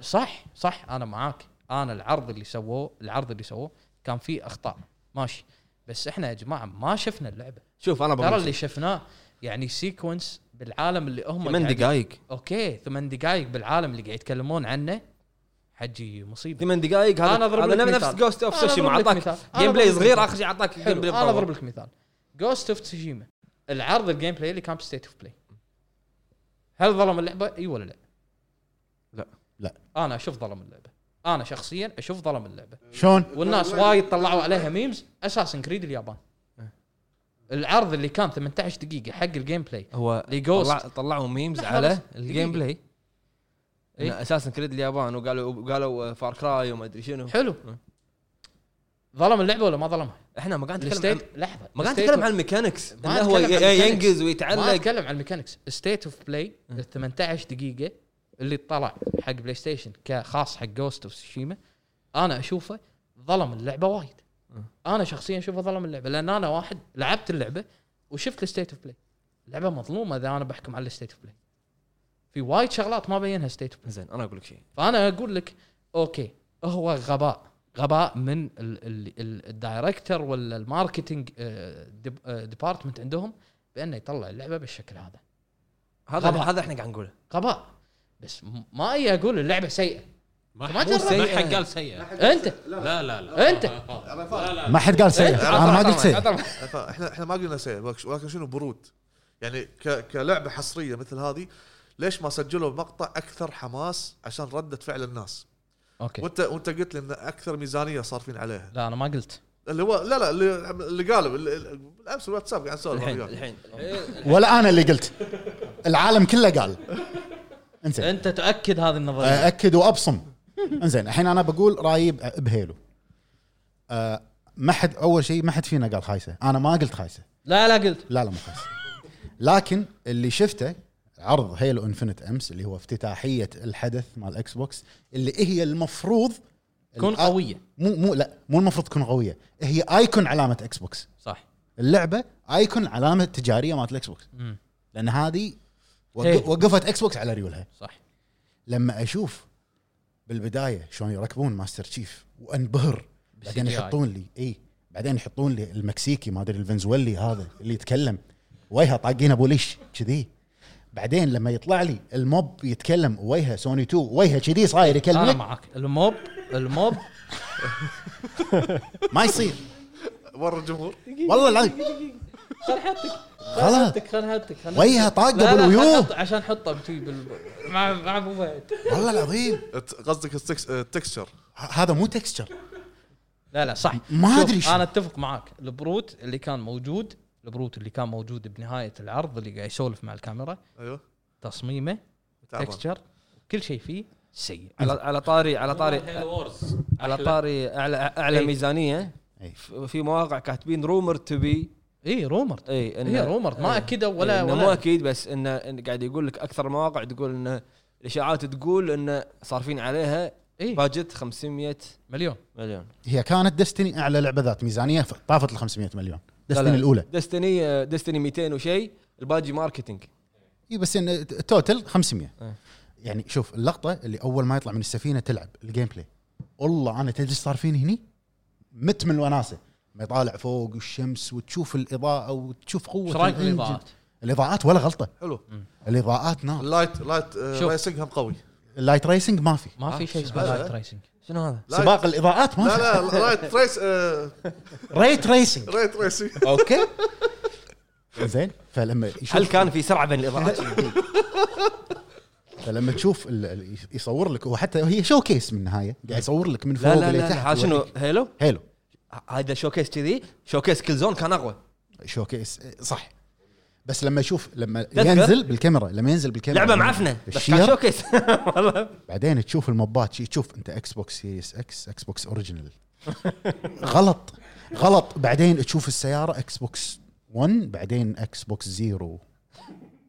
Speaker 5: صح صح انا معاك انا العرض اللي سووه العرض اللي سووه كان فيه اخطاء ماشي بس احنا يا جماعه ما شفنا اللعبه
Speaker 1: شوف انا
Speaker 5: ترى
Speaker 1: بقول
Speaker 5: اللي
Speaker 1: شيء.
Speaker 5: شفناه يعني سيكونس بالعالم اللي هم
Speaker 1: ثمان
Speaker 5: قاعدين-
Speaker 1: دقائق
Speaker 5: اوكي ثمان دقائق بالعالم اللي قاعد يتكلمون عنه حجي مصيبه
Speaker 1: ثمان دقائق هذا
Speaker 5: أنا أضرب
Speaker 1: هذا
Speaker 5: لك
Speaker 1: نفس
Speaker 5: مثال.
Speaker 1: جوست اوف
Speaker 5: أنا
Speaker 1: سوشيما
Speaker 5: أضرب لك
Speaker 1: اعطاك
Speaker 5: مثال. أنا
Speaker 1: جيم
Speaker 5: أضرب
Speaker 1: بلاي
Speaker 5: لك
Speaker 1: صغير
Speaker 5: مثال.
Speaker 1: اخر شيء اعطاك جيم
Speaker 5: حلو
Speaker 1: بلاي
Speaker 5: انا اضرب
Speaker 1: مطول.
Speaker 5: لك مثال جوست اوف تسوشيما العرض الجيم بلاي اللي كان بستيت اوف بلاي هل ظلم اللعبه اي ولا لا؟
Speaker 1: لا.
Speaker 2: لا.
Speaker 5: انا اشوف ظلم اللعبه انا شخصيا اشوف ظلم اللعبه
Speaker 1: أه.
Speaker 2: شلون؟
Speaker 5: والناس وايد طلعوا عليها ميمز اساسا كريد اليابان
Speaker 1: أه.
Speaker 5: العرض اللي كان 18 دقيقه حق الجيم بلاي
Speaker 1: هو
Speaker 5: اللي جوست.
Speaker 1: طلع- طلعوا ميمز
Speaker 5: لحظة
Speaker 1: على
Speaker 5: بس.
Speaker 1: الجيم
Speaker 5: دقيقة.
Speaker 1: بلاي
Speaker 5: إيه.
Speaker 1: إن اساسا كريد اليابان وقالوا قالوا فار كراي وما ادري شنو
Speaker 5: حلو
Speaker 1: م.
Speaker 5: ظلم اللعبه ولا ما ظلمها؟
Speaker 1: احنا ما قاعد نتكلم عن-
Speaker 5: الستيت لحظه
Speaker 1: ما قاعد
Speaker 5: الستيت
Speaker 1: نتكلم
Speaker 5: أوف-
Speaker 1: عن الميكانكس
Speaker 5: ما
Speaker 1: انه هو
Speaker 5: نتكلم عن
Speaker 1: ي-
Speaker 5: الميكانكس.
Speaker 1: ينقز
Speaker 5: ما
Speaker 1: ويتعلق
Speaker 5: اتكلم عن الميكانكس ستيت اوف بلاي ال 18 دقيقه اللي طلع حق بلاي ستيشن كخاص حق جوست اوف سوشيما انا اشوفه ظلم اللعبه وايد انا شخصيا اشوفه ظلم اللعبه لان انا واحد لعبت اللعبه وشفت الستيت اوف بلاي اللعبه مظلومه اذا انا بحكم على الستيت اوف بلاي في وايد شغلات ما بينها ستيت اوف بلاي
Speaker 1: زين انا اقول لك شيء
Speaker 5: فانا اقول لك اوكي هو غباء غباء من ال- ال- ال- الدايركتر ولا الماركتنج آه، ديب- آه، ديبارتمنت عندهم بانه يطلع اللعبه بالشكل هذا
Speaker 1: هذا
Speaker 5: طبعاً.
Speaker 1: هذا احنا قاعد نقوله
Speaker 5: غباء بس م- ما اي اقول اللعبه سيئه ما
Speaker 3: ما
Speaker 5: جرب.
Speaker 3: حد ما
Speaker 1: سيئة.
Speaker 3: حد قال سيئه
Speaker 5: انت
Speaker 3: لا لا لا
Speaker 5: أنت.
Speaker 3: لا لا
Speaker 2: ما حد قال
Speaker 5: إيه،
Speaker 2: سيء انا ما قلت سيء
Speaker 6: فاحنا احنا ما قلنا سيء ولكن شنو برود يعني ك- كلعبه حصريه مثل هذه ليش ما سجلوا مقطع اكثر حماس عشان رده فعل الناس
Speaker 5: اوكي
Speaker 6: وانت وانت قلت لي ان اكثر ميزانيه صارفين عليها
Speaker 5: لا انا ما قلت
Speaker 6: اللي هو لا لا اللي, اللي قالوا اللي- اللي- بالامس الواتساب قاعد نسولف
Speaker 1: الحين
Speaker 6: أنا وياك.
Speaker 1: الحين
Speaker 5: إيه،
Speaker 2: ولا انا اللي قلت العالم كله قال انزين
Speaker 7: انت تؤكد هذه النظريه
Speaker 2: اكد وابصم انزين الحين انا بقول رايي ب- بهيلو أه، ما حد اول شيء ما حد فينا قال خايسه انا ما قلت خايسه
Speaker 7: لا لا قلت
Speaker 2: لا لا مو خايسه لكن اللي شفته عرض هيلو انفنت امس اللي هو افتتاحيه الحدث مال الاكس بوكس اللي هي المفروض
Speaker 7: تكون
Speaker 2: الآ-
Speaker 7: قويه
Speaker 2: مو مو لا مو المفروض تكون قويه هي ايكون علامه اكس بوكس
Speaker 7: صح
Speaker 2: اللعبه ايكون علامه تجاريه مالت الاكس بوكس
Speaker 7: مم.
Speaker 2: لان هذه وق-
Speaker 7: إيه.
Speaker 2: وقفت اكس بوكس على ريولها
Speaker 7: صح
Speaker 2: لما اشوف بالبدايه شلون يركبون ماستر تشيف وانبهر بعدين
Speaker 5: CGI.
Speaker 2: يحطون لي اي بعدين يحطون لي المكسيكي ما ادري الفنزويلي هذا اللي يتكلم وجهه طاقين ابو ليش كذي بعدين لما يطلع لي الموب يتكلم وجهه سوني 2 وجهه كذي صاير
Speaker 7: آه،
Speaker 5: انا
Speaker 2: يكلمك
Speaker 5: معك الموب الموب
Speaker 2: ما يصير
Speaker 6: ورا الجمهور
Speaker 2: والله العظيم
Speaker 7: خل حطك
Speaker 2: غلط.
Speaker 7: خل حطك خل حطك خل حطك.
Speaker 2: وجهه طاقه
Speaker 7: لا لا
Speaker 2: بالويو
Speaker 7: خل حط- عشان حطه بتوي بال مع مع ابو فهد
Speaker 2: والله العظيم
Speaker 6: أت- قصدك التكس- التكستشر
Speaker 2: ه- هذا مو تكستشر
Speaker 5: لا لا صح
Speaker 2: ما
Speaker 5: شوف،
Speaker 2: أدري شو.
Speaker 5: انا اتفق معاك البروت اللي كان موجود البروت اللي كان موجود بنهايه العرض اللي قاعد يسولف مع الكاميرا
Speaker 6: ايوه
Speaker 5: تصميمه
Speaker 6: تعبان
Speaker 5: تكستشر كل شيء فيه سيء
Speaker 1: على على طاري على طاري
Speaker 3: هيلو وورز
Speaker 1: على
Speaker 3: أحلى.
Speaker 1: طاري اعلى اعلى
Speaker 5: إيه.
Speaker 1: ميزانيه
Speaker 2: إيه.
Speaker 1: ف- في مواقع كاتبين رومر تو بي
Speaker 5: اي رومر
Speaker 1: اي
Speaker 5: هي رومر ما اكدوا ولا
Speaker 1: إيه، إنه مو
Speaker 5: ولا
Speaker 1: اكيد بس انه إن قاعد يقول لك اكثر المواقع تقول انه الاشاعات تقول انه صارفين عليها
Speaker 5: اي
Speaker 1: باجت 500
Speaker 5: مليون
Speaker 1: مليون
Speaker 2: هي كانت دستني اعلى لعبه ذات ميزانيه ف- طافت ال 500 مليون دستني الاولى
Speaker 1: دستني دستني 200 وشيء الباجي ماركتينج
Speaker 2: اي إيه، بس ان التوتل 500
Speaker 1: إيه.
Speaker 2: يعني شوف اللقطه اللي اول ما يطلع من السفينه تلعب الجيم بلاي والله انا تدري ايش صار فيني هني؟ مت من الوناسه ما يطالع فوق والشمس وتشوف الاضاءه وتشوف قوه
Speaker 5: ايش رايك
Speaker 2: الإنجن.
Speaker 5: بالاضاءات؟
Speaker 2: الاضاءات ولا غلطه
Speaker 6: حلو
Speaker 2: الاضاءات نار
Speaker 6: اللايت لايت آه،
Speaker 5: شوف.
Speaker 6: ريسنج هم قوي
Speaker 2: اللايت ريسنج ما في
Speaker 5: ما في شيء اسمه
Speaker 6: لا، لا.
Speaker 5: لايت ريسنج
Speaker 1: شنو هذا؟
Speaker 6: لايت-
Speaker 2: سباق الاضاءات ما
Speaker 6: لا
Speaker 2: في
Speaker 6: لا لايت ريس آه،
Speaker 2: ريت ريسنج
Speaker 6: ريت ريسنج
Speaker 2: اوكي زين فلما يشوف
Speaker 1: هل كان في سرعه بين الاضاءات؟
Speaker 2: فلما تشوف ال- ال- يصور لك وحتى هي شو كيس من النهايه قاعد يصور لك من فوق
Speaker 1: لا لا
Speaker 2: لتحت
Speaker 1: لا ها شنو هيلو؟
Speaker 2: هيلو
Speaker 1: هذا شوكيس كذي شوكيس كل زون كان اقوى
Speaker 2: شوكيس إيه، صح بس لما يشوف لما
Speaker 1: تذكر؟
Speaker 2: ينزل بالكاميرا لما ينزل بالكاميرا
Speaker 1: لعبه
Speaker 2: لما-
Speaker 1: معفنه بس كان
Speaker 2: بالشير
Speaker 1: شوكيس والله
Speaker 2: بعدين تشوف الموبات شي تشوف انت اكس بوكس سيريس اكس اكس بوكس اوريجينال غلط غلط بعدين تشوف السياره اكس بوكس 1 بعدين اكس بوكس زيرو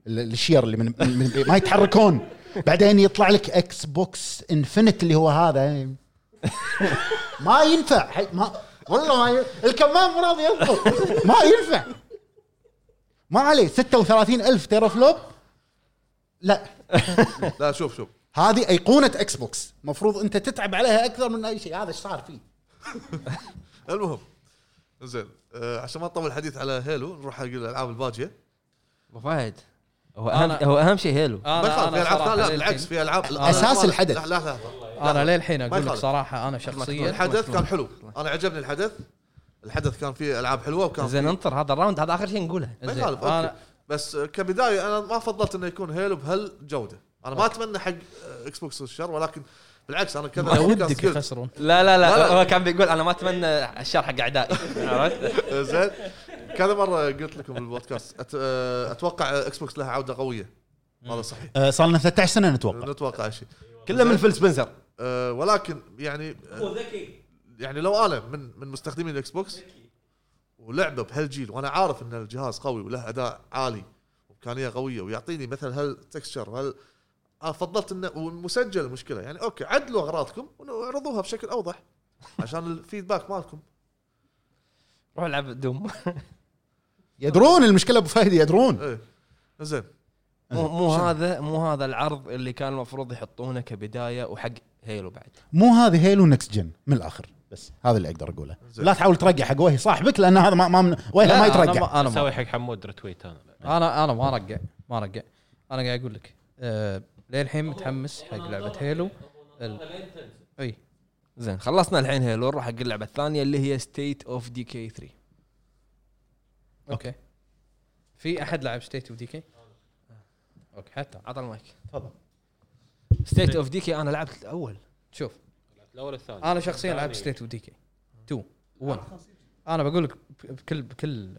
Speaker 2: ال- الشير اللي من, من من- ما يتحركون بعدين يطلع لك اكس بوكس انفنت اللي هو هذا ما ينفع حي- ما والله ما ي... الكمام مو راضي يضبط ما ينفع ما عليه 36 الف تيرا فلوب لا
Speaker 6: لا شوف شوف
Speaker 2: هذه ايقونه اكس بوكس المفروض انت تتعب عليها اكثر من اي شيء هذا ايش صار فيه
Speaker 6: المهم زين آه، عشان ما نطول الحديث على هيلو نروح حق الالعاب الباجيه
Speaker 1: ابو فهد هو
Speaker 5: أهم-
Speaker 1: اهم هو اهم شيء هيلو
Speaker 5: انا
Speaker 6: ما يخالف في العاب
Speaker 5: صراحة
Speaker 6: ثانية- لا
Speaker 5: للحين-
Speaker 6: بالعكس في العاب
Speaker 2: أساس الحدث.
Speaker 6: لا لا لا
Speaker 5: انا للحين اقول لك
Speaker 6: يخالف.
Speaker 5: صراحه انا شخصيا
Speaker 6: الحدث كان حلو انا عجبني الحدث الحدث كان فيه العاب حلوه وكان
Speaker 1: زين
Speaker 6: فيه-
Speaker 1: انطر هذا الراوند هذا اخر شيء نقوله
Speaker 6: ما
Speaker 5: زين،
Speaker 6: يخالف
Speaker 5: أنا-
Speaker 6: اوكي بس آه، كبدايه انا ما فضلت انه يكون هيلو بهالجوده انا ما اتمنى حق آه، اكس بوكس الشر ولكن بالعكس انا كذا
Speaker 5: انا
Speaker 6: كان
Speaker 5: ودك
Speaker 6: سكيلز.
Speaker 5: يخسرون
Speaker 1: لا لا
Speaker 6: لا، لا.
Speaker 1: هو كان بيقول انا ما اتمنى الشر حق اعدائي عرفت؟
Speaker 6: آه، زين كذا مره قلت لكم بالبودكاست أت... آه، اتوقع اكس بوكس لها عوده قويه هذا صحيح
Speaker 2: آه، صار لنا 13 سنه نتوقع
Speaker 6: نتوقع شيء
Speaker 1: كله من فيل سبنسر
Speaker 6: أه ولكن يعني
Speaker 3: هو ذكي
Speaker 6: يعني لو انا من من مستخدمين الاكس بوكس ولعبه بهالجيل وانا عارف ان الجهاز قوي وله اداء عالي وامكانيه قويه ويعطيني مثل هالتكستشر وهال انا آه، فضلت انه ومسجل المشكله يعني اوكي عدلوا اغراضكم وعرضوها بشكل اوضح عشان الفيدباك مالكم
Speaker 1: روح العب دوم
Speaker 2: يدرون المشكله ابو فهد يدرون
Speaker 6: ايه زين
Speaker 1: مو مو هذا مو هذا العرض اللي كان المفروض يحطونه كبدايه وحق هيلو بعد
Speaker 2: مو هذه هيلو نكست جن من الاخر بس هذا اللي اقدر اقوله لا تحاول ترقع حق وهي صاحبك لان هذا ما ما من- وهي
Speaker 5: لا،
Speaker 2: ما
Speaker 5: أنا
Speaker 2: يترقع
Speaker 5: ما- انا ما
Speaker 3: اسوي حق حمود رتويت انا
Speaker 5: انا انا ما ارقع ما ارقع انا قاعد اقول لك آه للحين متحمس حق لعبه هيلو ال- اي
Speaker 1: زين خلصنا الحين هيلو نروح حق اللعبه الثانيه اللي هي ستيت اوف دي كي 3
Speaker 5: اوكي في احد لعب ستيت اوف ديكي اوكي حتى
Speaker 1: عطى المايك
Speaker 5: تفضل
Speaker 1: ستيت اوف ديكي انا لعبت الاول
Speaker 5: شوف
Speaker 3: الاول الثاني
Speaker 5: انا شخصيا لعبت
Speaker 3: الثاني.
Speaker 5: ستيت اوف ديكي 2 1 انا بقول لك بكل بكل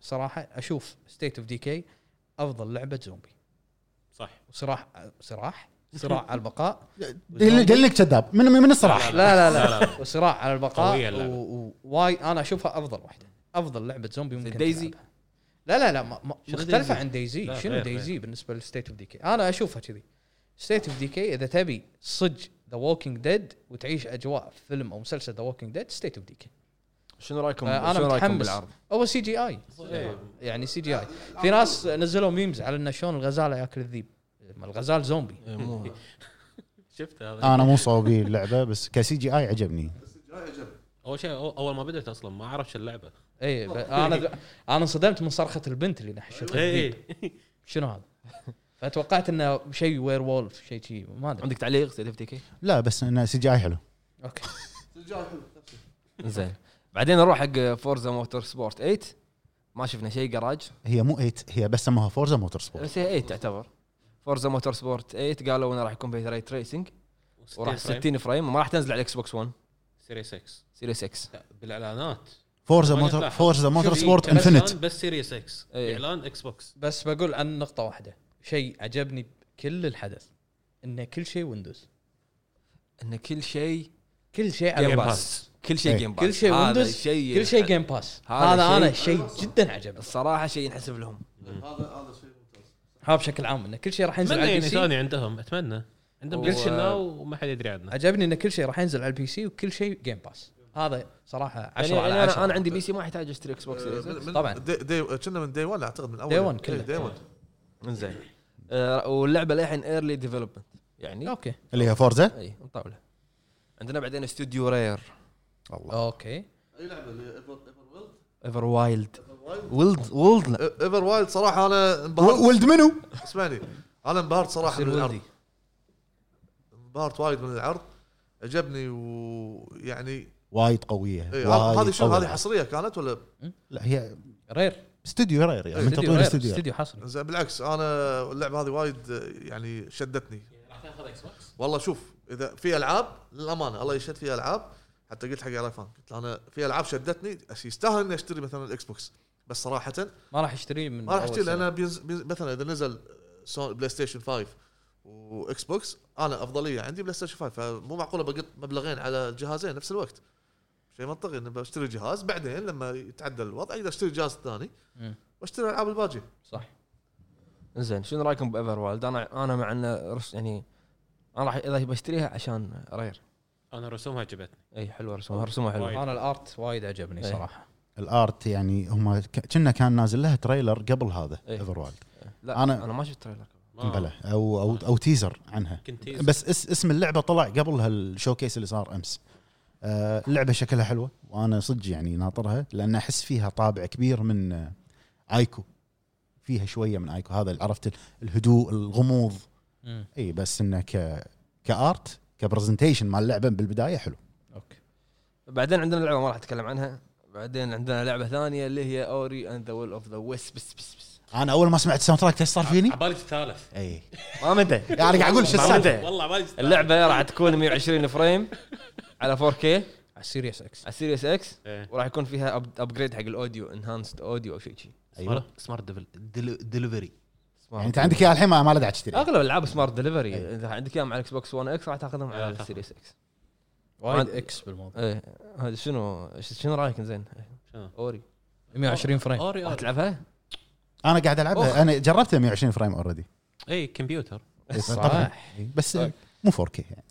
Speaker 5: صراحه اشوف ستيت اوف ديكي افضل لعبه زومبي
Speaker 3: صح
Speaker 5: وصراح صراح صراع على البقاء
Speaker 2: دل- دلك كذاب من من الصراحه
Speaker 5: لا لا
Speaker 3: لا، لا.
Speaker 5: لا وصراع على
Speaker 3: قوية
Speaker 5: البقاء
Speaker 3: اللعبة.
Speaker 5: و- ووايد انا اشوفها افضل واحده افضل لعبه زومبي ممكن
Speaker 1: دايزي؟
Speaker 5: تلعبها. لا لا لا ما ما
Speaker 3: شنو
Speaker 5: مختلفه
Speaker 3: دايزي؟
Speaker 5: عن دايزي
Speaker 3: لا،
Speaker 5: شنو
Speaker 3: غير-
Speaker 5: دايزي بالنسبه للستيت اوف ديكي انا اشوفها كذي ستيت اوف ديكي اذا تبي صج ذا ووكينج ديد وتعيش اجواء فيلم او مسلسل ذا ووكينج ديد ستيت اوف ديكي
Speaker 1: شنو رايكم
Speaker 5: آه، أنا
Speaker 1: شنو رايكم
Speaker 5: متحمس.
Speaker 1: بالعرض؟
Speaker 5: هو سي جي اي يعني سي جي اي في ناس نزلوا ميمز على انه شلون الغزاله ياكل الذيب ما الغزال زومبي
Speaker 3: إيه.
Speaker 1: مو-
Speaker 3: شفت هذا
Speaker 2: انا مو صوبي اللعبه بس كسي جي اي عجبني
Speaker 3: اول شيء أو- اول ما بدات اصلا ما اعرف شو اللعبه
Speaker 5: اي إيه، ب- انا انا انصدمت من صرخه البنت اللي نحشت الذيب
Speaker 3: اي
Speaker 5: شنو هذا؟ فتوقعت انه شيء وير وولف شيء شيء ما ادري
Speaker 1: عندك تعليق ستيت اوف ديكي؟
Speaker 2: لا بس انه سي جي اي حلو
Speaker 5: اوكي
Speaker 1: زين بعدين نروح حق فورزا موتور سبورت 8 ما شفنا شيء جراج
Speaker 2: هي مو 8 هي بس سموها فورزا موتور سبورت
Speaker 1: بس هي 8 تعتبر فورزا موتور سبورت 8 قالوا انه راح يكون فيها ري تريسنج وراح 60 فريم وما راح تنزل على الاكس بوكس 1
Speaker 3: سيريس 6
Speaker 1: سيريس اكس
Speaker 3: لا، بالاعلانات
Speaker 2: فورزا
Speaker 3: ما
Speaker 2: موتور
Speaker 3: نتلاحظ.
Speaker 2: فورزا موتور
Speaker 3: شوف،
Speaker 2: سبورت
Speaker 3: إيه، بس
Speaker 2: انفنت
Speaker 3: الآن بس سيريس 6
Speaker 1: إيه.
Speaker 3: اعلان اكس بوكس
Speaker 5: بس بقول عن نقطه واحده شيء عجبني بكل الحدث ان كل شيء ويندوز
Speaker 1: ان كل شيء
Speaker 5: كل شيء على
Speaker 1: جيم
Speaker 5: باس.
Speaker 1: باس كل شيء
Speaker 2: إيه.
Speaker 1: جيم باس
Speaker 5: كل شيء
Speaker 1: هذا
Speaker 5: ويندوز
Speaker 1: شيء
Speaker 5: كل شيء جيم باس
Speaker 1: هذا
Speaker 5: هذا انا
Speaker 1: شيء-
Speaker 5: شيء جدا عجبني
Speaker 1: الصراحه شيء ينحسب لهم
Speaker 6: آه،
Speaker 5: هذا بشكل عام ان كل شيء راح ينزل
Speaker 3: اتمنى
Speaker 5: على
Speaker 3: يعني
Speaker 5: البي سي
Speaker 3: ثاني عندهم اتمنى عندهم
Speaker 1: و-
Speaker 3: قرش الناو وما حد يدري عنه
Speaker 5: عجبني ان كل شيء راح ينزل على البي سي وكل شيء جيم باس هذا صراحه 10
Speaker 1: يعني
Speaker 5: على أه،
Speaker 1: يعني
Speaker 5: 10
Speaker 1: انا انا عندي بي سي ما احتاج اشتري اكس بوكس سيريس اكس
Speaker 5: طبعاً.
Speaker 6: كنا من دي 1 اعتقد من إيه، اول
Speaker 5: Day one كله.
Speaker 6: دي 1
Speaker 1: زين آه، واللعبه للحين ايرلي ديفلوبمنت يعني
Speaker 5: اوكي
Speaker 2: اللي هي فورزا
Speaker 1: اي مطاوله عندنا بعدين استوديو رير
Speaker 5: اوكي
Speaker 6: اي لعبه اللي ايفر ايفر ويلد
Speaker 1: ايفر وايلد ولد ولد
Speaker 6: ايفر وايلد صراحه انا انبهرت
Speaker 2: ولد منو؟
Speaker 6: اسمعني انا انبهرت صراحه
Speaker 5: يصير
Speaker 6: من العرض
Speaker 5: ولدي
Speaker 6: انبهرت وايد من العرض عجبني ويعني
Speaker 2: وايد قويه
Speaker 6: إيه،
Speaker 2: وايد
Speaker 6: هذه شو
Speaker 2: قوية.
Speaker 6: هذه حصريه كانت ولا
Speaker 2: لا هي
Speaker 5: رير
Speaker 2: استوديو رير يعني من
Speaker 5: إيه، استوديو
Speaker 2: تطوير
Speaker 5: رير
Speaker 2: استوديو رير.
Speaker 5: استوديو حصري
Speaker 6: زين بالعكس انا اللعبه هذه وايد آه، يعني شدتني
Speaker 3: راح تاخذ اكس بوكس
Speaker 6: والله شوف اذا في العاب للامانه الله يشهد في العاب حتى قلت حق عرفان قلت له انا في العاب شدتني أش- يستاهل اني اشتري مثلا الاكس بوكس بس صراحه
Speaker 5: ما راح اشتريه من
Speaker 6: ما راح
Speaker 5: أول
Speaker 6: اشتري
Speaker 5: سنة.
Speaker 6: لان بينز- بينز- مثلا اذا نزل سون بلاي ستيشن 5 واكس بوكس انا افضليه عندي بلاي ستيشن 5 فمو معقوله بقط مبلغين على الجهازين نفس الوقت شيء منطقي اني بشتري جهاز بعدين لما يتعدل الوضع اقدر اشتري جهاز ثاني
Speaker 5: مم.
Speaker 6: واشتري العاب الباجيه
Speaker 5: صح
Speaker 1: زين شنو رايكم بايفر وايلد انا انا مع انه رس- يعني انا راح اذا بشتريها عشان رير
Speaker 3: انا رسومها عجبتني
Speaker 1: اي حلوه رسومها رسومها حلوه
Speaker 3: وايد.
Speaker 5: انا الارت وايد عجبني
Speaker 1: إيه.
Speaker 5: صراحه
Speaker 2: الارت يعني هم كنا كان نازل لها تريلر قبل هذا
Speaker 1: إيه.
Speaker 2: ايفر وايلد
Speaker 1: لا انا
Speaker 2: أنا-
Speaker 1: انا ما شفت تريلر
Speaker 3: ما-
Speaker 2: بلى او او او تيزر عنها
Speaker 3: كنت
Speaker 2: بس اس اسم اللعبه طلع قبل هالشوكيس اللي صار امس آه، اللعبه شكلها حلوه وانا صدق يعني ناطرها لان احس فيها طابع كبير من آه، ايكو فيها شويه من ايكو هذا اللي عرفت ال- الهدوء الغموض
Speaker 5: مم.
Speaker 2: اي بس انه ك كارت كبرزنتيشن مال اللعبه بالبدايه حلو
Speaker 5: اوكي
Speaker 1: بعدين عندنا لعبه ما راح اتكلم عنها بعدين عندنا لعبه ثانيه اللي هي اوري اند ذا ويل اوف ذا ويست بس بس بس
Speaker 2: انا اول ما سمعت الساوند تراك ايش صار فيني؟
Speaker 3: عبالي الثالث
Speaker 2: اي
Speaker 1: ما مدى
Speaker 2: انا قاعد اقول شو السالفه
Speaker 1: مدى
Speaker 3: والله عبالي الثالث.
Speaker 1: اللعبه راح تكون 120 فريم على 4K على
Speaker 5: على السيريس اكس
Speaker 1: السيريس اكس
Speaker 3: إيه.
Speaker 1: وراح يكون فيها ابجريد حق الاوديو انهانسد اوديو او شيء شي.
Speaker 5: أيوه.
Speaker 2: أيوة.
Speaker 3: سمارت ديفل دل- دليفري
Speaker 1: سمارت
Speaker 2: يعني انت عندك اياها الحين ما ما له داعي تشتري
Speaker 1: اغلب العاب سمارت دليفري اذا عندك اياهم على الاكس بوكس 1 اكس راح تاخذهم
Speaker 3: إيه،
Speaker 1: على
Speaker 3: تاخذ.
Speaker 1: السيريس اكس
Speaker 5: وايد
Speaker 1: عاد-
Speaker 5: اكس بالموضوع
Speaker 1: ايه هذا شنو شنو رايك زين
Speaker 3: شنو؟
Speaker 1: اوري
Speaker 5: 120
Speaker 2: طيب.
Speaker 5: فريم
Speaker 3: اوري
Speaker 1: راح
Speaker 3: أوري.
Speaker 1: تلعبها؟
Speaker 2: انا قاعد العبها انا جربتها 120 فريم اوريدي
Speaker 3: اي إيه، كمبيوتر
Speaker 2: طبعا بس آه، مو 4K يعني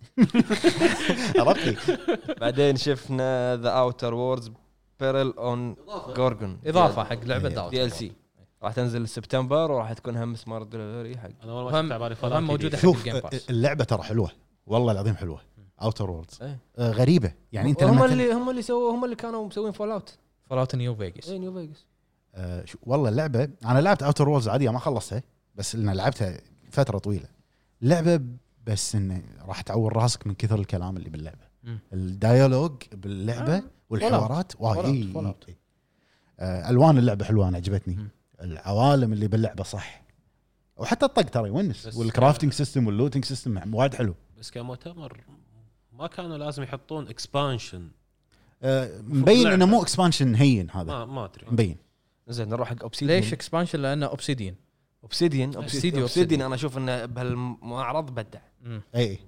Speaker 2: عرفت لي؟
Speaker 1: بعدين شفنا ذا اوتر ووردز بيرل اون جورجون
Speaker 5: اضافه حق لعبه
Speaker 2: إيه.
Speaker 5: داوت
Speaker 1: دي ال سي راح تنزل سبتمبر وراح تكون هم سمارت دليفري حق
Speaker 3: انا اول ما
Speaker 5: هم-
Speaker 3: شفت عبالي
Speaker 5: هم
Speaker 1: يعني
Speaker 5: موجوده حق
Speaker 2: شوف
Speaker 5: الجيم باس
Speaker 2: اللعبه ترى حلوه والله العظيم حلوه اوتر ووردز
Speaker 1: إيه.
Speaker 2: غريبه يعني انت
Speaker 1: هم
Speaker 2: لما تل-
Speaker 1: اللي هم اللي سووا هم اللي كانوا مسوين فول اوت
Speaker 5: فولات نيو فيجاس
Speaker 1: نيو فيجاس
Speaker 2: آه، شو- والله اللعبه انا لعبت اوتر ووردز عاديه ما خلصتها بس انا لعبتها فتره طويله لعبه بس انه راح تعور راسك من كثر الكلام اللي باللعبه
Speaker 5: مم. آه.
Speaker 2: الديالوج باللعبه والحوارات
Speaker 5: Fallout.
Speaker 2: وايد
Speaker 5: Fallout.
Speaker 2: إي- إي. آه، الوان اللعبه حلوه انا عجبتني
Speaker 5: مم.
Speaker 2: العوالم اللي باللعبه صح وحتى الطق ترى يونس
Speaker 3: بس-
Speaker 2: والكرافتنج
Speaker 5: آه.
Speaker 2: سيستم واللوتنج سيستم وايد حلو
Speaker 3: بس كمؤتمر ما كانوا لازم يحطون اكسبانشن
Speaker 2: آه، مبين انه مو اكسبانشن هين هذا
Speaker 3: ما
Speaker 5: آه.
Speaker 3: ما ادري
Speaker 2: مبين
Speaker 1: زين نروح حق اوبسيديان
Speaker 5: ليش اكسبانشن لانه اوبسيديان
Speaker 1: اوبسيديان اوبسيديان
Speaker 5: أوبسيديان.
Speaker 1: اوبسيديان انا اشوف انه بهالمعرض بدع
Speaker 2: اي
Speaker 1: إيه،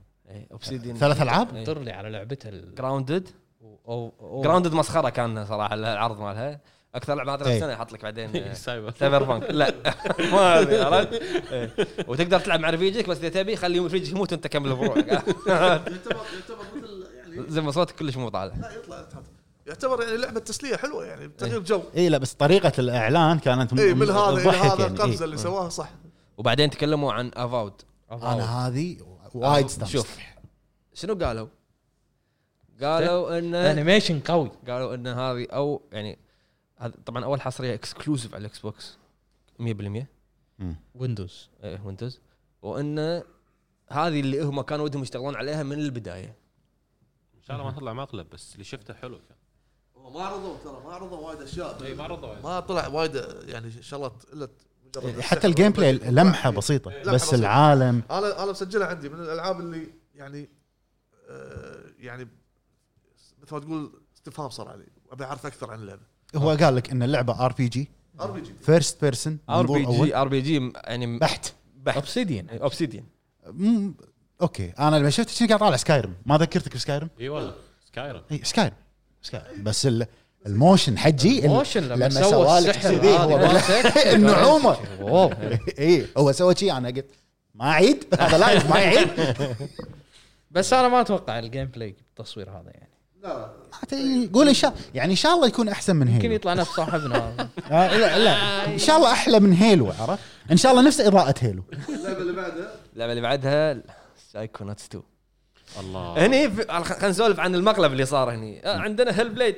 Speaker 1: اوبسيديان
Speaker 2: ثلاث العاب
Speaker 1: إيه.
Speaker 5: طر لي على لعبته ال-
Speaker 1: جراوندد
Speaker 5: أو- أو-
Speaker 1: جراوندد مسخره كان صراحه العرض مالها اكثر لعبه ناطرة
Speaker 2: إيه.
Speaker 1: السنه احط لك بعدين
Speaker 3: سايبر
Speaker 1: سايبر بانك لا ما ادري عرفت إيه. وتقدر تلعب مع رفيجك بس اذا تبي خلي رفيجك يموت وانت كمل بروحك
Speaker 6: يعتبر يعتبر مثل يعني
Speaker 1: زين صوتك كلش مو طالع
Speaker 6: لا يطلع يطلع. يعتبر يعني لعبه تسليه حلوه يعني
Speaker 5: إيه.
Speaker 6: تغيير جو
Speaker 2: اي لا بس طريقه الاعلان كانت م-
Speaker 6: اي إيه، من هذا الى
Speaker 2: تضحك
Speaker 6: هذا
Speaker 2: يعني، إيه.
Speaker 6: القفزه اللي سواها صح
Speaker 1: وبعدين تكلموا عن افاود
Speaker 2: انا هذه وايد استانست
Speaker 1: شوف شنو قالوا؟ قالوا انه
Speaker 5: انيميشن قوي
Speaker 1: قالوا ان هذه او يعني هذا طبعا اول حصريه اكسكلوسيف على الاكس بوكس 100% إيه،
Speaker 5: ويندوز
Speaker 1: ويندوز وان إيه، هذه اللي هم كانوا ودهم يشتغلون عليها من البدايه
Speaker 3: ان شاء الله ما تطلع مقلب بس اللي شفته حلو كان
Speaker 6: ما عرضوا ترى ما عرضوا وايد اشياء
Speaker 5: إيه،
Speaker 3: اي ما رضوا
Speaker 6: ما طلع وايد يعني شغلات الا مجرد
Speaker 2: إيه، حتى الجيم بلاي لمحه بسيطه
Speaker 6: لمحة
Speaker 2: بس
Speaker 6: بسيطة.
Speaker 2: العالم
Speaker 6: انا انا مسجلها عندي من الالعاب اللي يعني آه يعني مثل ما تقول استفهام صار علي ابي اعرف اكثر عن اللعبه
Speaker 2: هو قال لك ان اللعبه ار بي جي
Speaker 6: ار بي جي
Speaker 2: فيرست بيرسون
Speaker 1: ار بي جي ار بي جي يعني
Speaker 2: بحت
Speaker 1: بحت إيه،
Speaker 5: اوبسيديان
Speaker 1: اوبسيديان
Speaker 2: مم، اوكي انا لما شفت شنو قاعد طالع سكايرم ما ذكرتك بسكايرم
Speaker 3: اي والله سكايرم
Speaker 2: اي سكايرم سكايرم بس ال- الموشن حجي
Speaker 1: إيه.
Speaker 2: ال-
Speaker 5: موشن لما
Speaker 2: لما
Speaker 5: سوى
Speaker 2: سوى لك
Speaker 5: السحر
Speaker 2: كذي،
Speaker 5: هذا
Speaker 2: هو
Speaker 5: مالته.
Speaker 2: النعومة.
Speaker 5: واو
Speaker 2: اي إيه، هو سوى شي انا قلت ما اعيد هذا لايف ما يعيد
Speaker 5: بس انا ما اتوقع الجيم بلاي بالتصوير هذا يعني
Speaker 1: إيه.
Speaker 6: لا
Speaker 2: حتى قول ان شاء يعني ان شاء الله يكون احسن من
Speaker 5: يمكن
Speaker 2: هيلو
Speaker 5: يطلع نفس صاحبنا هذا.
Speaker 2: آه، لا لا ان شاء الله احلى من هيلو عرفت ان شاء الله نفس اضاءه هيلو
Speaker 6: اللعبه اللي بعدها
Speaker 1: اللعبه اللي بعدها سايكوناتس 2
Speaker 3: الله
Speaker 1: هني في- خل- خلينا نسولف عن المقلب اللي صار هني آه، عندنا هيل بليد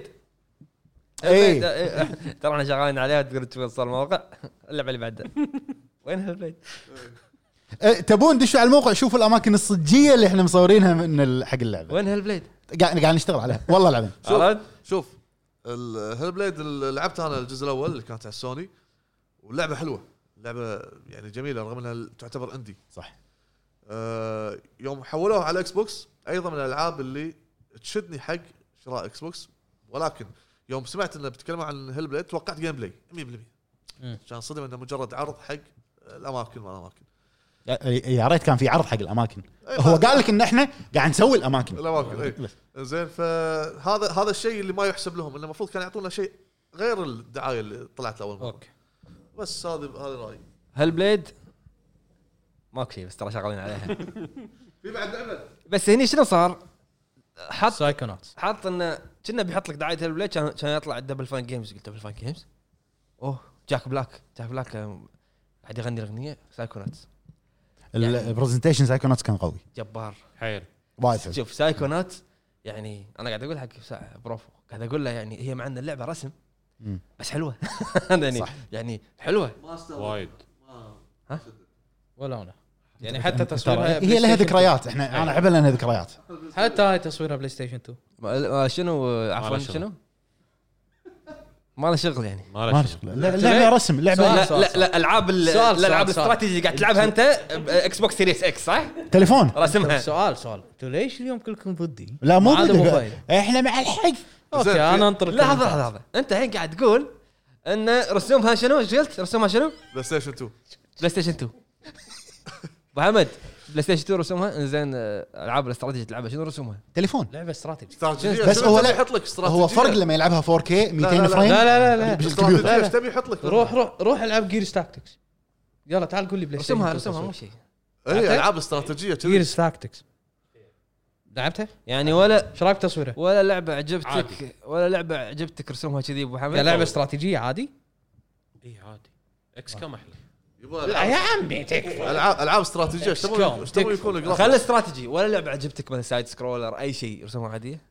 Speaker 2: إيه.
Speaker 1: آه، إيه. ترى احنا شغالين عليها تقدر تشوف صار الموقع اللعبه اللي بعدها وين هيل بليد؟
Speaker 2: أه، تبون دشوا على الموقع شوفوا الاماكن الصجيه اللي احنا مصورينها من ال- حق اللعبه
Speaker 1: وين هيل بليد؟
Speaker 2: قاعد قاعد نشتغل عليها والله العظيم
Speaker 6: شوف.
Speaker 1: عرفت؟
Speaker 6: شوف الهيل بليد اللي لعبته انا الجزء الاول اللي كانت على السوني واللعبه حلوه لعبه يعني جميله رغم انها تعتبر اندي
Speaker 2: صح.
Speaker 6: آه يوم حولوها على اكس بوكس ايضا من الالعاب اللي تشدني حق شراء اكس بوكس ولكن يوم سمعت انه بيتكلموا عن هيل بليد توقعت جيم بلاي 100%
Speaker 5: مم.
Speaker 6: عشان صدم انه مجرد عرض حق الاماكن والاماكن
Speaker 2: يا- يا ريت كان في عرض حق الاماكن
Speaker 6: أي
Speaker 2: هو
Speaker 6: ما-
Speaker 2: قال لك ان احنا قاعد نسوي الاماكن
Speaker 6: الاماكن اي إيه. زين فهذا هذا الشيء اللي ما يحسب لهم انه المفروض كان يعطونا شيء غير الدعايه اللي طلعت اول مره
Speaker 2: آه.
Speaker 5: اوكي
Speaker 6: بس هذا هذا رايي
Speaker 1: هيل بليد ماكو شيء بس ترى شغالين عليها
Speaker 6: في بعد لعبه
Speaker 1: بس هني شنو صار؟ حط
Speaker 5: سايكونوتس
Speaker 1: حاط انه كنا بيحط لك دعايه هيل بليد كان كان يطلع الدبل فان جيمز قلت دبل فان جيمز اوه جاك بلاك جاك بلاك آم، قاعد آه، يغني الاغنيه سايكوناتس
Speaker 5: يعني-
Speaker 2: البرزنتيشن سايكونوتس كان قوي
Speaker 1: جبار
Speaker 3: حيل
Speaker 2: وايد حلو.
Speaker 1: شوف سايكونات يعني انا قاعد اقول حق سا- بروفو قاعد اقول له يعني هي مع ان اللعبه رسم
Speaker 2: مم.
Speaker 1: بس حلوه يعني
Speaker 2: صح.
Speaker 1: يعني حلوه
Speaker 6: ما استوعب
Speaker 3: وايد
Speaker 5: ولا انا يعني حتى تصويرها
Speaker 2: هي لها ذكريات احنا انا عبال لها ذكريات
Speaker 5: طيب. حتى هاي تصويرها بلاي ستيشن 2
Speaker 1: ما- آه، شنو آه، عفوا
Speaker 3: ما له شغل.
Speaker 1: شنو؟ ما له شغل يعني
Speaker 3: ما
Speaker 2: ما
Speaker 3: له شغل
Speaker 2: شغل. لا- لعبه رسم لعبه
Speaker 5: طيب. سؤال.
Speaker 1: لا لا لا العاب ال-
Speaker 5: سؤال،
Speaker 1: الالعاب
Speaker 5: سؤال، سؤال.
Speaker 1: الاستراتيجي قاعد تلعبها انت اكس بوكس سيريس اكس صح؟
Speaker 2: تليفون
Speaker 1: رسمها
Speaker 5: طيب، سؤال سؤال انتوا ليش اليوم كلكم ضدي؟
Speaker 2: لا مو
Speaker 5: عاد
Speaker 2: بدك.
Speaker 5: فايدة.
Speaker 2: احنا مع الحق
Speaker 5: اوكي انا انطر
Speaker 1: لحظه
Speaker 5: الكومنتات.
Speaker 1: لحظه لحظة. انت الحين قاعد تقول ان رسومها شنو ايش قلت؟ رسومها شنو؟
Speaker 6: بلاي ستيشن 2
Speaker 1: بلاي ستيشن 2 ابو حمد بلاي ستيشن 2 رسومها زين آه، العاب الاستراتيجي تلعبها شنو رسومها؟
Speaker 2: تليفون
Speaker 5: لعبه استراتيجي
Speaker 6: استراتيجيه
Speaker 2: بس
Speaker 6: شنو
Speaker 2: هو
Speaker 6: تبي
Speaker 2: لا-
Speaker 6: يحط لك استراتيجيه
Speaker 2: هو فرق لما يلعبها 4K 200
Speaker 6: لا-
Speaker 2: فريم
Speaker 5: لا لا لا لا
Speaker 6: استراتيجيه
Speaker 2: لا،
Speaker 6: ايش تبي يحط لك
Speaker 5: روح روح روح العب جيرز تاكتكس يلا تعال قول لي بلاي ستيشن
Speaker 1: رسمها
Speaker 5: 2
Speaker 1: رسمها مو
Speaker 5: تصوير.
Speaker 1: شيء
Speaker 6: اي العاب استراتيجيه كذي
Speaker 5: جيرز تاكتكس لعبتها؟
Speaker 1: يعني ولا
Speaker 5: ايش رايك تصويرها؟
Speaker 1: ولا لعبه عجبتك
Speaker 3: عادي.
Speaker 1: ولا لعبه عجبتك رسومها كذي ابو حمد
Speaker 5: لعبه استراتيجيه عادي؟
Speaker 3: اي إيه، عادي اكس كم احلى
Speaker 6: يبا
Speaker 5: لا
Speaker 6: العاب
Speaker 5: يا عمي تكفى
Speaker 6: العاب العاب استراتيجيه ايش تبون- ايش تبون يكون
Speaker 1: خلي
Speaker 6: الجرافيك؟
Speaker 1: استراتيجي ولا لعبه عجبتك مثلا سايد سكرولر اي شيء رسومها عاديه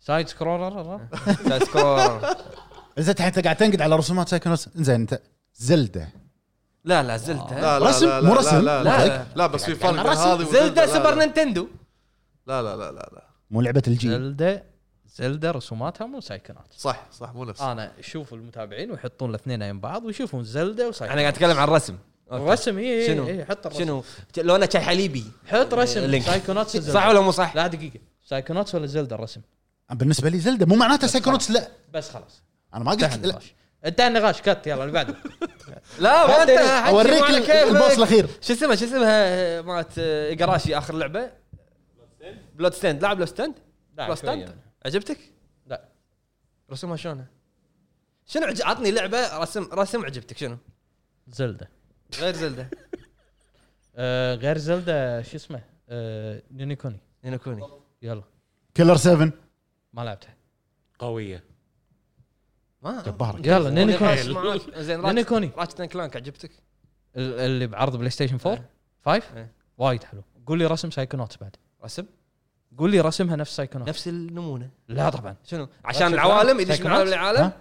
Speaker 5: سايد سكرولر
Speaker 1: سايد سكرولر
Speaker 2: زين انت قاعد تنقد على رسومات سايكونوتس زين انت زلده
Speaker 1: لا لا زلدة
Speaker 6: لا لا
Speaker 2: رسم؟
Speaker 6: لا
Speaker 2: مو
Speaker 6: لا
Speaker 2: رسم؟
Speaker 6: لا
Speaker 1: لا.
Speaker 6: لا لا. لا بس في فرق بين
Speaker 2: الرسم.
Speaker 6: هذه
Speaker 1: زلدة
Speaker 6: لا،
Speaker 1: سوبر
Speaker 6: لا.
Speaker 1: نينتندو
Speaker 6: لا لا لا لا لا
Speaker 2: مو لعبه الجيل
Speaker 5: زلدا زلدا رسوماتها مو سايكونات
Speaker 6: صح صح مو نفس
Speaker 5: آه. انا اشوف المتابعين ويحطون الاثنين عين بعض ويشوفون زلدا
Speaker 1: انا
Speaker 5: وسايكونات
Speaker 1: قاعد اتكلم عن الرسم أوكي.
Speaker 5: الرسم اي
Speaker 1: شنو؟
Speaker 5: شنو اي إيه، حط الرسم شنو
Speaker 1: شنو لونه كان حليبي
Speaker 5: حط رسم
Speaker 1: لينك.
Speaker 5: سايكوناتس
Speaker 1: صح ولا مو صح؟
Speaker 5: لا دقيقه سايكوناتس ولا زلدا الرسم
Speaker 2: بالنسبه لي زلده مو معناته سايكونوتس لا
Speaker 5: بس خلاص
Speaker 2: انا ما
Speaker 5: انتهى
Speaker 2: قلت لا.
Speaker 5: النقاش انتهى النقاش كات يلا اللي بعده
Speaker 1: لا ما انت حكي
Speaker 2: اوريك
Speaker 1: على
Speaker 2: إيه. ال-
Speaker 1: كيفك.
Speaker 2: البوص الاخير
Speaker 1: شو اسمها شو اسمها مالت آه، قراشي اخر لعبه بلود ستاند لاعب بلود ستاند
Speaker 5: لا،
Speaker 1: بلود
Speaker 5: شوية.
Speaker 1: ستاند عجبتك؟
Speaker 5: لا.
Speaker 1: رسمها شلونها؟ شنو عج... عطني لعبه رسم رسم عجبتك شنو؟
Speaker 5: زلدا
Speaker 1: غير زلده
Speaker 5: آه، غير زلدا شو اسمه آه، نينيكوني
Speaker 1: نينوكوني
Speaker 5: يلا
Speaker 2: كيلر 7
Speaker 5: ما لعبتها
Speaker 3: قويه
Speaker 1: ما
Speaker 2: جبارك
Speaker 5: يلا نينيكوني
Speaker 1: راش معاك. زين راش-
Speaker 5: نينيكوني
Speaker 1: راتشت اند كلانك عجبتك؟
Speaker 5: ال- اللي بعرض بلاي ستيشن 4 5
Speaker 1: إيه.
Speaker 5: وايد حلو قول لي رسم سايكونوتس بعد
Speaker 1: رسم
Speaker 5: قول لي رسمها نفس سايكونوتس
Speaker 1: نفس النمونه
Speaker 5: لا طبعا
Speaker 1: شنو؟ عشان العوالم يدش من عالم لعالم
Speaker 2: ها؟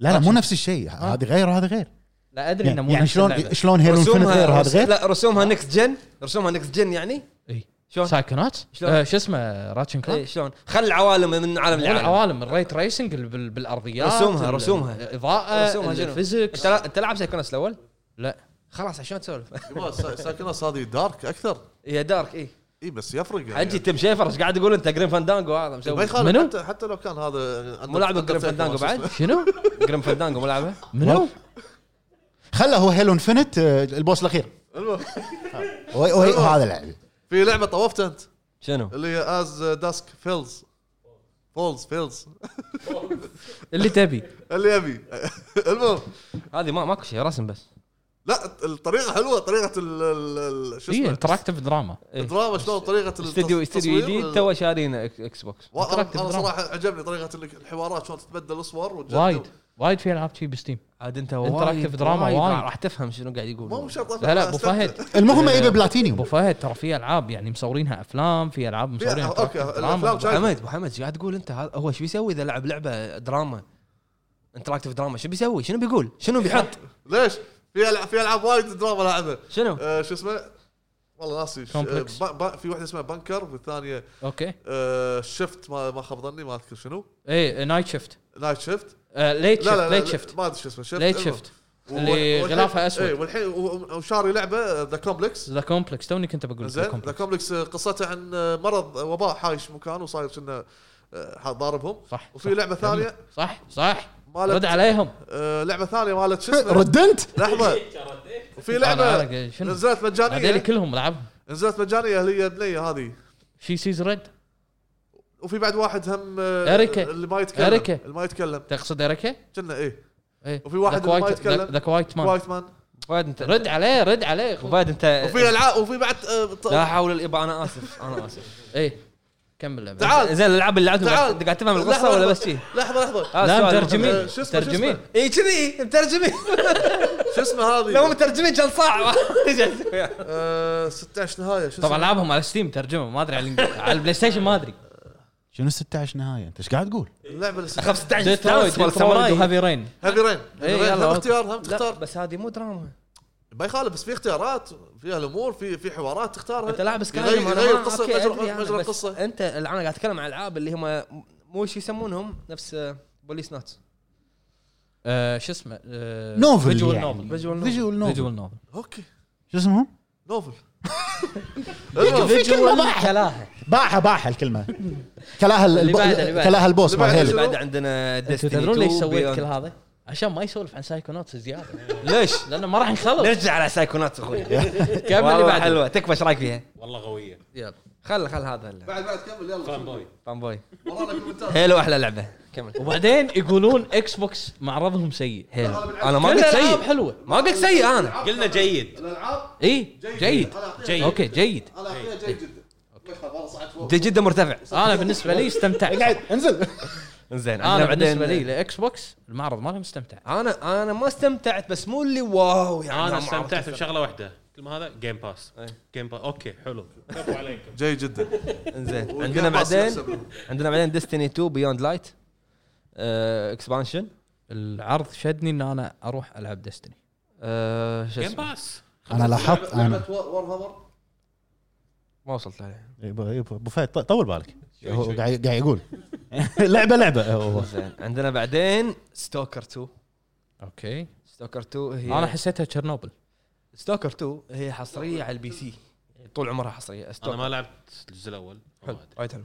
Speaker 2: لا لا مو نفس الشيء هذه غير وهذا غير
Speaker 5: لا ادري انه
Speaker 2: يعني,
Speaker 5: مو
Speaker 2: يعني
Speaker 5: نفس
Speaker 2: شلون
Speaker 5: اللعبة.
Speaker 2: شلون هيرو انفنت غير
Speaker 1: رسومها
Speaker 2: وهذا
Speaker 1: رس...
Speaker 2: غير
Speaker 1: لا رسومها نكست جن رسومها نكست جن يعني؟
Speaker 5: إي.
Speaker 1: شلون؟
Speaker 5: سايكونوتس
Speaker 1: شلون؟
Speaker 5: آه، شو اسمه راتشن
Speaker 1: اي
Speaker 5: كلانك
Speaker 1: إيه، شلون؟ خل العوالم من عالم
Speaker 5: مو
Speaker 1: لعالم
Speaker 5: العوالم الريت ريسنج اللي بال- بالارضيات
Speaker 1: رسومها-
Speaker 5: ال-
Speaker 1: رسومها.
Speaker 5: الاضاءه
Speaker 1: رسومها شنو؟ انت
Speaker 5: الفيزكس
Speaker 1: لا- انت لعب سايكونس الاول؟
Speaker 5: لا.
Speaker 1: خلاص عشان تسولف
Speaker 6: يبا، سا- سايكونوس هذه دارك اكثر
Speaker 1: هي دارك إيه. اي
Speaker 6: اي بس يفرق يعني
Speaker 1: حجي تم شيفر ايش قاعد يقول انت جريم فاندانجو هذا
Speaker 6: ما
Speaker 1: مسوي
Speaker 6: يخالف
Speaker 5: منو؟
Speaker 6: حتى حتى لو كان هذا
Speaker 1: مو لاعب جريم فاندانجو بعد
Speaker 5: شنو؟
Speaker 1: جريم فاندانجو مو لعبه
Speaker 5: منو؟
Speaker 2: خله هو هيلو انفنت البوص الاخير
Speaker 6: المهم،
Speaker 2: وهي- وهي- وهذا لعبي
Speaker 6: في لعبه طوفتها انت
Speaker 1: شنو؟
Speaker 6: اللي هي از داسك فيلز فولز فيلز
Speaker 5: اللي تبي
Speaker 6: اللي يبي المهم
Speaker 1: هذه ما ماكو شيء رسم بس
Speaker 6: لا الطريقه حلوه طريقه ال ال- ال- شو
Speaker 5: هي
Speaker 6: اسمه
Speaker 5: انتراكتيف دراما
Speaker 6: الدراما شلون طريقه التص-
Speaker 1: استديو استديو
Speaker 6: التصوير
Speaker 1: جديد
Speaker 6: وال-
Speaker 1: تو شارينا إك- اكس بوكس
Speaker 6: و- انا
Speaker 5: انتراكتيف
Speaker 6: أنا
Speaker 5: دراما.
Speaker 6: صراحه عجبني طريقه ال- الحوارات شلون تتبدل الصور وتجدد.
Speaker 5: وايد وايد في العاب شي بستيم
Speaker 1: عاد انت
Speaker 5: Interactive
Speaker 1: وايد
Speaker 5: دراما
Speaker 1: وايد
Speaker 5: وايد.
Speaker 1: راح تفهم شنو قاعد يقول
Speaker 6: مو شرط أفهم،
Speaker 5: لا لا ابو
Speaker 6: أستمتع.
Speaker 5: فهد
Speaker 2: المهم
Speaker 5: إيه.
Speaker 2: ايبي
Speaker 5: ابو
Speaker 2: بلاتينيوم
Speaker 5: فهد ترى في العاب يعني مصورينها افلام في العاب مصورينها
Speaker 6: أوكي،
Speaker 5: interactive
Speaker 6: الأفلام
Speaker 5: drama.
Speaker 1: ابو حمد ابو حمد شو قاعد تقول انت هذا هو شو بيسوي اذا لعب لعبه دراما انتراكتيف دراما شو بيسوي؟ شنو بيقول؟ شنو بيحط؟
Speaker 6: ليش؟ في العاب في العاب وايد دراما لعبها
Speaker 1: شنو؟
Speaker 6: آه، شو اسمه؟ والله ناسي ش- آه،
Speaker 5: Complex.
Speaker 6: با- با- في واحده اسمها بنكر والثانيه
Speaker 5: اوكي
Speaker 6: آه، شفت ما ما خاب ظني ما اذكر شنو
Speaker 5: اي نايت شيفت
Speaker 6: نايت شيفت
Speaker 5: ليت
Speaker 6: لا
Speaker 5: شيفت
Speaker 6: لا
Speaker 5: ليت
Speaker 6: لا،
Speaker 5: شيفت
Speaker 6: ما ادري شو اسمه شيفت
Speaker 5: ليت
Speaker 6: المهم.
Speaker 5: شيفت اللي
Speaker 6: والحين-
Speaker 5: غلافها أسود.
Speaker 6: إيه، والحين و- وشاري لعبه ذا كومبلكس
Speaker 5: ذا كومبلكس توني كنت بقول ذا
Speaker 6: زين ذا
Speaker 5: كومبلكس
Speaker 6: كومبلكس قصته عن آه، مرض وباء حايش مكان وصاير كنا آه، ضاربهم
Speaker 5: صح
Speaker 6: وفي لعبه ثانيه
Speaker 5: صح صح رد
Speaker 6: مالت
Speaker 5: عليهم
Speaker 6: آه، لعبه ثانيه مالت شو اسمه
Speaker 2: ردنت
Speaker 6: لحظه وفي
Speaker 5: أنا-
Speaker 6: لعبه
Speaker 5: أنا- شنو
Speaker 6: نزلت
Speaker 5: هذول
Speaker 6: مجانيه
Speaker 5: كلهم لعبهم
Speaker 6: نزلت مجانيه اللي هي بنيه هذه
Speaker 5: شي سيز ريد
Speaker 6: وفي بعد واحد هم آه،
Speaker 5: أريكا.
Speaker 6: اللي ما يتكلم
Speaker 5: أريكا.
Speaker 6: اللي ما يتكلم
Speaker 5: تقصد إيه. اريكا؟
Speaker 6: كنا ايه
Speaker 5: اي
Speaker 6: وفي واحد
Speaker 5: ذا
Speaker 6: ما
Speaker 5: كوايت-
Speaker 6: يتكلم.
Speaker 5: ذا- ذا كوايت مان
Speaker 6: وايت مان
Speaker 1: فهد انت
Speaker 5: رد عليه رد عليه
Speaker 1: فهد انت
Speaker 6: وفي العاب وفي بعد آه، ط-
Speaker 1: لا حول الابا انا اسف انا اسف
Speaker 5: اي إيه. كمل لعبة.
Speaker 6: تعال
Speaker 1: زين الالعاب اللي لعبتها
Speaker 6: تعال.
Speaker 1: قاعد- قاعد تفهم القصه
Speaker 6: لحظة،
Speaker 1: ولا
Speaker 6: لحظة.
Speaker 1: بس شي؟
Speaker 6: لحظه لحظه
Speaker 1: هذا
Speaker 5: لا
Speaker 1: السؤال.
Speaker 5: مترجمين
Speaker 6: آه، شو اسمه، شو
Speaker 5: مترجمين
Speaker 1: اي إيه، كذي مترجمين
Speaker 6: شو اسمه
Speaker 1: لو
Speaker 6: هذه
Speaker 1: مترجمين كان صعب
Speaker 6: آه، 16 نهايه شو
Speaker 5: طبعا
Speaker 6: اسمه
Speaker 5: لعبهم على ستيم ترجمه ما ادري على الإنجليزي. على البلاي ستيشن ما ادري
Speaker 2: شنو 16 نهايه انت ايش قاعد تقول؟
Speaker 6: اللعبه اللي اسمها
Speaker 1: 15
Speaker 5: ديترويت ديترويت وهافي رين
Speaker 6: هابي رين
Speaker 5: إيه،
Speaker 6: هابي رين
Speaker 5: يلا،
Speaker 6: هم
Speaker 5: أوكي.
Speaker 6: اختيار هم تختار
Speaker 1: بس هذه مو دراما
Speaker 6: ما يخالف بس في اختيارات فيها الامور في في حوارات تختارها
Speaker 1: انت لاعب سكاي
Speaker 6: يغير, يغير القصه مجرى مجرى القصه
Speaker 1: انت الان قاعد اتكلم عن العاب اللي هم مو شو يسمونهم نفس آه، بوليس ناتس
Speaker 5: آه، شو اسمه
Speaker 2: نوفل
Speaker 5: فيجوال
Speaker 2: يعني.
Speaker 5: نوفل
Speaker 1: فيجوال نوفل.
Speaker 2: فيجوال نوفل
Speaker 5: فيجوال نوفل
Speaker 6: اوكي
Speaker 2: شو اسمه؟
Speaker 6: نوفل
Speaker 2: في كلمه باعها
Speaker 5: كلاها
Speaker 2: باعها باعها الكلمه كلاها
Speaker 5: اللي
Speaker 2: الب...
Speaker 5: بعده، اللي بعده.
Speaker 2: كلاها البوس
Speaker 6: اللي
Speaker 2: مال
Speaker 6: بعده،
Speaker 2: هيلو
Speaker 6: شنو؟
Speaker 1: بعد عندنا
Speaker 5: انتوا
Speaker 1: ديستني
Speaker 5: تدرون ليش سويت كل هذا؟ عشان ما يسولف عن سايكونوتس زياده
Speaker 1: ليش؟
Speaker 5: لانه ما راح نخلص
Speaker 1: نرجع على سايكونات اخوي
Speaker 5: كمل اللي
Speaker 1: والله
Speaker 5: بعده
Speaker 1: حلوه تكفى ايش رايك فيها؟
Speaker 3: والله قويه
Speaker 1: يلا خل خل هذا هلا.
Speaker 6: بعد بعد كمل يلا
Speaker 3: فان بوي
Speaker 1: فان بوي
Speaker 6: ورانا كومنتات
Speaker 1: هيلو احلى لعبه كمل
Speaker 5: وبعدين يقولون اكس بوكس معرضهم سيء
Speaker 1: هيلو انا ما
Speaker 5: كل
Speaker 1: قلت
Speaker 5: الالعاب
Speaker 1: سيء
Speaker 5: حلوه
Speaker 1: ما قلت سيء انا
Speaker 3: قلنا جيد
Speaker 6: الالعاب
Speaker 5: اي جيد
Speaker 6: انا اعطيها
Speaker 3: جيد
Speaker 5: اوكي جيد
Speaker 6: انا اعطيها جيد جدا ما يخالف، والله صعد فوق
Speaker 1: جد- جدا مرتفع
Speaker 5: انا بالنسبه لي استمتعت
Speaker 2: انزل
Speaker 1: زين
Speaker 5: انا بالنسبه لي لاكس بوكس المعرض مالهم استمتع
Speaker 1: انا انا ما استمتعت بس مو اللي واو يعني
Speaker 3: انا
Speaker 1: ما
Speaker 3: استمتعت
Speaker 1: عرفت.
Speaker 3: بشغله واحده كل ما هذا جيم باس جيم باس اوكي حلو كفو عليكم
Speaker 6: جيد جدا
Speaker 1: زين عندنا
Speaker 6: والجيم باس
Speaker 1: بعدين
Speaker 6: يحسب.
Speaker 1: عندنا بعدين ديستني 2 بيوند لايت آه، اكسبانشن
Speaker 5: العرض شدني ان انا اروح العب ديستني
Speaker 1: آه، شو
Speaker 3: جيم
Speaker 1: اسمه
Speaker 3: باس
Speaker 2: انا لاحظت انا
Speaker 6: لعبه وور هامر
Speaker 1: ما وصلت عليه
Speaker 2: ابو فهد ط- طول بالك هو قاعد قاعد يقول لعبه لعبه هو
Speaker 1: زين عندنا بعدين ستوكر 2
Speaker 5: اوكي
Speaker 1: ستوكر 2 هي
Speaker 5: انا حسيتها تشيرنوبل
Speaker 1: ستوكر 2 هي حصريه على البي سي طول عمرها حصريه
Speaker 3: انا
Speaker 1: ستوكر
Speaker 3: ما لعبت الجزء الاول
Speaker 1: حلو وايد حلو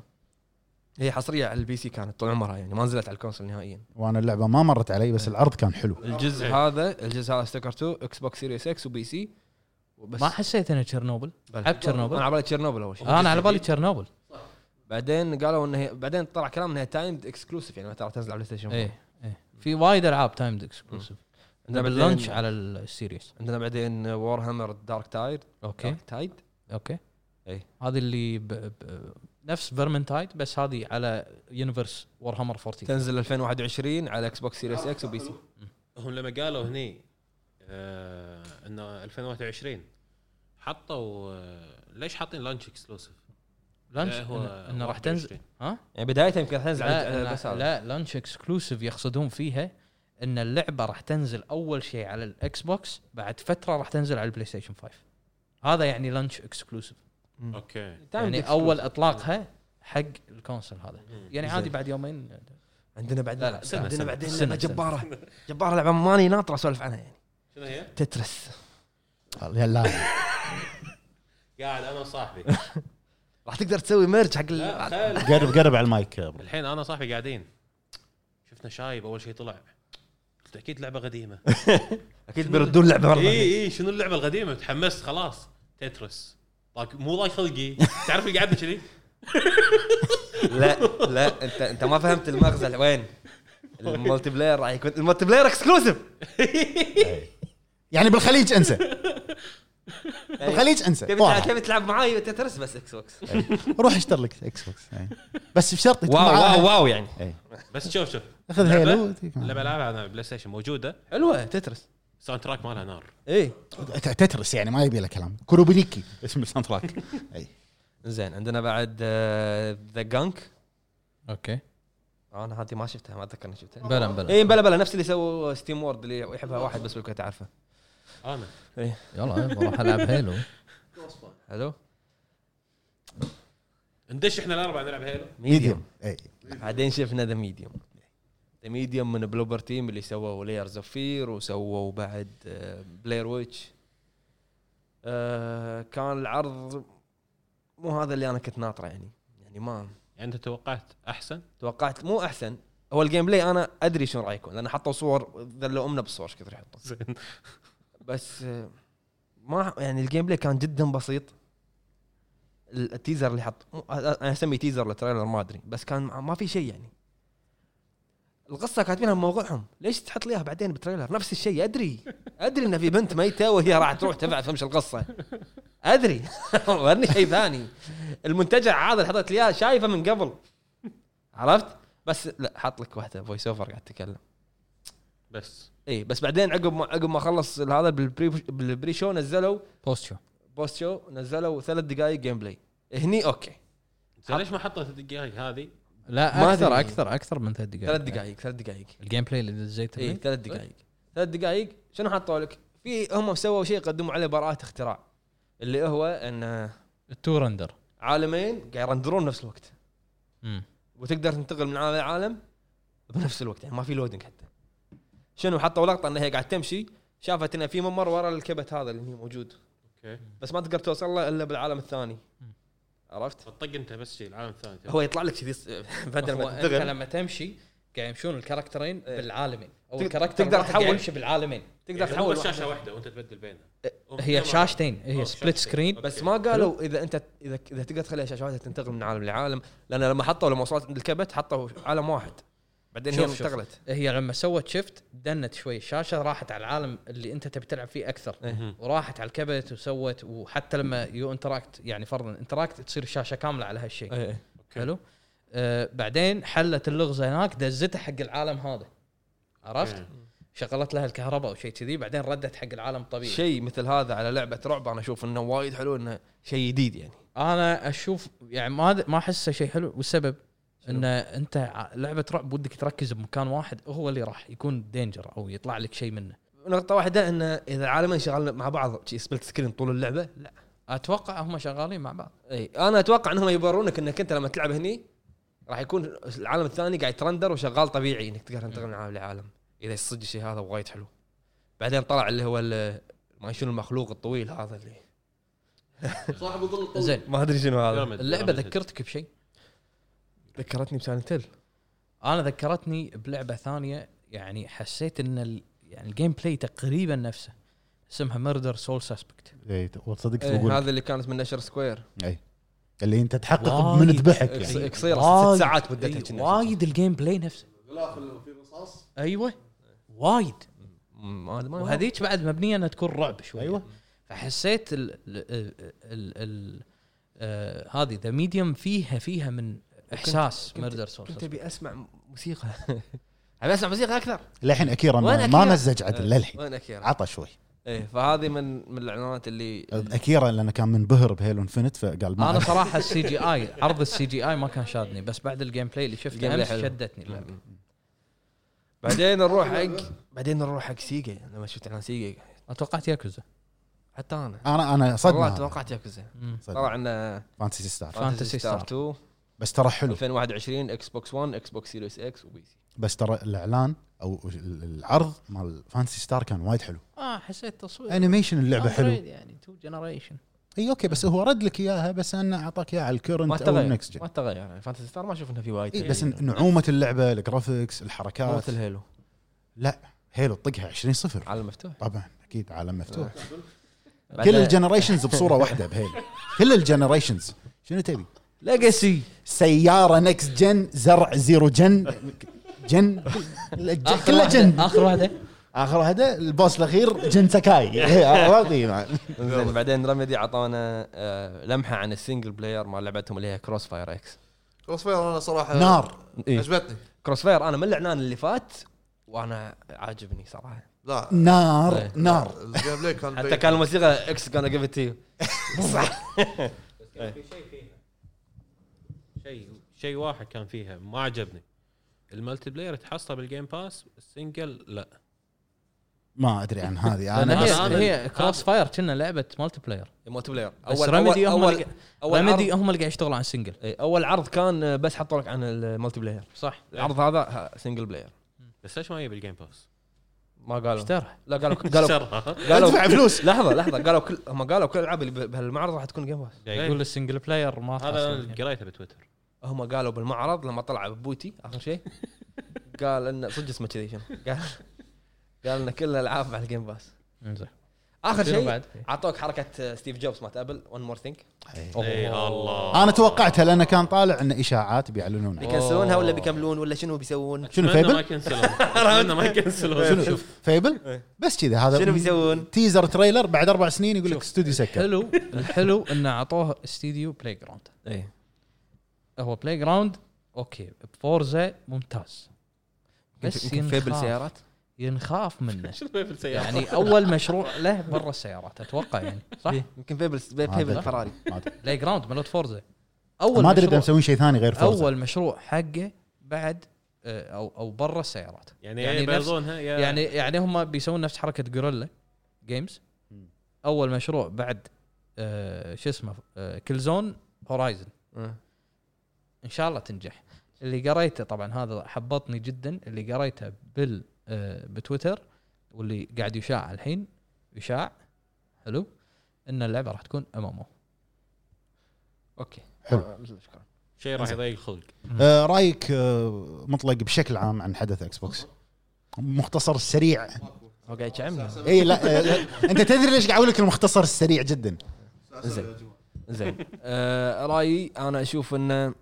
Speaker 1: هي حصريه على البي سي كانت طول عمرها يعني ما نزلت على الكونسول نهائيا
Speaker 2: وانا اللعبه ما مرت علي بس العرض كان حلو
Speaker 1: الجزء
Speaker 3: إيه.
Speaker 1: هذا الجزء هذا ستوكر 2 اكس بوكس سيريس اكس وبي سي وبس
Speaker 5: ما حسيت انا تشيرنوبل
Speaker 1: بلى.
Speaker 5: لعبت تشيرنوبل؟
Speaker 1: انا على بالي تشيرنوبل اول شيء
Speaker 5: انا على بالي تشيرنوبل
Speaker 1: بعدين قالوا انها بعدين طلع كلام انها تايمد اكسكلوسيف يعني ما تعرف تنزل على بلاي ستيشن
Speaker 5: اي اي إيه، في وايد العاب تايمد اكسكلوسيف
Speaker 1: عندنا
Speaker 5: باللانش
Speaker 1: بعدين
Speaker 5: على السيريس
Speaker 1: عندنا بعدين وور هامر دارك تايد
Speaker 5: اوكي
Speaker 1: دارك تايد
Speaker 5: اوكي
Speaker 1: إي.
Speaker 5: هذه اللي ب... ب... نفس فيرمنتايد بس هذه على يونيفرس وور هامر 14
Speaker 1: تنزل 2021 على اكس بوكس سيريس اكس وبي سي
Speaker 3: هم لما قالوا هني آه انه 2021 حطوا آه ليش حاطين لانش اكسكلوسيف؟
Speaker 5: لانش
Speaker 1: إيه،
Speaker 3: لا، هو
Speaker 5: إن- انه راح
Speaker 3: 21.
Speaker 5: تنزل ها؟
Speaker 1: يعني بدايتها يمكن تنزل على
Speaker 5: لا
Speaker 1: بس
Speaker 5: لا,
Speaker 1: هذا
Speaker 5: لا لانش اكسكلوسيف يقصدون فيها ان اللعبه راح تنزل اول شيء على الاكس بوكس بعد فتره راح تنزل على البلاي ستيشن 5 هذا يعني لانش اكسكلوسيف
Speaker 3: اوكي
Speaker 5: يعني
Speaker 1: Timed
Speaker 5: اول
Speaker 1: exclusive.
Speaker 5: اطلاقها حق الكونسل هذا يعني عادي
Speaker 1: زين.
Speaker 5: بعد يومين
Speaker 1: عندنا
Speaker 5: لا،
Speaker 1: بعدين
Speaker 5: لا، سنة،
Speaker 1: عندنا
Speaker 5: سنة.
Speaker 1: بعدين
Speaker 5: سنة،
Speaker 1: لعبه
Speaker 5: سنة.
Speaker 1: جباره جباره لعبه ماني ناطره اسولف عنها يعني
Speaker 3: شنو هي؟
Speaker 1: تترس
Speaker 2: لا
Speaker 3: قاعد انا وصاحبي آه،
Speaker 1: راح تقدر تسوي ميرج حق
Speaker 3: لا
Speaker 1: ال-
Speaker 3: خل
Speaker 2: قرب قرب على المايك يا أبو.
Speaker 3: الحين انا وصاحبي قاعدين شفنا شايب اول شيء طلع قلت اكيد لعبه قديمه
Speaker 1: اكيد بيردون لعبه مره
Speaker 5: إيه.
Speaker 1: ثانية.
Speaker 3: اي اي إيه، شنو اللعبه القديمه تحمست خلاص تترس طاق مو ضايق خلقي تعرف اللي قعدنا كذي
Speaker 1: لا لا انت انت ما فهمت المغزى وين المالتي بلاير راح يكون المالتي بلاير اكسكلوسيف
Speaker 2: يعني بالخليج انسى بالخليج انسى
Speaker 1: تبي
Speaker 2: واضح.
Speaker 1: تبي تلعب معاي تترس بس اكس بوكس
Speaker 2: روح اشتر لك اكس بوكس أي. بس بشرط يكون إيه.
Speaker 1: واو
Speaker 2: معاها-
Speaker 1: واو واو يعني
Speaker 3: بس شوف شوف
Speaker 2: اخذ
Speaker 3: لعبة-
Speaker 2: هيلو وتيك معاها.
Speaker 3: لما العبها على بلاي ستيشن موجوده
Speaker 1: حلوه تترس إيه.
Speaker 3: ساوند تراك مالها نار
Speaker 1: اي
Speaker 2: ت- تترس يعني ما يبي له كلام إيه. كروبينيكي اسم الساوند تراك
Speaker 1: زين عندنا بعد آه، ذا جانك
Speaker 5: اوكي
Speaker 1: انا هذه ما شفتها ما اتذكر اني شفتها
Speaker 5: بلا بلا
Speaker 1: اي بلا بلا نفس اللي سووا ستيم وورد اللي يحبها واحد بس بالكويت اعرفه
Speaker 3: انا
Speaker 5: يلا بروح العب هيلو
Speaker 1: حلو
Speaker 3: ندش احنا الاربعه نلعب هيلو
Speaker 2: ميديوم اي
Speaker 1: بعدين شفنا ذا ميديوم ذا ميديوم من بلوبر تيم اللي سووا لايرز اوف فير وسووا بعد آه، بلاير ويتش آه، كان العرض مو هذا اللي انا كنت ناطره يعني يعني ما
Speaker 3: يعني انت توقعت احسن
Speaker 1: توقعت مو احسن هو الجيم بلاي انا ادري شنو راح يكون لان حطوا صور ذلوا امنا بالصور ايش كثر يحطوا
Speaker 3: زين
Speaker 1: بس آه، ما يعني الجيم بلاي كان جدا بسيط ال- التيزر اللي حط مو- انا اسميه تيزر للتريلر ما ادري بس كان ما ما في شيء يعني القصه كاتبينها بموضوعهم ليش تحط لي اياها بعدين بتريلر نفس الشيء ادري ادري ان في بنت ميته وهي راح تروح تبع تفهمش القصه ادري ورني شيء ثاني المنتجع عادل حطت لي اياها شايفه من قبل عرفت بس لا حط لك واحده فويس اوفر قاعد تتكلم
Speaker 3: بس
Speaker 1: اي إيه، بس بعدين عقب ما عقب ما خلص هذا بالبري بالبري شو نزلوا
Speaker 5: بوست شو
Speaker 1: بوست شو نزلوا ثلاث دقائق جيم بلاي هني اوكي
Speaker 3: زين ليش ما حطت الدقائق هذه
Speaker 5: لا
Speaker 1: ما
Speaker 5: اكثر
Speaker 1: أدري.
Speaker 5: اكثر اكثر من ثلاث دقائق إيه،
Speaker 1: ثلاث دقائق ثلاث دقائق
Speaker 5: الجيم بلاي اللي دزيته
Speaker 1: اي
Speaker 5: لي؟
Speaker 1: ثلاث دقائق ثلاث دقائق شنو حطوا لك؟ في هم سووا شيء قدموا عليه براءة اختراع اللي هو ان
Speaker 5: التو رندر
Speaker 1: عالمين قاعد يرندرون نفس الوقت
Speaker 5: مم.
Speaker 1: وتقدر تنتقل من عالم لعالم بنفس الوقت يعني ما في لودنج حتى شنو حطوا لقطه ان هي قاعد تمشي شافت ان في ممر ورا الكبت هذا اللي هي موجود
Speaker 3: اوكي
Speaker 1: بس ما تقدر توصل له الا بالعالم الثاني عرفت؟
Speaker 3: طق انت بس شيء العالم الثاني
Speaker 1: هو يطلع لك كذي س- بدل
Speaker 5: هو
Speaker 1: ما
Speaker 5: انت
Speaker 1: تنتقل
Speaker 5: لما تمشي قاعد يمشون الكاركترين بالعالمين او
Speaker 1: تق-
Speaker 5: الكاركتر
Speaker 1: تقدر
Speaker 5: الواحد
Speaker 1: تحول.
Speaker 5: قاعد يمشي بالعالمين
Speaker 1: تقدر
Speaker 3: يعني هو
Speaker 1: تحول
Speaker 3: بس
Speaker 1: واحدة.
Speaker 3: شاشه واحده وانت تبدل بينها
Speaker 5: هي شاشتين هي سبليت سكرين
Speaker 1: بس ما قالوا اذا انت اذا اذا تقدر تخلي شاشاتها تنتقل من عالم لعالم لان لما حطوا لما وصلت عند الكبت حطوا عالم واحد بعدين هي
Speaker 5: شوف شوف.
Speaker 1: انتقلت
Speaker 5: هي لما سوت شيفت دنت شوي الشاشه راحت على العالم اللي انت تبي تلعب فيه اكثر
Speaker 1: إيه.
Speaker 5: وراحت على الكبت وسوت وحتى لما يو انتراكت يعني فرضا انتراكت تصير الشاشه كامله على
Speaker 1: إيه،
Speaker 5: هالشيء حلو آه بعدين حلت اللغز هناك دزته حق العالم هذا عرفت شغلت لها الكهرباء او شيء كذي بعدين ردت حق العالم الطبيعي
Speaker 1: شيء مثل هذا على لعبه رعب انا اشوف انه وايد حلو انه شيء جديد يعني
Speaker 5: انا اشوف يعني ما ما احسه شيء حلو والسبب ان انت ع- لعبه رعب ودك تركز بمكان واحد هو اللي راح يكون دينجر او يطلع لك شيء منه
Speaker 1: نقطه واحده انه اذا عالمين شغالين مع بعض شي سبلت سكرين طول اللعبه لا
Speaker 5: اتوقع هم شغالين مع بعض
Speaker 1: اي انا اتوقع انهم يبرونك انك انت لما تلعب هني راح يكون العالم الثاني قاعد يترندر وشغال طبيعي انك تقدر تنتقل من عالم لعالم اذا صدق الشيء هذا وايد حلو بعدين طلع اللي هو ال- ما شنو المخلوق الطويل هذا اللي
Speaker 6: صاحب الظل الطويل
Speaker 5: زين
Speaker 1: ما ادري شنو هذا
Speaker 3: بيراميد-
Speaker 5: اللعبه
Speaker 3: بيراميد.
Speaker 5: ذكرتك بشيء
Speaker 1: ذكرتني بسايلنت هيل
Speaker 5: انا ذكرتني بلعبه ثانيه يعني حسيت ان ال... يعني الجيم بلاي تقريبا نفسه اسمها ميردر سول سسبكت
Speaker 2: إيه، صدق تقول
Speaker 1: هذا اللي كانت من نشر سكوير
Speaker 2: إيه. اللي انت تحقق
Speaker 5: وايد.
Speaker 2: من ذبحك
Speaker 1: إكس-
Speaker 2: يعني
Speaker 1: قصيره ست ساعات مدتها كنا.
Speaker 5: وايد الجيم بلاي نفسه
Speaker 6: غلاف اللي فيه رصاص
Speaker 5: ايوه وايد
Speaker 1: ما ما-
Speaker 5: وهذيك بعد مبنيه انها تكون رعب شوي
Speaker 2: أيوة.
Speaker 5: فحسيت ال ال ال ال آه، هذه ذا ميديوم فيها فيها من احساس
Speaker 1: كنت-
Speaker 5: ميردر سول
Speaker 1: كنت ابي اسمع موسيقى ابي اسمع موسيقى اكثر
Speaker 2: للحين اكيرا
Speaker 1: وين
Speaker 2: ما, ما
Speaker 1: أكيرا؟ إيه.
Speaker 2: مزج عدل للحين
Speaker 1: وين اكيرا؟
Speaker 2: عطى شوي
Speaker 1: ايه فهذه من من الاعلانات اللي
Speaker 2: اكيرا لانه كان منبهر بهيلو انفنت فقال ما
Speaker 5: انا
Speaker 2: أدري.
Speaker 5: صراحه السي جي اي عرض السي جي اي ما كان شادني بس بعد الجيم بلاي اللي شفته
Speaker 1: الجيم بلاي
Speaker 5: امس
Speaker 1: حلو.
Speaker 5: شدتني اللعبه
Speaker 1: بعدين نروح حق بعدين نروح حق سيجا لما شفت اعلان سيجا
Speaker 5: توقعت ياكوزا
Speaker 1: حتى انا
Speaker 2: انا انا
Speaker 1: والله
Speaker 2: صدمه
Speaker 1: توقعت ياكوزا آه،
Speaker 2: صدمة.
Speaker 1: طلع لنا
Speaker 2: فانتسي ستار
Speaker 5: Fantasy Star.
Speaker 1: 2
Speaker 2: بس ترى حلو
Speaker 1: 2021 اكس بوكس 1 اكس بوكس سيريس اكس وبي سي
Speaker 2: بس ترى الاعلان او العرض مال فانتسي ستار كان وايد حلو
Speaker 5: اه حسيت تصوير
Speaker 2: انيميشن اللعبه
Speaker 5: Upgrade
Speaker 2: حلو
Speaker 5: يعني تو جنريشن
Speaker 2: اي اوكي بس هو رد لك اياها بس انه اعطاك اياها على
Speaker 1: ما
Speaker 2: الكورنت او
Speaker 1: تغير
Speaker 2: النكست جن
Speaker 1: ما تغير فانتسي ستار ما اشوف انه في وايد يعني.
Speaker 2: اي بس إن- آه. نعومه اللعبه الجرافكس الحركات
Speaker 1: مثل هيلو
Speaker 2: هيلو طقها 20 صفر
Speaker 1: عالم مفتوح
Speaker 2: طبعا اكيد عالم مفتوح كل
Speaker 1: بعدين-
Speaker 2: الجنريشنز بصوره واحده بهيلو كل الجنريشنز شنو تبي؟
Speaker 1: ليجاسي
Speaker 2: سياره نكست جن زرع زيرو جن جن الج- كله جن
Speaker 5: اخر واحده
Speaker 2: اخر هذا البوس الاخير جن سكاي إيه، عرفت؟ إيه،
Speaker 1: زين بعدين رمدي اعطانا آه، لمحه عن السنجل بلاير مال لعبتهم اللي هي كروس فاير اكس
Speaker 6: كروس فاير انا صراحه
Speaker 2: نار
Speaker 1: إيه.
Speaker 6: عجبتني
Speaker 1: كروس فاير انا من الاعلان اللي فات وانا عاجبني صراحه
Speaker 6: لا
Speaker 2: نار نار
Speaker 6: الجيم بلاي كان
Speaker 2: طيب.
Speaker 1: حتى
Speaker 6: بعيد.
Speaker 1: كان الموسيقى اكس كان جيف تي صح
Speaker 3: شيء شيء واحد كان فيها ما عجبني الملتي بلاير تحصله بالجيم باس السنجل لا
Speaker 2: ما ادري عن هذه
Speaker 5: لأن
Speaker 2: انا بس
Speaker 5: هي, هي كروس فاير كنا لعبه مالتي بلاير
Speaker 1: مالتي بلاير
Speaker 5: بس
Speaker 1: اول
Speaker 5: رمدي
Speaker 1: اول
Speaker 5: هم
Speaker 1: اول
Speaker 5: اللي-
Speaker 1: اول
Speaker 5: رمدي
Speaker 1: عرض,
Speaker 5: هم اللي قاعد يشتغلوا على السنجل
Speaker 1: إيه، اول عرض كان آه، بس حطوا لك عن المالتي بلاير
Speaker 5: صح
Speaker 1: العرض هذا سنجل بلاير
Speaker 3: بس ليش ما يجي بالجيم باس؟
Speaker 1: ما قالوا
Speaker 5: اشترى
Speaker 1: لا قالوا قالوا
Speaker 3: شرها.
Speaker 1: قالوا
Speaker 2: ادفع فلوس
Speaker 1: لحظه لحظه قالوا كل هم قالوا كل الالعاب اللي ب- بهالمعرض راح تكون جيم باس
Speaker 3: قاعد
Speaker 5: يقول
Speaker 3: يقول
Speaker 5: السنجل بلاير ما
Speaker 3: إيه. هذا
Speaker 5: خاصة.
Speaker 3: انا قريته بتويتر
Speaker 1: هم قالوا بالمعرض لما طلع ببوتي اخر شيء قال انه صدق اسمه كذي شنو قال قال انه كل الالعاب على الجيم باس
Speaker 5: انزين
Speaker 1: اخر
Speaker 5: شنو
Speaker 1: شيء
Speaker 5: بعد؟
Speaker 1: اعطوك حركه ستيف جوبز مالت ابل ون مور ثينك
Speaker 3: اي إيه، الله
Speaker 2: انا توقعتها لانه كان طالع انه اشاعات بيعلنونها
Speaker 1: بيكنسلونها ولا بيكملون ولا شنو بيسوون
Speaker 2: شنو
Speaker 3: أتمنى
Speaker 2: فيبل؟
Speaker 3: ما يكنسلون اتمنى ما يكنسلون
Speaker 2: شنو فيبل بس كذا هذا
Speaker 1: شنو بيسوون؟
Speaker 2: تيزر تريلر بعد اربع سنين يقول لك استوديو سكر
Speaker 5: حلو الحلو انه اعطوه استديو بلاي جراوند
Speaker 1: اي
Speaker 5: هو بلاي جراوند اوكي بفورزا ممتاز بس
Speaker 1: فيبل
Speaker 5: ينخاف
Speaker 1: سيارات
Speaker 5: ينخاف منه
Speaker 3: شنو فيبل سيارة
Speaker 5: يعني اول مشروع له برا السيارات اتوقع يعني صح؟
Speaker 1: إيه، يمكن فيبل
Speaker 2: أدري.
Speaker 1: فيبل فراري
Speaker 2: ما أدري.
Speaker 5: بلاي جراوند مالت فورزا اول
Speaker 2: ما ادري اذا
Speaker 5: مشروع-
Speaker 2: مسوين شيء ثاني غير فورزا
Speaker 5: اول مشروع حقه بعد آه، او او برا السيارات
Speaker 3: يعني
Speaker 5: يعني
Speaker 3: يا
Speaker 5: نفس-
Speaker 3: يبيضونها يا
Speaker 5: يعني يعني هم بيسوون نفس حركه جوريلا جيمز اول مشروع بعد آه شو اسمه آه كل زون هورايزن
Speaker 1: أه.
Speaker 5: ان شاء الله تنجح اللي قريته طبعا هذا حبطني جدا اللي قريته بال آه بتويتر واللي قاعد يشاع الحين يشاع حلو ان اللعبه راح تكون امامه
Speaker 1: اوكي
Speaker 2: حلو.
Speaker 1: آه، شكرا
Speaker 3: شيء راح يضيق الخلق
Speaker 2: آه، رايك آه، مطلق بشكل عام عن حدث اكس بوكس مختصر سريع
Speaker 1: هو قاعد يشعمنا
Speaker 2: اي لا آه، لا. انت تدري ليش قاعد اقول لك المختصر السريع جدا
Speaker 1: زين زين آه، رايي انا اشوف انه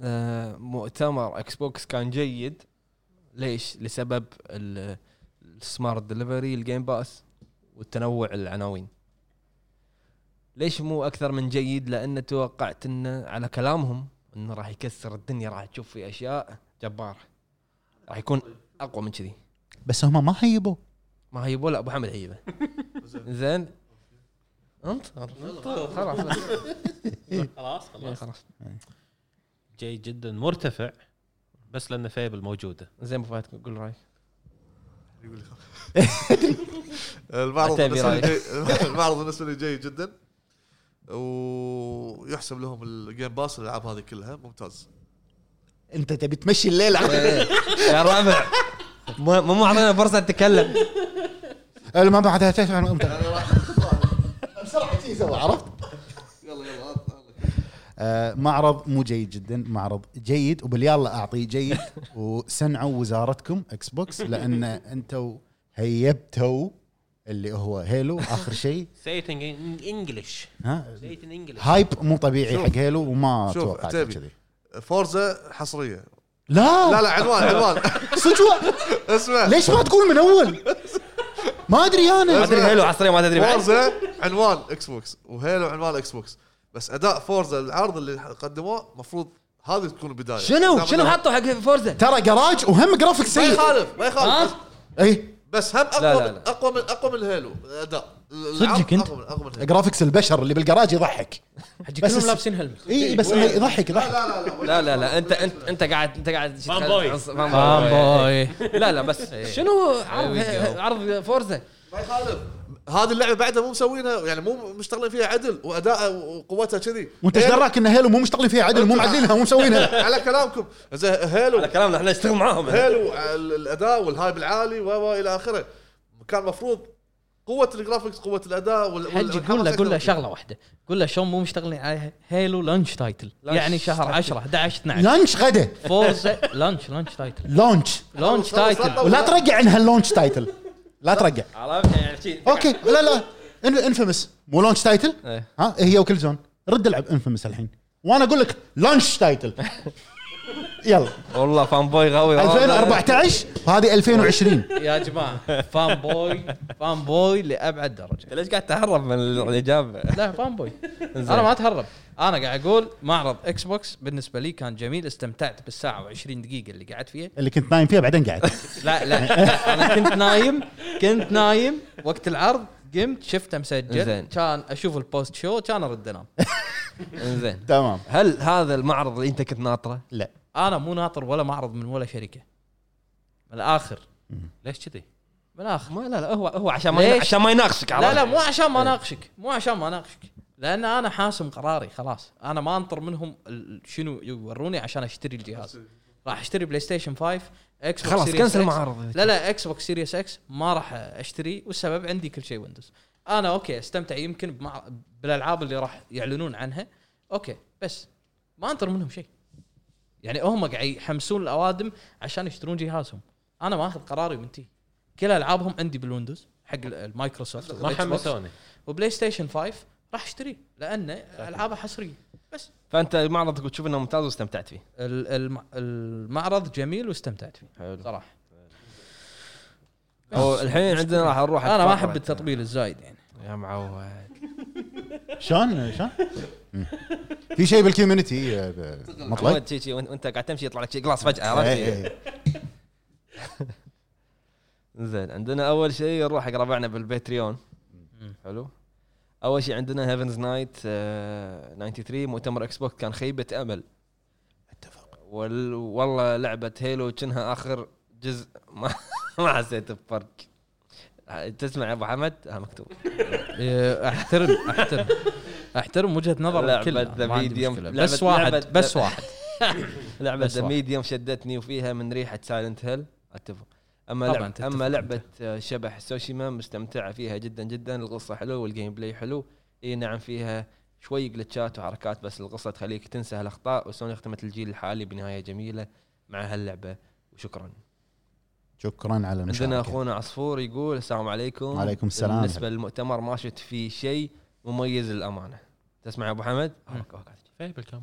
Speaker 1: آه، مؤتمر اكس بوكس كان جيد ليش؟ لسبب ال- السمارت دليفري الجيم باس والتنوع العناوين ليش مو اكثر من جيد؟ لان توقعت انه على كلامهم انه راح يكسر الدنيا راح تشوف في اشياء جباره راح يكون اقوى من كذي
Speaker 2: بس هم ما هيبوا
Speaker 1: ما هي ولا ابو حمد هيبه زين انطر انطر خلاص
Speaker 3: خلاص خلاص
Speaker 1: خلاص
Speaker 3: جيد جدا مرتفع بس لان فيبل موجوده
Speaker 1: زين ابو فهد قول رايك
Speaker 6: المعرض
Speaker 1: أعتبر
Speaker 6: بالنسبه لي
Speaker 1: رأيك.
Speaker 6: جيد- المعرض بالنسبه لي جيد جدا ويحسب لهم الجيم باس الالعاب هذه كلها ممتاز
Speaker 2: انت تبي تمشي الليل
Speaker 1: يا ربع مو مو اعطينا فرصه نتكلم
Speaker 2: ما بعدها تعرف عن-
Speaker 6: انا يعني راح
Speaker 2: بسرعه شي سوى عرفت؟
Speaker 6: يلا يلا
Speaker 2: آه، معرض مو جيد جدا معرض جيد وباليلا اعطيه جيد وسنعوا وزارتكم اكس بوكس لان انتوا هيبتوا اللي هو هيلو اخر شيء
Speaker 3: سيت انجلش
Speaker 2: ها
Speaker 3: سيت انجلش
Speaker 2: هايب مو طبيعي
Speaker 6: شوف.
Speaker 2: حق هيلو وما
Speaker 6: شوف،
Speaker 2: توقعت
Speaker 6: عتيبي.
Speaker 2: كذي
Speaker 6: فورزا حصريه
Speaker 2: لا
Speaker 6: لا
Speaker 2: لا
Speaker 6: لا عنوان عنوان
Speaker 2: صدق وا-
Speaker 6: اسمع
Speaker 2: ليش ما تقول من اول؟ ما ادري
Speaker 1: ما
Speaker 2: انا
Speaker 1: ادري حلو عصريه ما تدري بعد
Speaker 6: فورزا عنوان اكس بوكس وهيلو عنوان اكس بوكس بس اداء فورزا العرض اللي قدموه المفروض هذه تكون البدايه
Speaker 1: شنو
Speaker 6: دام
Speaker 1: شنو
Speaker 6: إنه-
Speaker 1: حطوا حق فورزا؟
Speaker 2: ترى جراج وهم إيه. جرافيك
Speaker 6: ما
Speaker 2: سيء
Speaker 6: يخالف ما يخالف
Speaker 2: اي
Speaker 6: بس هم اقوى
Speaker 1: لا، لا،
Speaker 6: من
Speaker 1: لا.
Speaker 6: اقوى من اقوى من الهيلو اداء
Speaker 4: صدقك أنت؟
Speaker 6: اقوى من اقوى من الهيلو
Speaker 2: جرافيكس البشر اللي بالجراج يضحك
Speaker 5: حجي
Speaker 2: بس
Speaker 5: كلهم
Speaker 2: الس-
Speaker 5: لابسين هلمت
Speaker 2: اي بس إنه يضحك
Speaker 6: لا
Speaker 2: يضحك
Speaker 6: لا لا
Speaker 1: لا لا لا انت انت انت قاعد انت قاعد
Speaker 3: فان بوي.
Speaker 5: فان بوي
Speaker 1: لا لا بس شنو عرض
Speaker 5: There we go.
Speaker 1: عرض فورزا؟
Speaker 6: ما يخالف هذه اللعبه بعدها مو مسوينها يعني مو مشتغلين فيها عدل وادائها وقوتها كذي إيه،
Speaker 2: وانت ايش دراك ان هيلو مو مشتغلين فيها عدل مو معدلينها مو مسوينها
Speaker 6: على كلامكم زي هيلو
Speaker 1: كلامنا احنا نشتغل معاهم
Speaker 6: هيلو ال- الاداء والهايب العالي و و الى اخره كان المفروض قوه الجرافيكس قوه الاداء وال- وال-
Speaker 7: حجي قول له قول له شغله واحده قول له شلون مو مشتغلين عليها هيلو لانش تايتل يعني شهر 10 11 12
Speaker 2: لانش غدا
Speaker 7: فورزا لانش لانش تايتل
Speaker 2: لونش
Speaker 7: لانش تايتل
Speaker 2: ولا ترجع انها اللونش تايتل لا ترجع
Speaker 1: عرفت يعني
Speaker 2: اوكي لا لا انفيمس مو لونش تايتل
Speaker 1: إيه.
Speaker 2: ها هي وكل زون رد العب انفيمس الحين وانا اقول لك لونش تايتل يلا
Speaker 1: والله فان بوي قوي
Speaker 2: 2014 وهذه 2020
Speaker 5: يا جماعه فان بوي فان بوي لابعد درجه
Speaker 1: أنت ليش قاعد تهرب من الاجابه؟
Speaker 5: لا فان بوي انا ما اتهرب انا قاعد اقول معرض اكس بوكس بالنسبه لي كان جميل استمتعت بالساعه و20 دقيقه اللي قعدت فيها
Speaker 2: اللي كنت نايم فيها بعدين قاعد
Speaker 5: لا لا انا كنت نايم كنت نايم وقت العرض قمت شفته مسجل
Speaker 1: زين.
Speaker 5: كان اشوف البوست شو كان ارد انام
Speaker 1: زين
Speaker 2: تمام
Speaker 1: هل هذا المعرض اللي انت كنت ناطره؟
Speaker 2: لا
Speaker 5: انا مو ناطر ولا معرض من ولا شركه من الاخر
Speaker 3: ليش كذي؟
Speaker 5: من الاخر
Speaker 1: ما لا لا هو هو عشان ما
Speaker 5: ليش؟
Speaker 1: عشان ما يناقشك
Speaker 5: لا لا
Speaker 1: عرفت؟
Speaker 5: مو عشان ما اناقشك مو عشان ما اناقشك لان انا حاسم قراري خلاص انا ما انطر منهم ال- شنو يوروني عشان اشتري الجهاز راح اشتري بلاي ستيشن 5 اكس بوكس
Speaker 1: خلاص
Speaker 5: Series
Speaker 1: كنسل
Speaker 5: X.
Speaker 1: المعارض
Speaker 5: لا لا اكس بوكس سيريس اكس ما راح اشتري والسبب عندي كل شيء ويندوز انا اوكي استمتع يمكن بمع... بالالعاب اللي راح يعلنون عنها اوكي بس ما انطر منهم شيء يعني هم قاعد يحمسون الاوادم عشان يشترون جهازهم انا ماخذ قراري وانتهي كل العابهم عندي بالويندوز حق ال- المايكروسوفت
Speaker 3: ما
Speaker 5: والإكس بوكس.
Speaker 3: حمسوني
Speaker 5: وبلاي ستيشن 5 راح اشتريه لان العابه حصريه بس
Speaker 1: فانت المعرض تقول تشوف انه ممتاز واستمتعت فيه
Speaker 5: ال- الم- المعرض جميل واستمتعت فيه
Speaker 1: حلو
Speaker 5: صراحه
Speaker 1: أو الحين عندنا راح نروح
Speaker 5: انا ما
Speaker 1: أتفرج.
Speaker 5: احب التطبيل الزايد يعني
Speaker 1: يا معود
Speaker 2: شلون شلون مم. في شيء بالكوميونتي آه، ب- مطلق
Speaker 1: معود شي- شي وأنت- وانت قاعد تمشي يطلع لك شي جلاس فجاه
Speaker 2: إيه،
Speaker 1: عرفت؟
Speaker 2: إيه.
Speaker 1: زين عندنا اول شيء نروح حق ربعنا بالباتريون حلو اول شيء عندنا هيفنز نايت 93 مؤتمر اكس بوكس كان خيبه امل اتفق وال... والله لعبه هيلو كأنها اخر جزء ما ما حسيت بفرق تسمع يا ابو حمد ها مكتوب
Speaker 5: إيه، احترم احترم احترم وجهه نظر
Speaker 1: لعبة
Speaker 5: الكل
Speaker 1: The
Speaker 5: ما عندي
Speaker 1: Medium.
Speaker 5: مشكلة.
Speaker 1: لعبة-
Speaker 5: بس واحد
Speaker 1: لعبة-
Speaker 5: بس واحد
Speaker 1: لعبه
Speaker 5: بس
Speaker 1: ذا
Speaker 5: واحد.
Speaker 1: ميديوم شدتني وفيها من ريحه سايلنت هيل اتفق اما
Speaker 5: طبعاً
Speaker 1: لعبة
Speaker 5: تتفق
Speaker 1: اما
Speaker 5: أنت.
Speaker 1: لعبه آه، شبح سوشيما مستمتعه فيها جدا جدا القصه حلوه والجيم بلاي حلو اي نعم فيها شوي جلتشات وحركات بس القصه تخليك تنسى هالاخطاء وسوني ختمت الجيل الحالي بنهايه جميله مع هاللعبه وشكرا
Speaker 2: شكرا على
Speaker 1: عندنا
Speaker 2: المشاركه
Speaker 1: اخونا عصفور يقول السلام عليكم
Speaker 2: وعليكم السلام.
Speaker 1: بالنسبه للمؤتمر ما شفت فيه شيء مميز للامانه تسمع يا ابو حمد
Speaker 5: مم.
Speaker 1: أوكي، أوكي.
Speaker 3: فيبل كان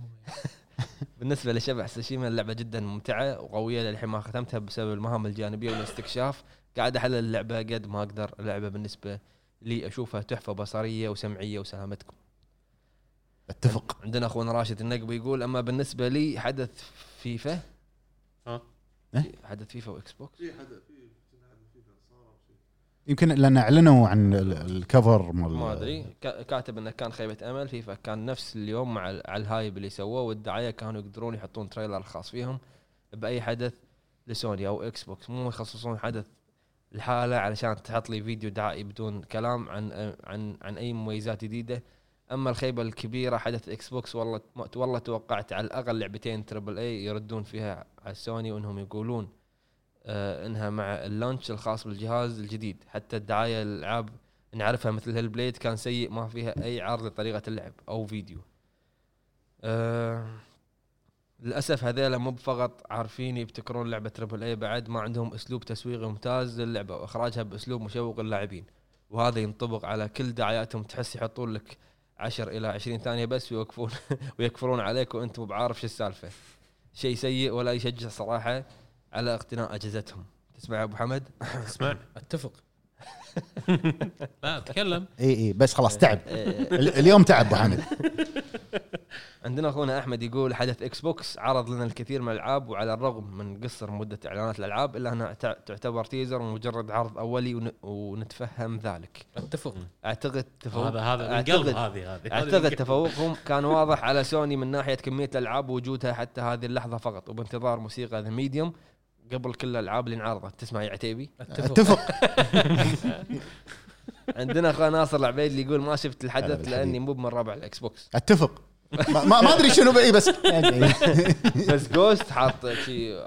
Speaker 1: بالنسبه لشبح سوشيما اللعبه جدا ممتعه وقويه للحين ما ختمتها بسبب المهام الجانبيه والاستكشاف قاعد احلل اللعبه قد ما اقدر اللعبه بالنسبه لي اشوفها تحفه بصريه وسمعيه وسلامتكم
Speaker 2: اتفق
Speaker 1: عندنا اخونا راشد النقبي يقول اما بالنسبه لي حدث فيفا
Speaker 3: ها؟
Speaker 1: حدث فيفا واكس بوكس
Speaker 2: يمكن لان اعلنوا عن ال- الكفر مال
Speaker 1: ما ادري كا- كاتب انه كان خيبه امل فيفا كان نفس اليوم مع ال- على الهايب اللي سووه والدعايه كانوا يقدرون يحطون تريلر خاص فيهم باي حدث لسوني او اكس بوكس مو يخصصون حدث الحالة علشان تحط لي فيديو دعائي بدون كلام عن عن عن اي مميزات جديده اما الخيبه الكبيره حدث اكس بوكس والله ما- والله توقعت على الاقل لعبتين تربل اي يردون فيها على سوني وانهم يقولون آه انها مع اللانش الخاص بالجهاز الجديد حتى الدعايه للالعاب نعرفها مثل هالبليد كان سيء ما فيها اي عرض لطريقه اللعب او فيديو أه للاسف هذيلا مو فقط عارفين يبتكرون لعبه تربل اي بعد ما عندهم اسلوب تسويقي ممتاز للعبه واخراجها باسلوب مشوق للاعبين وهذا ينطبق على كل دعاياتهم تحس يحطون لك 10 الى 20 ثانيه بس ويوقفون ويكفرون عليك وانت مو بعارف شو السالفه شيء سيء ولا يشجع صراحه على اقتناء اجهزتهم تسمع يا ابو حمد
Speaker 3: اسمع
Speaker 5: اتفق
Speaker 3: لا تكلم
Speaker 2: اي اي إيه، بس
Speaker 1: إيه.
Speaker 2: خلاص تعب ال- اليوم تعب ابو حمد
Speaker 1: عندنا اخونا احمد يقول حدث اكس بوكس عرض لنا الكثير من الالعاب وعلى الرغم من قصر مده اعلانات الالعاب الا انها تع- تعتبر تيزر ومجرد عرض اولي ون- ونتفهم ذلك
Speaker 5: اتفق
Speaker 1: اعتقد تفوق
Speaker 3: هذا هذا من قلب
Speaker 1: اعتقد
Speaker 3: هذه هذه
Speaker 1: اعتقد تفوقهم كان واضح على سوني من ناحيه كميه الالعاب ووجودها حتى هذه اللحظه فقط وبانتظار موسيقى ذا ميديوم قبل كل الالعاب اللي انعرضت تسمع يا عتيبي
Speaker 5: اتفق
Speaker 2: اتفق
Speaker 1: عندنا اخونا ناصر العبيد اللي يقول ما شفت
Speaker 2: هلا
Speaker 1: الحدث
Speaker 2: بالحبيب.
Speaker 1: لاني مو من ربع الاكس بوكس
Speaker 2: اتفق ما, ما ما ادري شنو بقي بس
Speaker 1: بس جوست حاط شي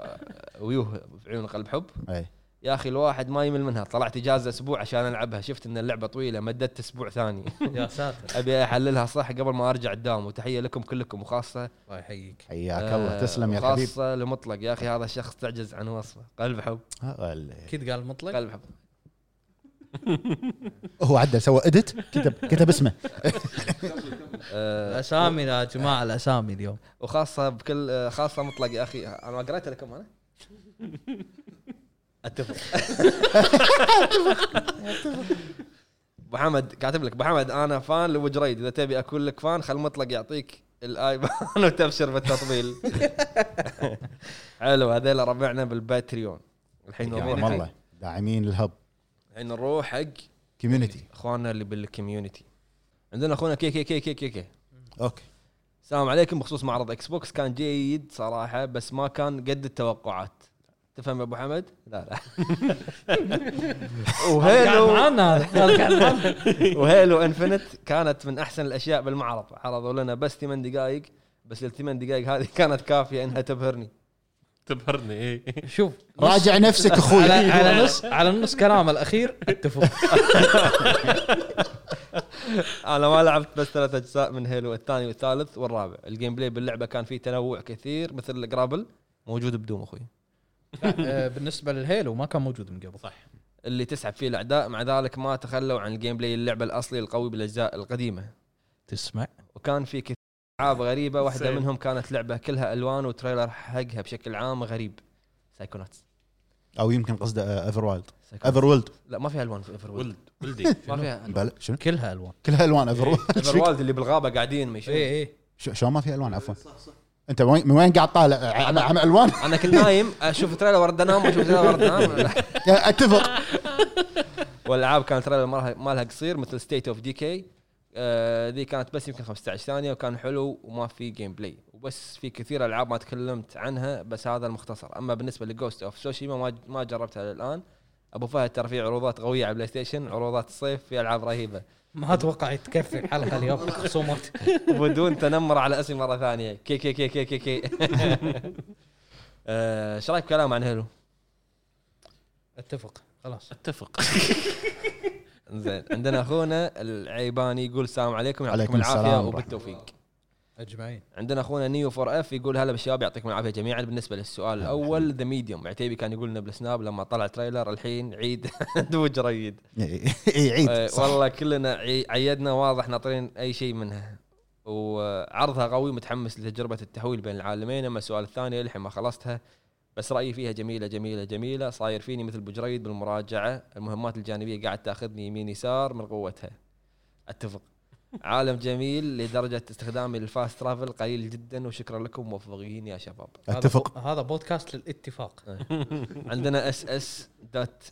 Speaker 1: ويوه بعيون قلب حب
Speaker 2: إي.
Speaker 1: يا اخي الواحد ما يمل منها طلعت اجازه اسبوع عشان العبها شفت ان اللعبه طويله مددت اسبوع ثاني
Speaker 5: يا ساتر
Speaker 1: ابي احللها صح قبل ما ارجع الدام وتحيه لكم كلكم وخاصه
Speaker 5: الله يحييك
Speaker 2: حياك
Speaker 1: آه،
Speaker 2: الله تسلم يا حبيبي
Speaker 1: خاصه لمطلق يا اخي هذا الشخص تعجز عن وصفه قلب حب
Speaker 2: هلا.
Speaker 5: اكيد قال مطلق
Speaker 1: قلب حب
Speaker 2: هو عدل سوى اديت كتب كتب اسمه
Speaker 1: أه
Speaker 7: الاسامي يا جماعه الاسامي اليوم
Speaker 1: وخاصه بكل خاصه مطلق يا اخي انا ما قريتها لكم انا اتفق ابو حمد كاتب لك ابو حمد انا فان لوجريد اذا تبي اكون لك فان خل مطلق يعطيك الايبان وتبشر بالتطبيل حلو هذيلا ربعنا بالباتريون الحين
Speaker 2: يا
Speaker 1: نروح
Speaker 2: والله داعمين الهب
Speaker 1: الحين نروح حق
Speaker 2: كوميونتي
Speaker 1: اخواننا اللي بالكوميونتي عندنا اخونا كي كي كي كي كي كي
Speaker 2: اوكي
Speaker 1: السلام عليكم بخصوص معرض اكس بوكس كان جيد صراحه بس ما كان قد التوقعات تفهم يا ابو حمد؟ لا لا
Speaker 7: قاعد
Speaker 1: وهيلو
Speaker 7: معانا هذا هذا قاعد معانا.
Speaker 1: وهيلو انفنت كانت من احسن الاشياء بالمعرض عرضوا لنا بس ثمان دقائق بس الثمان دقائق هذه كانت كافيه انها تبهرني
Speaker 3: تبهرني اي
Speaker 7: شوف
Speaker 2: راجع نفسك
Speaker 7: على
Speaker 2: اخوي
Speaker 7: على نص على نص كلامه الاخير اتفق
Speaker 1: انا ما لعبت بس ثلاث اجزاء من هيلو الثاني والثالث والرابع الجيم بلاي باللعبه كان فيه تنوع كثير مثل الجرابل موجود بدوم اخوي
Speaker 5: آه، بالنسبه للهيلو ما كان موجود من قبل
Speaker 3: صح
Speaker 1: اللي تسحب فيه الاعداء مع ذلك ما تخلوا عن الجيم بلاي اللعبه الاصلي القوي بالاجزاء القديمه
Speaker 5: تسمع
Speaker 1: وكان في كثير العاب غريبه واحده
Speaker 3: سيد.
Speaker 1: منهم كانت لعبه كلها الوان وتريلر حقها بشكل عام غريب سايكوناتس
Speaker 2: او يمكن قصده آه، ايفر وايلد
Speaker 1: سايكوناتس.
Speaker 2: ايفر ويلد
Speaker 1: لا ما فيها الوان في ايفر وولد
Speaker 3: ولد ولدي
Speaker 1: ما فيها
Speaker 2: بلى شنو
Speaker 5: كلها الوان
Speaker 2: كلها الوان ايفر
Speaker 1: ايفر
Speaker 2: ويلد
Speaker 1: وولد اللي بالغابه قاعدين ما يشوفون.
Speaker 5: اي اي
Speaker 2: شلون ما في الوان عفوا انت من وين- من وين قاعد طالع عم عم الوان
Speaker 1: انا كنت نايم اشوف تريلر ورد انام واشوف تريلر ورد انام
Speaker 2: اتفق
Speaker 1: والالعاب كانت تريلر مالها- مالها قصير مثل ستيت اوف دي كي آه، ذي كانت بس يمكن 15 ثانيه وكان حلو وما في جيم بلاي وبس في كثير العاب ما تكلمت عنها بس هذا المختصر اما بالنسبه لجوست اوف سوشيما ما ما جربتها للان ابو فهد ترى في عروضات قويه على بلاي ستيشن عروضات الصيف في العاب رهيبه
Speaker 5: ما اتوقع تكفي الحلقه اليوم خصومات
Speaker 1: بدون تنمر على اسمي مره ثانيه كي كي كي كي كي كي آه، ايش رايك بكلام عن هيلو؟
Speaker 5: اتفق خلاص
Speaker 3: اتفق
Speaker 1: زين عندنا اخونا العيباني يقول السلام عليكم يعطيكم
Speaker 2: عليكم
Speaker 1: العافيه
Speaker 2: السلام ورحمة
Speaker 1: وبالتوفيق
Speaker 5: اجمعين
Speaker 1: عندنا اخونا نيو فور اف يقول هلا بالشباب يعطيكم العافيه جميعا بالنسبه للسؤال الاول ذا ميديوم عتيبي كان يقول لنا بالسناب لما طلع تريلر الحين عيد دوج ريد
Speaker 2: إيه، اي عيد
Speaker 1: آه،
Speaker 2: صح.
Speaker 1: والله كلنا عي- عيدنا واضح ناطرين اي شيء منها وعرضها قوي متحمس لتجربه التحويل بين العالمين اما السؤال الثاني للحين ما خلصتها بس رايي فيها جميله جميله جميله صاير فيني مثل بجريد بالمراجعه المهمات الجانبيه قاعد تاخذني يمين يسار من قوتها اتفق عالم جميل لدرجه استخدامي للفاست ترافل قليل جدا وشكرا لكم موفقين يا شباب
Speaker 5: هذا
Speaker 2: اتفق
Speaker 5: بو- هذا بودكاست للاتفاق
Speaker 1: عندنا اس اس دات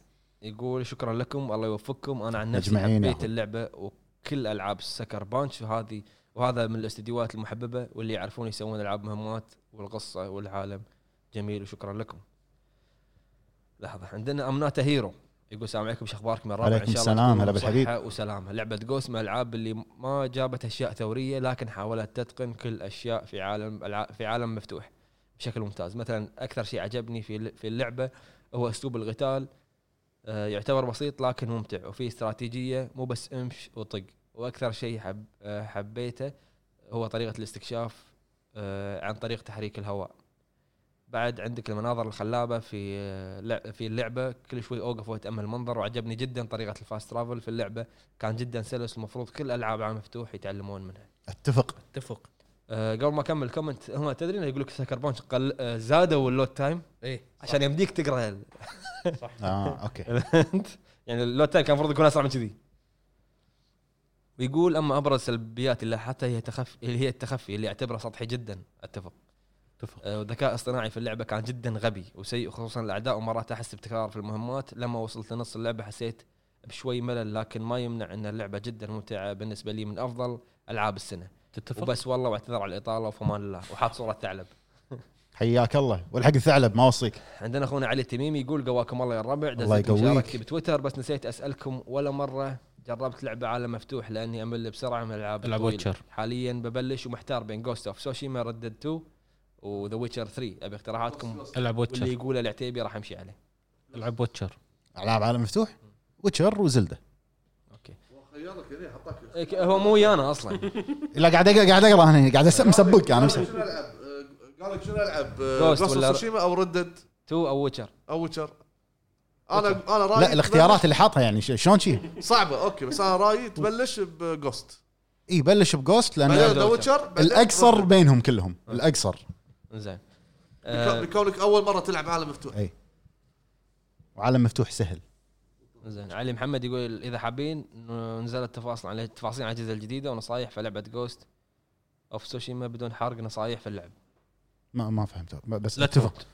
Speaker 1: يقول شكرا لكم الله يوفقكم انا عن نفسي
Speaker 2: أجمعين يا
Speaker 1: حبيت
Speaker 2: أخوي.
Speaker 1: اللعبه وكل العاب سكر بانش وهذه وهذا من الاستديوهات المحببه واللي يعرفون يسوون العاب مهمات والقصه والعالم جميل وشكرا لكم لحظه عندنا امناتا هيرو يقول السلام عليكم شو اخباركم يا الرابع
Speaker 2: عليكم
Speaker 1: إن شاء الله
Speaker 2: السلام،
Speaker 1: تكونوا
Speaker 2: هلا بالحبيب.
Speaker 1: بصحة وسلامه لعبه جوست من الالعاب اللي ما جابت اشياء ثوريه لكن حاولت تتقن كل اشياء في عالم الع- في عالم مفتوح بشكل ممتاز مثلا اكثر شيء عجبني في في اللعبه هو اسلوب القتال آه، يعتبر بسيط لكن ممتع وفيه استراتيجيه مو بس امش وطق واكثر شيء حب آه، حبيته هو طريقه الاستكشاف آه، عن طريق تحريك الهواء بعد عندك المناظر الخلابه في آه، لع- في اللعبه كل شوي اوقف واتامل المنظر وعجبني جدا طريقه الفاست ترافل في اللعبه كان جدا سلس المفروض كل العاب عام مفتوح يتعلمون منها
Speaker 2: اتفق
Speaker 7: اتفق
Speaker 1: آه، قبل ما اكمل كومنت هم تدري انه يقول لك سكر بانش قل آه، زادوا اللوت تايم
Speaker 7: إيه.
Speaker 5: اي
Speaker 1: عشان يمديك تقرا ال-
Speaker 2: اه اوكي
Speaker 1: الايفنت. يعني اللوت تايم كان المفروض يكون اسرع من كذي ويقول اما ابرز سلبيات اللي لاحظتها هي تخفي اللي هي التخفي اللي اعتبره سطحي جدا اتفق
Speaker 3: اتفق.
Speaker 1: آه، والذكاء الاصطناعي في اللعبه كان جدا غبي وسيء خصوصا الاعداء ومرات احس بتكرار في المهمات لما وصلت لنص اللعبه حسيت بشوي ملل لكن ما يمنع ان اللعبه جدا ممتعه بالنسبه لي من افضل العاب السنه
Speaker 3: تتفق
Speaker 1: وبس والله واعتذر على الاطاله وفي امان الله وحاط صوره ثعلب
Speaker 2: حياك الله والحق الثعلب ما وصيك
Speaker 1: عندنا اخونا علي التميمي يقول قواكم الله يا الربع
Speaker 2: الله
Speaker 1: دزت
Speaker 2: يقويك.
Speaker 1: مشاركتي بتويتر بس نسيت اسالكم ولا مره جربت لعبه عالم مفتوح لاني امل بسرعه من الالعاب
Speaker 3: العب
Speaker 1: الطويلة.
Speaker 3: ويتشر.
Speaker 1: حاليا ببلش ومحتار بين جوست اوف سوشيما ردد 2 وذا ويتشر 3 ابي اقتراحاتكم
Speaker 3: العب
Speaker 1: واللي
Speaker 3: ويتشر
Speaker 1: يقوله العتيبي راح امشي عليه
Speaker 3: العب ويتشر
Speaker 2: العاب عالم مفتوح ويتشر وزلده
Speaker 6: خيارك يعني حطاك
Speaker 1: إيه، هو مو ويانا اصلا
Speaker 2: لا قاعد اقرا قاعد اقرا انا قاعد أس- مسبق انا مسبق
Speaker 6: شنو العب آه، قال لك شنو العب
Speaker 1: Ghost
Speaker 6: جوست
Speaker 1: ولا-
Speaker 6: سوشيما او ردد
Speaker 1: 2 او ويتشر
Speaker 6: او ويتشر انا انا رايي
Speaker 2: لا الاختيارات اللي حاطها يعني ش- شلون شي
Speaker 6: تبلش- صعبه اوكي بس انا رايي تبلش بجوست
Speaker 2: اي إيه، بلش بجوست
Speaker 6: بعدين
Speaker 2: لان
Speaker 6: ذا ويتشر بعدين
Speaker 2: الاقصر
Speaker 6: Red Dead.
Speaker 2: بينهم كلهم الاقصر
Speaker 1: زين
Speaker 6: بيكو-
Speaker 1: آه
Speaker 6: بيكونك اول مره تلعب عالم مفتوح
Speaker 2: وعالم مفتوح سهل
Speaker 1: زين علي محمد يقول اذا حابين ن- نزلت تفاصيل على تفاصيل عن الاجهزه الجديده ونصايح في لعبه جوست اوف سوشيما بدون حرق نصايح في اللعب
Speaker 2: ما ما فهمت ب- بس
Speaker 3: لا
Speaker 2: اتفق
Speaker 3: تفوت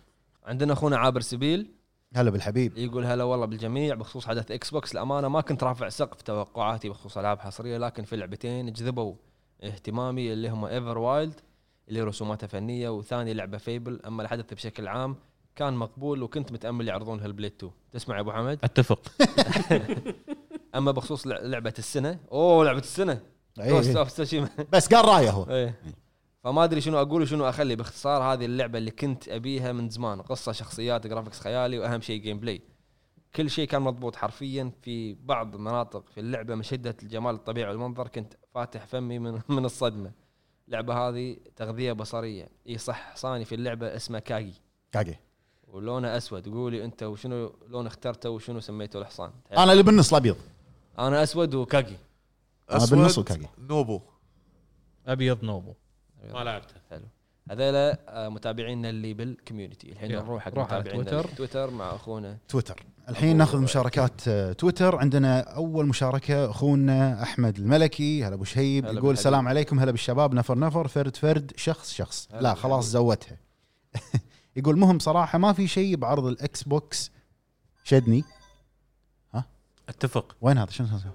Speaker 1: عندنا اخونا عابر سبيل
Speaker 2: هلا بالحبيب
Speaker 1: يقول هلا والله بالجميع بخصوص حدث اكس بوكس الامانه ما كنت رافع سقف توقعاتي بخصوص العاب حصريه لكن في لعبتين جذبوا اهتمامي اللي هم ايفر وايلد اللي رسوماتها فنيه وثاني لعبه فيبل اما الحدث بشكل عام كان مقبول وكنت متامل يعرضون هالبليد 2 تسمع يا ابو حمد
Speaker 3: اتفق
Speaker 1: اما بخصوص لع- لعبه السنه اوه لعبه السنه
Speaker 2: إي
Speaker 1: جوست
Speaker 2: إي.
Speaker 1: اوف تسوشيما
Speaker 2: إيه، بس قال رايه هو
Speaker 1: ايه
Speaker 5: إيه.
Speaker 1: فما ادري شنو اقول وشنو اخلي باختصار هذه اللعبه اللي كنت ابيها من زمان قصه شخصيات جرافيكس خيالي واهم شيء جيم بلاي كل شيء كان مضبوط حرفيا في بعض المناطق في اللعبه من شده الجمال الطبيعي والمنظر كنت فاتح فمي من من الصدمه اللعبه هذه تغذيه بصريه اي صح حصاني في اللعبه اسمه كاجي
Speaker 2: كاكي
Speaker 1: ولونه اسود قولي انت وشنو لون اخترته وشنو سميته الحصان
Speaker 2: انا اللي بالنص الابيض
Speaker 1: انا اسود وكاجي
Speaker 2: أنا
Speaker 6: أسود،
Speaker 2: بالنص وكاكي.
Speaker 6: نوبو
Speaker 7: ابيض نوبو
Speaker 3: ما لعبتها
Speaker 1: هذيلا آه، متابعيننا اللي بالكوميونتي الحين
Speaker 5: يلا،
Speaker 1: نروح حق
Speaker 5: روح على
Speaker 1: متابعينا
Speaker 5: تويتر.
Speaker 1: اللي تويتر مع اخونا
Speaker 2: تويتر الحين ناخذ مشاركات آه، تويتر عندنا اول مشاركه اخونا احمد الملكي هلا ابو شهيب
Speaker 1: هلا
Speaker 2: يقول
Speaker 1: بالحبيب.
Speaker 2: سلام عليكم هلا بالشباب نفر نفر فرد فرد شخص شخص
Speaker 1: هلا
Speaker 2: لا خلاص زودتها يقول مهم صراحه ما في شيء بعرض الاكس بوكس شدني
Speaker 3: اتفق
Speaker 2: وين هذا شنو هذا؟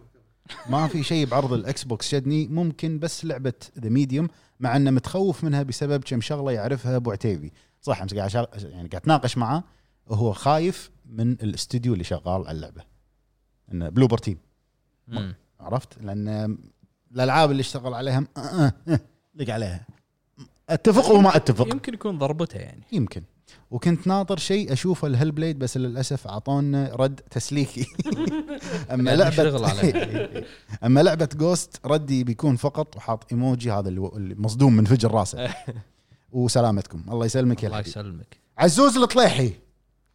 Speaker 2: ما في شيء بعرض الاكس بوكس شدني ممكن بس لعبه ذا ميديوم مع انه متخوف منها بسبب كم شغله يعرفها ابو عتيبي صح امس قاعد أشار- يعني قاعد اتناقش معاه وهو خايف من الاستوديو اللي شغال على اللعبه انه بلوبر تيم عرفت لان الالعاب اللي اشتغل عليها أه أه أه لق عليها اتفق وما اتفق
Speaker 7: يمكن يكون ضربته يعني
Speaker 2: يمكن وكنت ناطر شيء اشوفه الهل بليد بس للاسف اعطونا رد تسليكي اما
Speaker 7: لأنه يعني شغل
Speaker 2: لعبه اما لعبه جوست ردي بيكون فقط وحاط ايموجي هذا اللي اللي مصدوم من فجر راسه وسلامتكم الله يسلمك يا
Speaker 7: الله
Speaker 2: الحبيب
Speaker 7: يسلمك
Speaker 2: عزوز الطليحي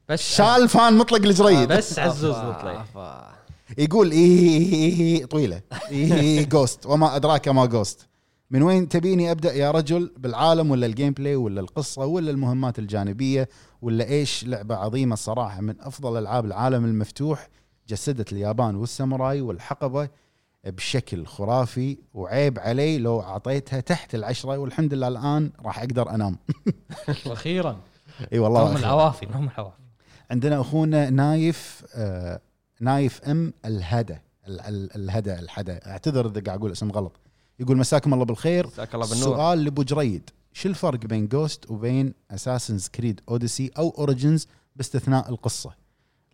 Speaker 7: بس
Speaker 2: شال فان مطلق الجريد
Speaker 7: بس عزوز لطلي
Speaker 1: آفا.
Speaker 2: يقول إيه طويله إيه جوست وما ادراك ما جوست من وين تبيني ابدا يا رجل بالعالم ولا الجيم بلاي ولا القصه ولا المهمات الجانبيه ولا ايش لعبه عظيمه الصراحه من افضل العاب العالم المفتوح جسدت اليابان والساموراي والحقبه بشكل خرافي وعيب علي لو اعطيتها تحت العشره والحمد لله الان راح اقدر انام
Speaker 7: واخيرا
Speaker 2: اي والله
Speaker 7: نوم
Speaker 2: أخير.
Speaker 7: العوافي نوم العوافي
Speaker 2: عندنا اخونا نايف آه نايف ام الهدى ال- ال- الهدى الحدى اعتذر اذا قاعد اقول اسم غلط يقول مساكم الله بالخير
Speaker 1: جزاك الله بالنور
Speaker 2: سؤال لابو جريد شو الفرق بين جوست وبين اساسنز كريد اوديسي او اوريجنز باستثناء القصه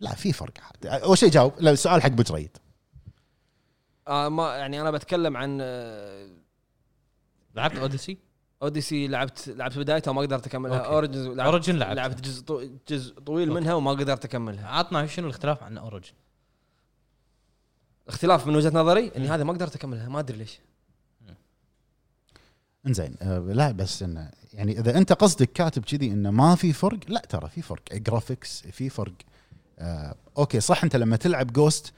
Speaker 2: لا في فرق عاد. اول شيء جاوب لا السؤال حق ابو جريد
Speaker 1: آه ما يعني انا بتكلم عن آه،
Speaker 7: لعبت اوديسي
Speaker 1: اوديسي لعبت لعبت بدايتها وما قدرت اكملها
Speaker 7: أوكي.
Speaker 1: اوريجنز لعبت
Speaker 7: اوريجن لعبت.
Speaker 1: لعبت جزء طو- جزء طويل منها وما قدرت اكملها
Speaker 7: عطنا شنو الاختلاف عن اوريجن
Speaker 1: اختلاف من وجهه نظري اني هذا ما قدرت اكملها ما ادري ليش
Speaker 2: انزين آه، لا بس انه يعني اذا انت قصدك كاتب كذي انه ما في فرق لا ترى في فرق جرافيكس في فرق آه اوكي صح انت لما تلعب جوست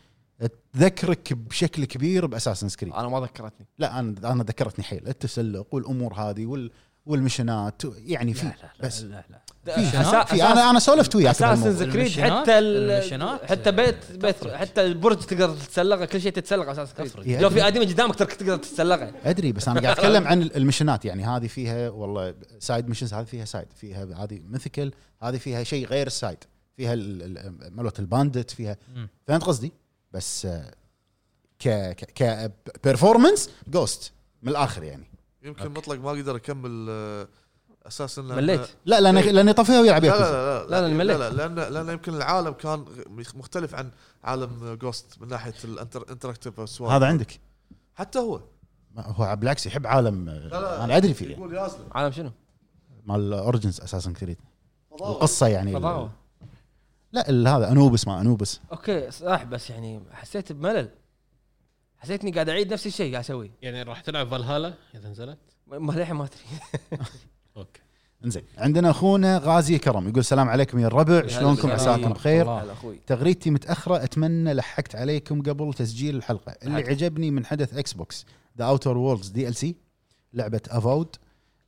Speaker 2: تذكرك بشكل كبير باساسن سكريد
Speaker 1: انا ما ذكرتني
Speaker 2: لا انا انا ذكرتني حيل التسلق والامور هذه وال والمشنات يعني في بس
Speaker 7: لا لا
Speaker 2: في في انا انا سولفت وياك
Speaker 1: اساسن
Speaker 2: بالموضوع.
Speaker 1: كريد
Speaker 7: المشينات-
Speaker 1: حتى ال-
Speaker 7: المشينات،
Speaker 1: حتى
Speaker 7: آه،
Speaker 1: بيت بيت حتى البرج تقدر تتسلقه كل شيء تتسلق اساسن
Speaker 2: يا
Speaker 1: كريد لو في ادمي قدامك ترك تقدر تتسلقه
Speaker 2: ادري بس انا قاعد اتكلم عن المشنات يعني هذه فيها والله سايد مشنز هذه فيها سايد فيها هذه مثكل هذه فيها شيء غير السايد فيها ال- ال- مالوت الباندت فيها
Speaker 7: مم.
Speaker 2: فهمت قصدي بس آه، ك ك كبرفورمنس جوست من الاخر يعني
Speaker 6: يمكن مطلق ما اقدر اكمل آه، اساسا لأن-
Speaker 1: مليت
Speaker 2: لا لان لان يطفيها ويلعب
Speaker 6: إيه. لا لا
Speaker 2: ياكوزا
Speaker 6: لا يعني
Speaker 1: لا، أنا مليت.
Speaker 6: لا لان لان يمكن العالم كان غ- مختلف عن عالم جوست من ناحيه الانتراكتيف سوالف
Speaker 2: هذا عندك
Speaker 6: حتى هو
Speaker 2: ما- هو بالعكس يحب عالم آه،
Speaker 6: لا.
Speaker 2: انا ادري فيه يعني.
Speaker 6: يقول يازلم
Speaker 1: عالم شنو؟
Speaker 2: مال اورجنز اساسا كريد
Speaker 6: فضاوة.
Speaker 2: القصه يعني
Speaker 1: فضاوه
Speaker 2: لا ال- هذا انوبس ما انوبس
Speaker 1: اوكي صح بس يعني حسيت بملل حسيت اني قاعد اعيد نفس الشيء قاعد اسويه
Speaker 3: يعني راح تلعب فالهالا اذا نزلت
Speaker 1: ما- ما للحين ما ادري
Speaker 3: اوكي
Speaker 2: انزين عندنا اخونا غازي كرم يقول السلام عليكم يا الربع شلونكم
Speaker 1: هلا
Speaker 2: عساكم
Speaker 1: بالسلام.
Speaker 2: بخير
Speaker 1: هلا اخوي
Speaker 2: تغريدتي متاخره اتمنى لحقت عليكم قبل تسجيل الحلقه اللي عجبني من حدث اكس بوكس ذا اوتر وولدز دي ال سي لعبه افاود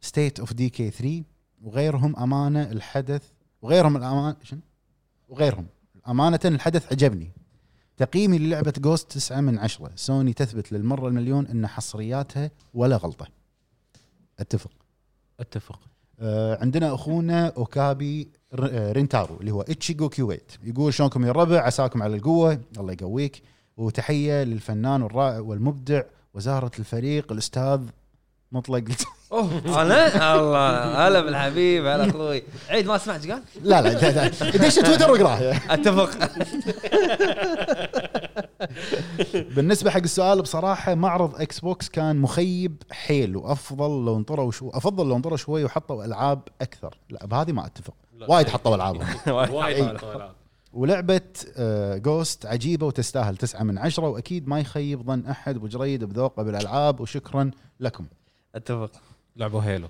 Speaker 2: ستيت اوف دي كي 3 وغيرهم امانه الحدث وغيرهم الامانه شنو؟ وغيرهم امانه الحدث عجبني تقييمي للعبة جوست 9 من 10 سوني تثبت للمرة المليون أن حصرياتها ولا غلطة أتفق
Speaker 7: اتفق
Speaker 2: آه، عندنا اخونا اوكابي ر- آه، رينتارو اللي هو اتشيجو كويت يقول شلونكم يا الربع عساكم على القوه الله يقويك وتحيه للفنان والرائع والمبدع وزهره الفريق الاستاذ مطلق
Speaker 1: اوه انا الله هلا بالحبيب هلا اخوي عيد ما سمعت ايش قال؟
Speaker 2: لا لا لا، لا دش تويتر واقراه
Speaker 1: اتفق
Speaker 2: بالنسبه حق السؤال بصراحه معرض اكس بوكس كان مخيب حيل وافضل لو انطروا شو افضل لو انطروا شوي وحطوا العاب اكثر لا بهذه ما اتفق
Speaker 3: لا.
Speaker 2: وايد حطوا العاب
Speaker 3: وايد
Speaker 2: إي.
Speaker 3: حطوا ألعاب.
Speaker 2: ولعبه آه، جوست عجيبه وتستاهل تسعة من عشرة واكيد ما يخيب ظن احد وجريد بذوقه بالالعاب وشكرا لكم
Speaker 1: اتفق
Speaker 3: لعبوا هيلو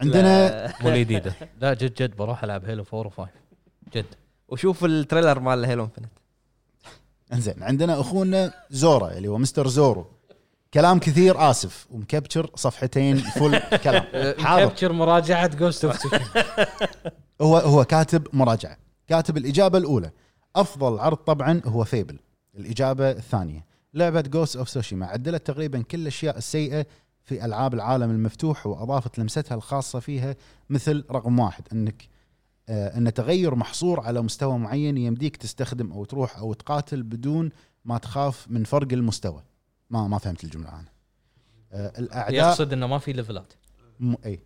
Speaker 2: عندنا
Speaker 3: مو الجديده
Speaker 7: لا جد جد بروح العب هيلو 4 و5 جد
Speaker 1: وشوف التريلر مال هيلو انفنت
Speaker 2: انزين عندنا اخونا زورا اللي هو مستر زورو كلام كثير اسف ومكبتر صفحتين فل كلام حاضر
Speaker 7: كابتشر مراجعه جوست اوف
Speaker 2: هو هو كاتب مراجعه كاتب الاجابه الاولى افضل عرض طبعا هو فيبل الاجابه الثانيه لعبه جوست اوف سوشيما عدلت تقريبا كل الاشياء السيئه في العاب العالم المفتوح واضافت لمستها الخاصه فيها مثل رقم واحد انك آه ان تغير محصور على مستوى معين يمديك تستخدم او تروح او تقاتل بدون ما تخاف من فرق المستوى ما ما فهمت الجمله انا آه الاعداء
Speaker 7: يقصد انه ما في ليفلات
Speaker 2: م... اي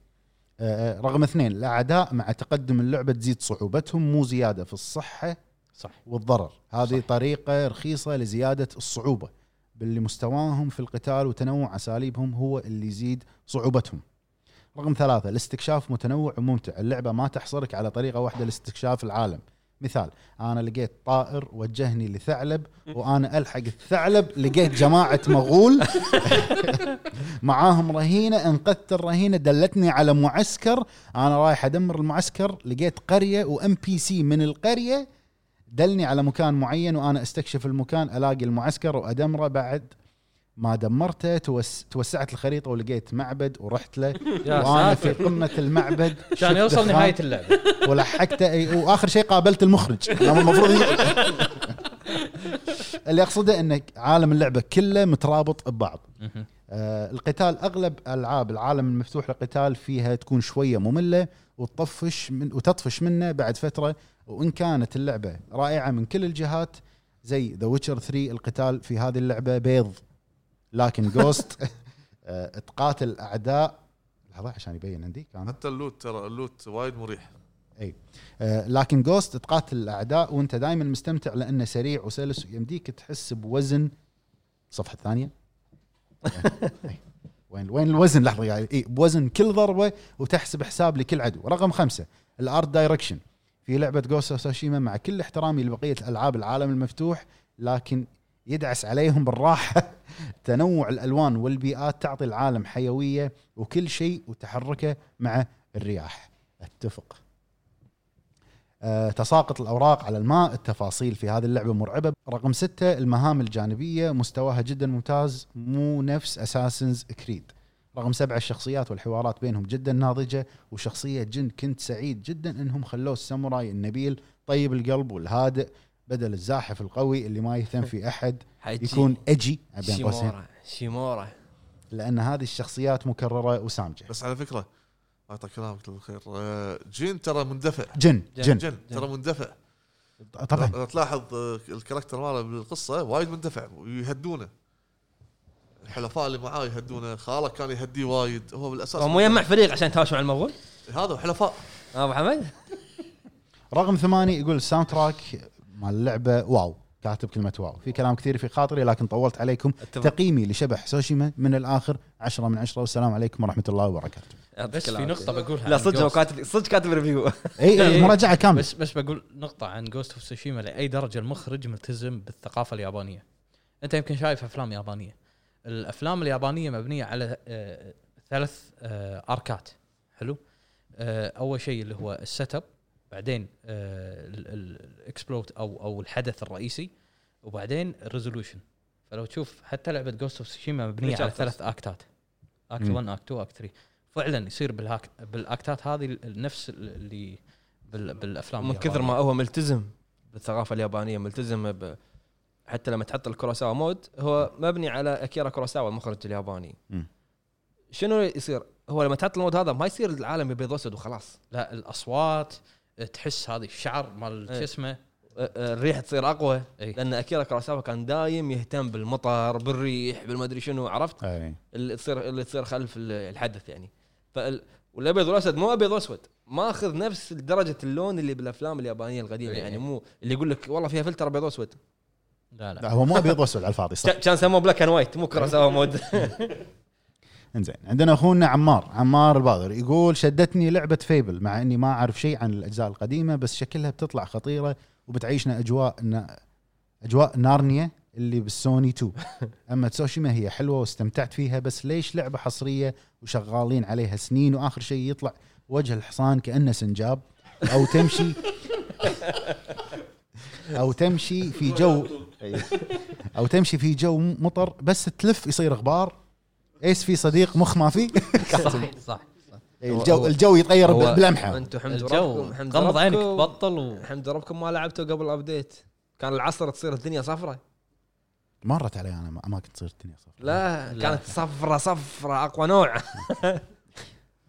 Speaker 2: آه، رقم اثنين الاعداء مع تقدم اللعبه تزيد صعوبتهم مو زياده في الصحه
Speaker 7: صح.
Speaker 2: والضرر هذه
Speaker 7: صح.
Speaker 2: طريقه رخيصه لزياده الصعوبه باللي مستواهم في القتال وتنوع اساليبهم هو اللي يزيد صعوبتهم رقم ثلاثة الاستكشاف متنوع وممتع اللعبة ما تحصرك على طريقة واحدة لاستكشاف العالم مثال أنا لقيت طائر وجهني لثعلب وأنا ألحق الثعلب لقيت جماعة مغول معاهم رهينه انقذت الرهينه دلتني على معسكر انا رايح ادمر المعسكر لقيت قريه وام بي سي من القريه دلني على مكان معين وانا استكشف المكان الاقي المعسكر وادمره بعد ما دمرته توس... توسعت الخريطه ولقيت معبد ورحت له وانا في قمه المعبد
Speaker 7: عشان
Speaker 2: شفت
Speaker 7: يوصل
Speaker 2: دخان
Speaker 7: نهايه اللعبه
Speaker 2: ولحقته أي... واخر شيء قابلت المخرج أنا المفروض اللي اقصده ان عالم اللعبه كله مترابط ببعض آه، القتال اغلب العاب العالم المفتوح للقتال فيها تكون شويه ممله وتطفش من وتطفش منه بعد فتره وان كانت اللعبه رائعه من كل الجهات زي ذا ويتشر 3 القتال في هذه اللعبه بيض لكن آه، جوست تقاتل اعداء لحظه عشان يبين عندي كان
Speaker 6: حتى اللوت ترى اللوت وايد مريح
Speaker 2: آه، لكن جوست تقاتل الاعداء وانت دائما مستمتع لانه سريع وسلس ويمديك تحس بوزن الصفحه الثانيه وين وين الوزن لحظه يعني إيه بوزن كل ضربه وتحسب حساب لكل عدو رقم خمسة الارت دايركشن في لعبه جوست اوف سوشيما مع كل احترامي لبقيه الالعاب العالم المفتوح لكن يدعس عليهم بالراحه تنوع الالوان والبيئات تعطي العالم حيويه وكل شيء وتحركه مع الرياح اتفق آه، تساقط الأوراق على الماء التفاصيل في هذه اللعبة مرعبة رقم ستة المهام الجانبية مستواها جدا ممتاز مو نفس أساسنز كريد رقم سبعة الشخصيات والحوارات بينهم جدا ناضجة وشخصية جن كنت سعيد جدا أنهم خلوه الساموراي النبيل طيب القلب والهادئ بدل الزاحف القوي اللي ما يهتم في أحد
Speaker 1: حيجي
Speaker 2: يكون أجي بين قوسين
Speaker 1: شيمورا شيمورا
Speaker 2: لأن هذه الشخصيات مكررة وسامجة
Speaker 6: بس على فكره الله يعطيك كلامك الخير آه، جين ترى مندفع
Speaker 2: جن جن
Speaker 6: جن ترى مندفع
Speaker 2: طبعا
Speaker 6: لو تلاحظ آه، الكاركتر ماله بالقصه وايد مندفع ويهدونه الحلفاء اللي معاه يهدونه خاله كان يهديه وايد هو بالاساس
Speaker 1: هو مو يجمع فريق عشان يتهاوش مع المغول
Speaker 6: هذا حلفاء
Speaker 1: ها ابو حمد
Speaker 2: رقم ثمانية يقول الساوند تراك مال اللعبة واو كاتب كلمة واو في كلام كثير في خاطري لكن طولت عليكم
Speaker 1: اتفق.
Speaker 2: تقييمي لشبح سوشيما من الآخر عشرة من عشرة والسلام عليكم ورحمة الله وبركاته
Speaker 1: يعطيك
Speaker 5: بس في
Speaker 1: العافية.
Speaker 5: نقطه بقولها
Speaker 1: لا
Speaker 5: عن
Speaker 1: صدق هو
Speaker 5: Ghost.
Speaker 1: كاتب صدق كاتب ريفيو
Speaker 2: اي
Speaker 5: إي.
Speaker 2: إي، مراجعة إيه، كاملة
Speaker 5: بس بس بقول نقطة عن جوست اوف سوشيما لأي درجة المخرج ملتزم بالثقافة اليابانية. أنت يمكن شايف أفلام يابانية. الأفلام اليابانية مبنية على آه، ثلاث آه، أركات. حلو؟ آه، أول شيء اللي هو السيت اب، بعدين آه، الاكسبلوت أو أو الحدث الرئيسي، وبعدين الريزولوشن. فلو تشوف حتى لعبة جوست اوف سوشيما مبنية على
Speaker 1: Chapters.
Speaker 5: ثلاث أكتات. أكت 1 أكت 2 أكت 3. فعلا يصير بالهاك بالاكتات هذه نفس اللي بال- بالافلام
Speaker 1: من كثر ما هو ملتزم بالثقافه اليابانيه ملتزم ب... حتى لما تحط الكروساوا مود هو مبني على اكيرا كروساوا المخرج الياباني
Speaker 2: مم.
Speaker 1: شنو يصير هو لما تحط المود هذا ما يصير العالم بيض واسود وخلاص
Speaker 5: لا الاصوات تحس هذه الشعر مال
Speaker 1: إيه.
Speaker 5: شو اسمه
Speaker 1: أ- أ- الريح تصير اقوى
Speaker 5: إيه.
Speaker 1: لان اكيرا كروساوا كان دايم يهتم بالمطر بالريح بالمدري شنو عرفت
Speaker 2: إي.
Speaker 1: اللي تصير اللي تصير خلف ال- الحدث يعني فال والابيض والاسود مو ابيض واسود ماخذ نفس درجه اللون اللي بالافلام اليابانيه القديمه
Speaker 5: إيه.
Speaker 1: يعني مو اللي يقول لك والله فيها فلتر ابيض واسود
Speaker 5: لا
Speaker 2: لا
Speaker 5: لا
Speaker 2: هو مو ابيض واسود على الفاضي صح
Speaker 1: كان- كان سموه بلاك اند وايت مو كراساوا مود
Speaker 2: انزين عندنا اخونا عمار عمار الباغر يقول شدتني لعبه فيبل مع اني ما اعرف شيء عن الاجزاء القديمه بس شكلها بتطلع خطيره وبتعيشنا اجواء نا- اجواء نارنيا اللي بالسوني 2 اما تسوشيما هي حلوه واستمتعت فيها بس ليش لعبه حصريه وشغالين عليها سنين واخر شيء يطلع وجه الحصان كانه سنجاب او تمشي او تمشي في جو او تمشي في جو مطر بس تلف يصير غبار ايس في صديق مخ ما في
Speaker 7: صح صح
Speaker 2: إي، الجو الجو يتغير ب- بلمحه
Speaker 1: انتم حمد
Speaker 7: الجو
Speaker 1: ربكم حمد
Speaker 7: غمض عينك
Speaker 1: ربكم
Speaker 7: بطل و
Speaker 1: حمد ربكم ما لعبتوا قبل ابديت كان العصر تصير الدنيا صفرة
Speaker 2: مرت علي انا ما- اماكن تصير الدنيا صفر
Speaker 1: لا,
Speaker 7: لا.
Speaker 1: كانت صفرة صفرة اقوى نوع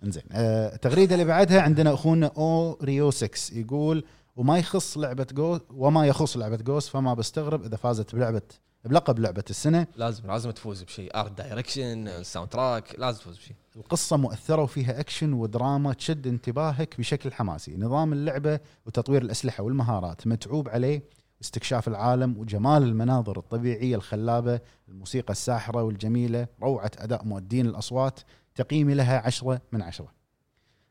Speaker 2: انزين آه، التغريده اللي بعدها عندنا اخونا او ريو 6 يقول وما يخص لعبه جوس وما يخص لعبه جوس فما بستغرب اذا فازت بلعبه بلقب لعبه السنه
Speaker 1: لازم لازم تفوز بشيء ارت دايركشن ساوند تراك لازم تفوز بشيء
Speaker 2: القصة مؤثرة وفيها أكشن ودراما تشد انتباهك بشكل حماسي نظام اللعبة وتطوير الأسلحة والمهارات متعوب عليه استكشاف العالم وجمال المناظر الطبيعية الخلابة الموسيقى الساحرة والجميلة روعة أداء مؤدين الأصوات تقييمي لها عشرة من عشرة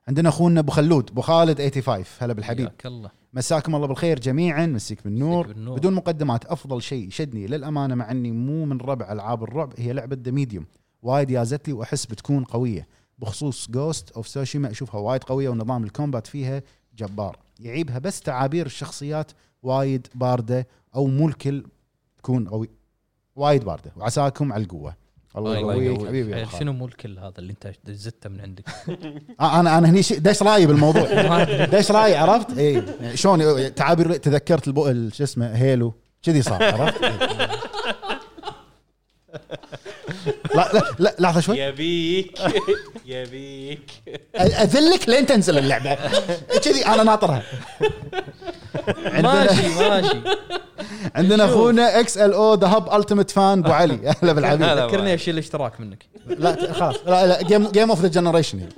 Speaker 2: عندنا أخونا أبو خلود أبو خالد 85 هلا بالحبيب
Speaker 5: حياك الله
Speaker 2: مساكم الله بالخير جميعا مسيك بالنور
Speaker 5: مسيك بالنور.
Speaker 2: بدون مقدمات افضل شيء شدني للامانه مع اني مو من ربع العاب الرعب هي لعبه ذا ميديوم وايد يازت لي واحس بتكون قويه بخصوص جوست اوف سوشيما اشوفها وايد قويه ونظام الكومبات فيها جبار يعيبها بس تعابير الشخصيات وايد بارده او مو الكل تكون قوي وايد بارده وعساكم على القوه الله
Speaker 5: الله
Speaker 2: يقويك إيه،
Speaker 5: يقويك.
Speaker 7: إيه،
Speaker 2: حبيبي يا أبو
Speaker 5: تخيل
Speaker 2: خالد.
Speaker 5: شنو مو الكل هذا اللي انت زدته من عندك
Speaker 2: آه، انا انا هني شي- دش راي بالموضوع دش راي عرفت؟ اي شلون تعابير تذكرت البو- ال- شو اسمه هيلو كذي صار عرفت؟ إيه. لا لا لا لحظه شوي
Speaker 3: يبيك يبيك
Speaker 2: أ- اذلك لين تنزل اللعبه كذي انا ناطرها عندنا
Speaker 7: ماشي ماشي
Speaker 2: عندنا اخونا اكس ال او ذا هب التيمت فان ابو علي اهلا بالحبيب
Speaker 7: ذكرني اشيل الاشتراك منك
Speaker 2: لا ت- خلاص لا لا جيم جيم اوف ذا يعني. جنريشن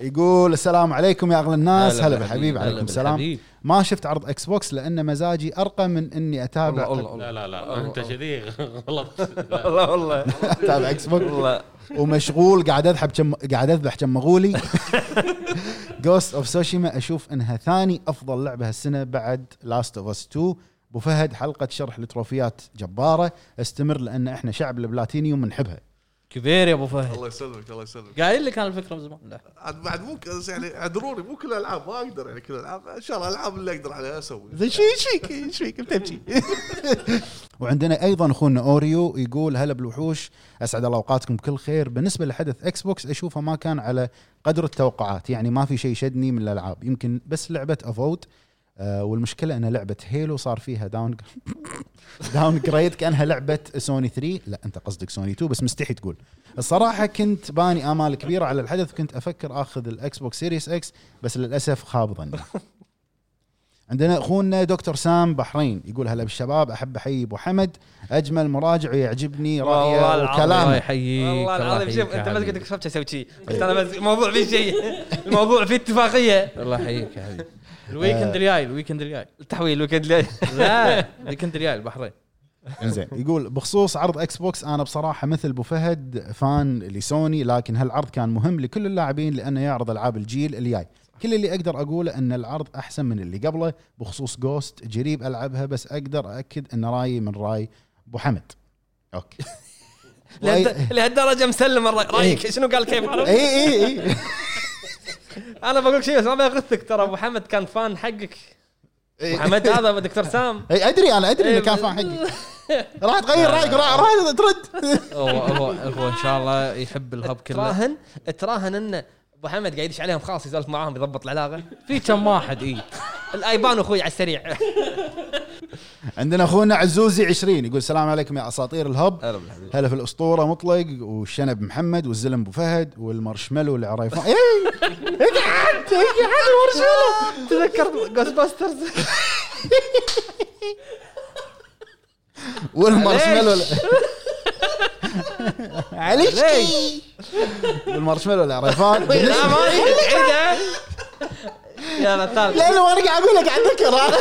Speaker 2: يقول السلام عليكم يا اغلى الناس هلا بالحبيب عليكم السلام
Speaker 5: حبيب.
Speaker 2: ما شفت عرض اكس بوكس لان مزاجي ارقى من اني
Speaker 1: والله
Speaker 2: اتابع
Speaker 1: والله
Speaker 3: لا
Speaker 1: والله
Speaker 3: لا لا انت كذي غلط لا.
Speaker 1: والله والله
Speaker 2: اتابع اكس بوكس
Speaker 1: والله
Speaker 2: ومشغول قاعد اذبح كم قاعد اذبح كم مغولي جوست اوف سوشيما اشوف انها ثاني افضل لعبه هالسنه بعد لاست اوف اس 2 ابو فهد حلقه شرح لتروفيات جباره استمر لان احنا شعب البلاتينيوم نحبها
Speaker 7: كبير يا ابو فهد
Speaker 6: الله يسلمك الله يسلمك
Speaker 7: قايل لك انا الفكره من زمان لا.
Speaker 6: عاد بعد مو ك- يعني اعذروني مو كل الالعاب ما اقدر يعني كل الالعاب ان شاء الله الالعاب اللي اقدر عليها اسوي
Speaker 2: زين شو ايش فيك ايش فيك بتبكي وعندنا ايضا اخونا اوريو يقول هلا بالوحوش اسعد الله اوقاتكم بكل خير بالنسبه لحدث اكس بوكس اشوفه ما كان على قدر التوقعات يعني ما في شيء شدني من الالعاب يمكن بس لعبه افوت آه والمشكله ان لعبه هيلو صار فيها داون داون جريد كانها لعبه سوني 3 لا انت قصدك سوني 2 بس مستحي تقول الصراحه كنت باني امال كبيره على الحدث وكنت افكر اخذ الاكس بوكس سيريس اكس بس للاسف خاب ظني عندنا اخونا دكتور سام بحرين يقول هلا بالشباب احب احيي ابو حمد اجمل مراجع ويعجبني
Speaker 1: والله
Speaker 2: رايه
Speaker 1: العظيم.
Speaker 7: الله
Speaker 2: وكلامه
Speaker 7: يحييك الله
Speaker 1: والله العظيم إيه. شوف
Speaker 7: يحييك يا
Speaker 1: انت ما
Speaker 7: حبيبي.
Speaker 1: تقدر تكسب تسوي شيء بس انا بس الموضوع فيه شيء الموضوع فيه اتفاقيه
Speaker 7: الله يحييك يا حبيبي
Speaker 1: آه.
Speaker 7: الويكند الجاي الويكند الجاي
Speaker 1: التحويل الويكند الجاي
Speaker 7: لا الويكند الجاي البحرين
Speaker 2: زين يقول بخصوص عرض اكس بوكس انا بصراحه مثل ابو فهد فان لسوني لكن هالعرض كان مهم لكل اللاعبين لانه يعرض العاب الجيل الجاي كل اللي اقدر اقوله ان العرض احسن من اللي قبله بخصوص جوست جريب العبها بس اقدر اكد ان رايي من راي ابو حمد اوكي
Speaker 1: لهالد- لهالدرجه مسلم الرأي- رايك شنو قال كيف عرفت؟
Speaker 2: اي اي اي
Speaker 1: انا بقول شيء بس ما بغثك ترى ابو حمد كان فان حقك ابو حمد هذا أبو دكتور سام
Speaker 2: اي ادري انا ادري انه كان فاهم حقي راح تغير رايك راح راح ترد
Speaker 5: هو هو هو ان شاء الله يحب الهب كله
Speaker 1: تراهن تراهن انه ابو حمد قاعد يدش عليهم خلاص يسولف معاهم يضبط العلاقه
Speaker 7: في كم واحد اي
Speaker 5: إيه؟
Speaker 1: الايبان اخوي على السريع
Speaker 2: عندنا اخونا عزوزي 20 يقول السلام عليكم يا اساطير الهب
Speaker 1: هلا بالحبيب
Speaker 2: هلا في الاسطوره مطلق والشنب محمد والزلم ابو فهد والمارشميلو إيه، العريفان اي اقعد اقعد المارشميلو
Speaker 1: تذكرت جوست باسترز
Speaker 2: والمارشميلو عليش والمارشميلو العريفان
Speaker 1: لا ما عيدها يلا تعال
Speaker 2: لا لا انا قاعد اقول لك قاعد اذكر انا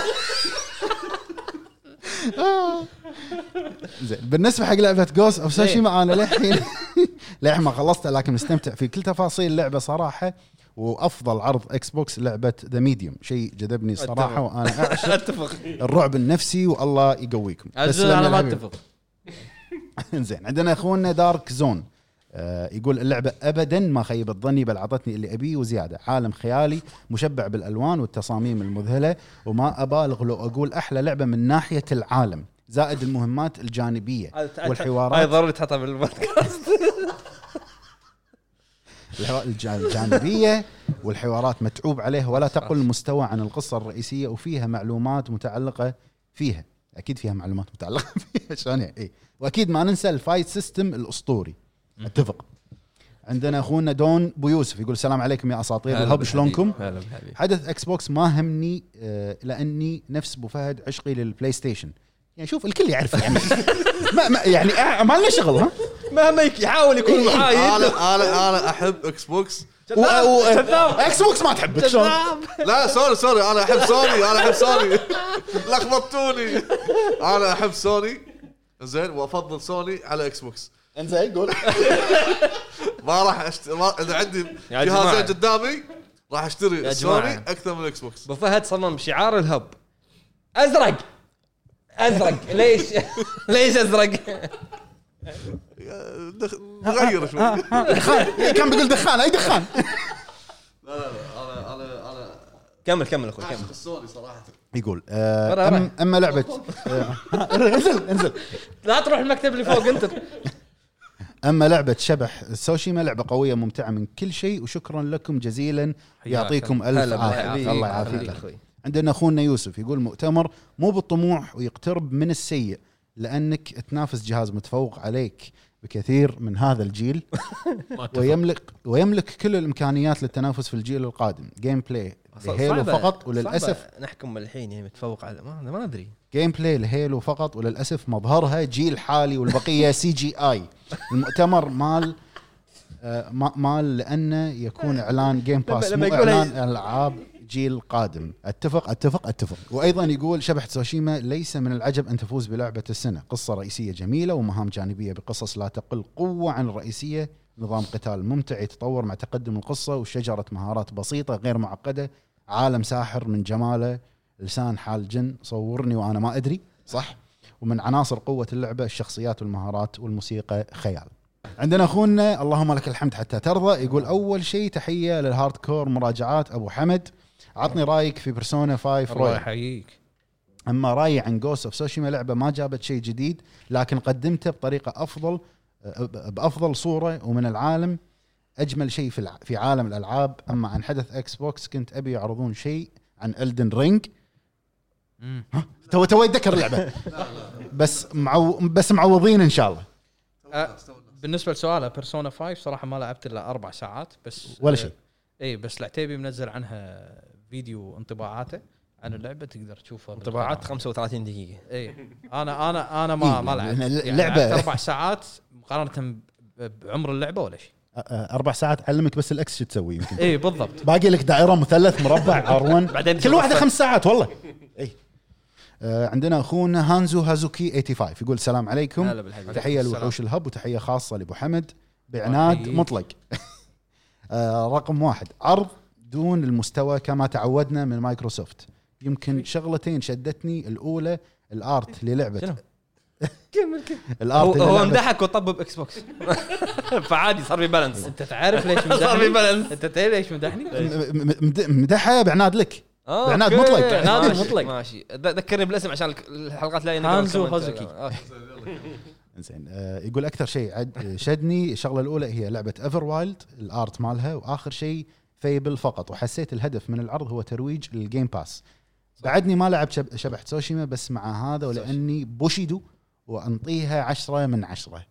Speaker 2: آه. زين بالنسبه حق لعبه جوست اوف سوشيما انا للحين للحين ما خلصتها لكن مستمتع في كل تفاصيل اللعبه صراحه وافضل عرض اكس بوكس لعبه ذا ميديوم شيء جذبني الصراحه وانا اعشق
Speaker 1: اتفق
Speaker 2: الرعب النفسي والله يقويكم
Speaker 7: عزوز
Speaker 2: تسلم يا
Speaker 7: انا ما
Speaker 2: الحبيب.
Speaker 7: اتفق
Speaker 2: زين عندنا اخونا دارك زون آه يقول اللعبة أبدا ما خيبت ظني بل عطتني اللي أبيه وزيادة عالم خيالي مشبع بالألوان والتصاميم المذهلة وما أبالغ لو أقول أحلى لعبة من ناحية العالم زائد المهمات الجانبية
Speaker 1: هاي
Speaker 2: والحوارات
Speaker 1: ضروري تحطها بالبودكاست
Speaker 2: الحوا- الج- الجانبية والحوارات متعوب عليها ولا تقل مستوى عن القصة الرئيسية وفيها معلومات متعلقة فيها أكيد فيها معلومات متعلقة فيها شلون يعني إيه وأكيد ما ننسى الفايت سيستم الأسطوري اتفق عندنا اخونا دون بو يوسف يقول السلام عليكم يا اساطير الهب شلونكم؟
Speaker 1: هلا بالحبيب
Speaker 2: حدث اكس بوكس ما همني آه، لاني نفس ابو فهد عشقي للبلاي ستيشن يعني شوف الكل يعرف يعني ما ما يعني آه، ما لنا شغل ها
Speaker 1: مهما يك- يحاول يكون
Speaker 7: إيه،
Speaker 1: محايد
Speaker 6: انا انا انا احب اكس بوكس
Speaker 2: و- و- اكس بوكس ما تحبك شلون؟
Speaker 6: لا سوري سوري انا احب سوني انا احب سوني لخبطتوني انا احب سوني زين وافضل سوني على اكس بوكس
Speaker 2: انزين قول
Speaker 6: ما راح أشت... ما... اذا عندي
Speaker 1: يا
Speaker 6: جهازين
Speaker 1: جماعة.
Speaker 6: قدامي راح اشتري سوني
Speaker 1: جماعة.
Speaker 6: اكثر من اكس بوكس
Speaker 1: ابو فهد صمم شعار الهب ازرق ازرق ليش ليش ازرق؟
Speaker 6: دخ... نغير شوي لا
Speaker 2: دخان كان بيقول دخان اي دخان
Speaker 6: لا لا انا انا انا
Speaker 1: كمل كمل اخوي كمل
Speaker 6: اعشق السوني صراحه
Speaker 2: يقول
Speaker 1: برا،
Speaker 2: آه
Speaker 1: برا.
Speaker 2: أم- اما لعبه آه، انزل انزل
Speaker 7: لا تروح المكتب اللي فوق انت
Speaker 2: اما لعبه شبح سوشيما لعبه قويه ممتعه من كل شيء وشكرا لكم جزيلا يعطيكم الف
Speaker 1: هلا
Speaker 2: عافيه
Speaker 1: بالحبيب. هلا
Speaker 2: الله يعافيك
Speaker 1: اخوي
Speaker 2: عندنا اخونا يوسف يقول مؤتمر مو بالطموح ويقترب من السيء لانك تنافس جهاز متفوق عليك بكثير من هذا الجيل
Speaker 3: ما أتفق.
Speaker 2: ويملك ويملك كل الامكانيات للتنافس في الجيل القادم جيم بلاي لهيلو
Speaker 1: صعبة-
Speaker 2: فقط وللاسف
Speaker 1: صعبة نحكم الحين يعني متفوق على ما, ما ادري
Speaker 2: جيم بلاي لهيلو فقط وللاسف مظهرها جيل حالي والبقيه سي جي اي المؤتمر مال آه، ما- مال لانه يكون اعلان جيم باس
Speaker 1: لما
Speaker 2: مو
Speaker 1: يقولها-
Speaker 2: اعلان العاب جيل قادم اتفق اتفق اتفق وايضا يقول شبح تسوشيما ليس من العجب ان تفوز بلعبه السنه قصه رئيسيه جميله ومهام جانبيه بقصص لا تقل قوه عن الرئيسيه نظام قتال ممتع يتطور مع تقدم القصه وشجره مهارات بسيطه غير معقده عالم ساحر من جماله لسان حال جن صورني وانا ما ادري صح ومن عناصر قوه اللعبه الشخصيات والمهارات والموسيقى خيال عندنا اخونا اللهم لك الحمد حتى ترضى يقول اول شيء تحيه للهارد كور مراجعات ابو حمد عطني رايك في بيرسونا 5
Speaker 5: الله
Speaker 2: رويال
Speaker 5: يحييك
Speaker 2: اما رايي عن جوست اوف سوشيما لعبه ما جابت شيء جديد لكن قدمته بطريقه افضل بافضل صوره ومن العالم اجمل شيء في الع- في عالم الالعاب اما عن حدث اكس بوكس كنت ابي يعرضون شيء عن الدن رينج تو تو يتذكر اللعبه بس معو بس معوضين ان شاء الله
Speaker 5: بالنسبه لسؤاله بيرسونا 5 صراحه ما لعبت الا اربع ساعات بس
Speaker 2: ولا شيء.
Speaker 5: اي بس العتيبي منزل عنها فيديو انطباعاته عن اللعبه تقدر تشوفه إيه.
Speaker 1: طباعات
Speaker 5: بالقناة.
Speaker 1: 35 دقيقه
Speaker 5: اي انا انا انا ما
Speaker 2: إي،
Speaker 5: ما لعبت
Speaker 2: لأن
Speaker 5: يعني
Speaker 2: اللعبة-
Speaker 5: لعبت اربع ساعات مقارنه ب- بعمر اللعبه ولا شيء
Speaker 2: أ- أ- اربع ساعات علمك بس الاكس شو تسوي يمكن
Speaker 1: إيه،
Speaker 5: اي بالضبط
Speaker 2: باقي لك دائره مثلث مربع ار1
Speaker 1: بعدين
Speaker 2: كل واحده خمس ساعات والله اي آه، عندنا اخونا هانزو هازوكي 85 يقول السلام عليكم
Speaker 5: هلا بالحبيب.
Speaker 2: تحيه
Speaker 5: السلام.
Speaker 2: لوحوش الهب وتحيه خاصه لابو حمد بعناد
Speaker 5: أحييك.
Speaker 2: مطلق آه، رقم واحد عرض دون المستوى كما تعودنا من مايكروسوفت يمكن شغلتين شدتني الاولى الارت للعبه
Speaker 1: شنو؟ هو
Speaker 2: الارت
Speaker 1: هو
Speaker 2: للعبة
Speaker 1: مدحك وطبب اكس بوكس فعادي صار في بالانس
Speaker 2: إيه.
Speaker 5: انت تعرف ليش
Speaker 1: صار في
Speaker 5: مدحني
Speaker 1: بالانس
Speaker 5: انت تعرف ليش مدحني
Speaker 2: م- م- مد- مدحها بعناد لك
Speaker 1: آه،
Speaker 2: عناد
Speaker 1: أوكي.
Speaker 2: مطلق. عناد
Speaker 1: ماشي،
Speaker 7: مطلق.
Speaker 1: ماشي ذ- ذكرني بالاسم عشان الك- الحلقات لا آه،
Speaker 5: هانزو هازوكي.
Speaker 1: هازوكي
Speaker 2: زين آه، يقول اكثر شيء عد- شدني الشغله الاولى هي لعبه ايفر وايلد الارت مالها واخر شيء فيبل فقط وحسيت الهدف من العرض هو ترويج للجيم باس بعدني ما لعبت شب- شبح تسوشيما بس مع هذا ولاني بوشيدو وانطيها عشرة من عشرة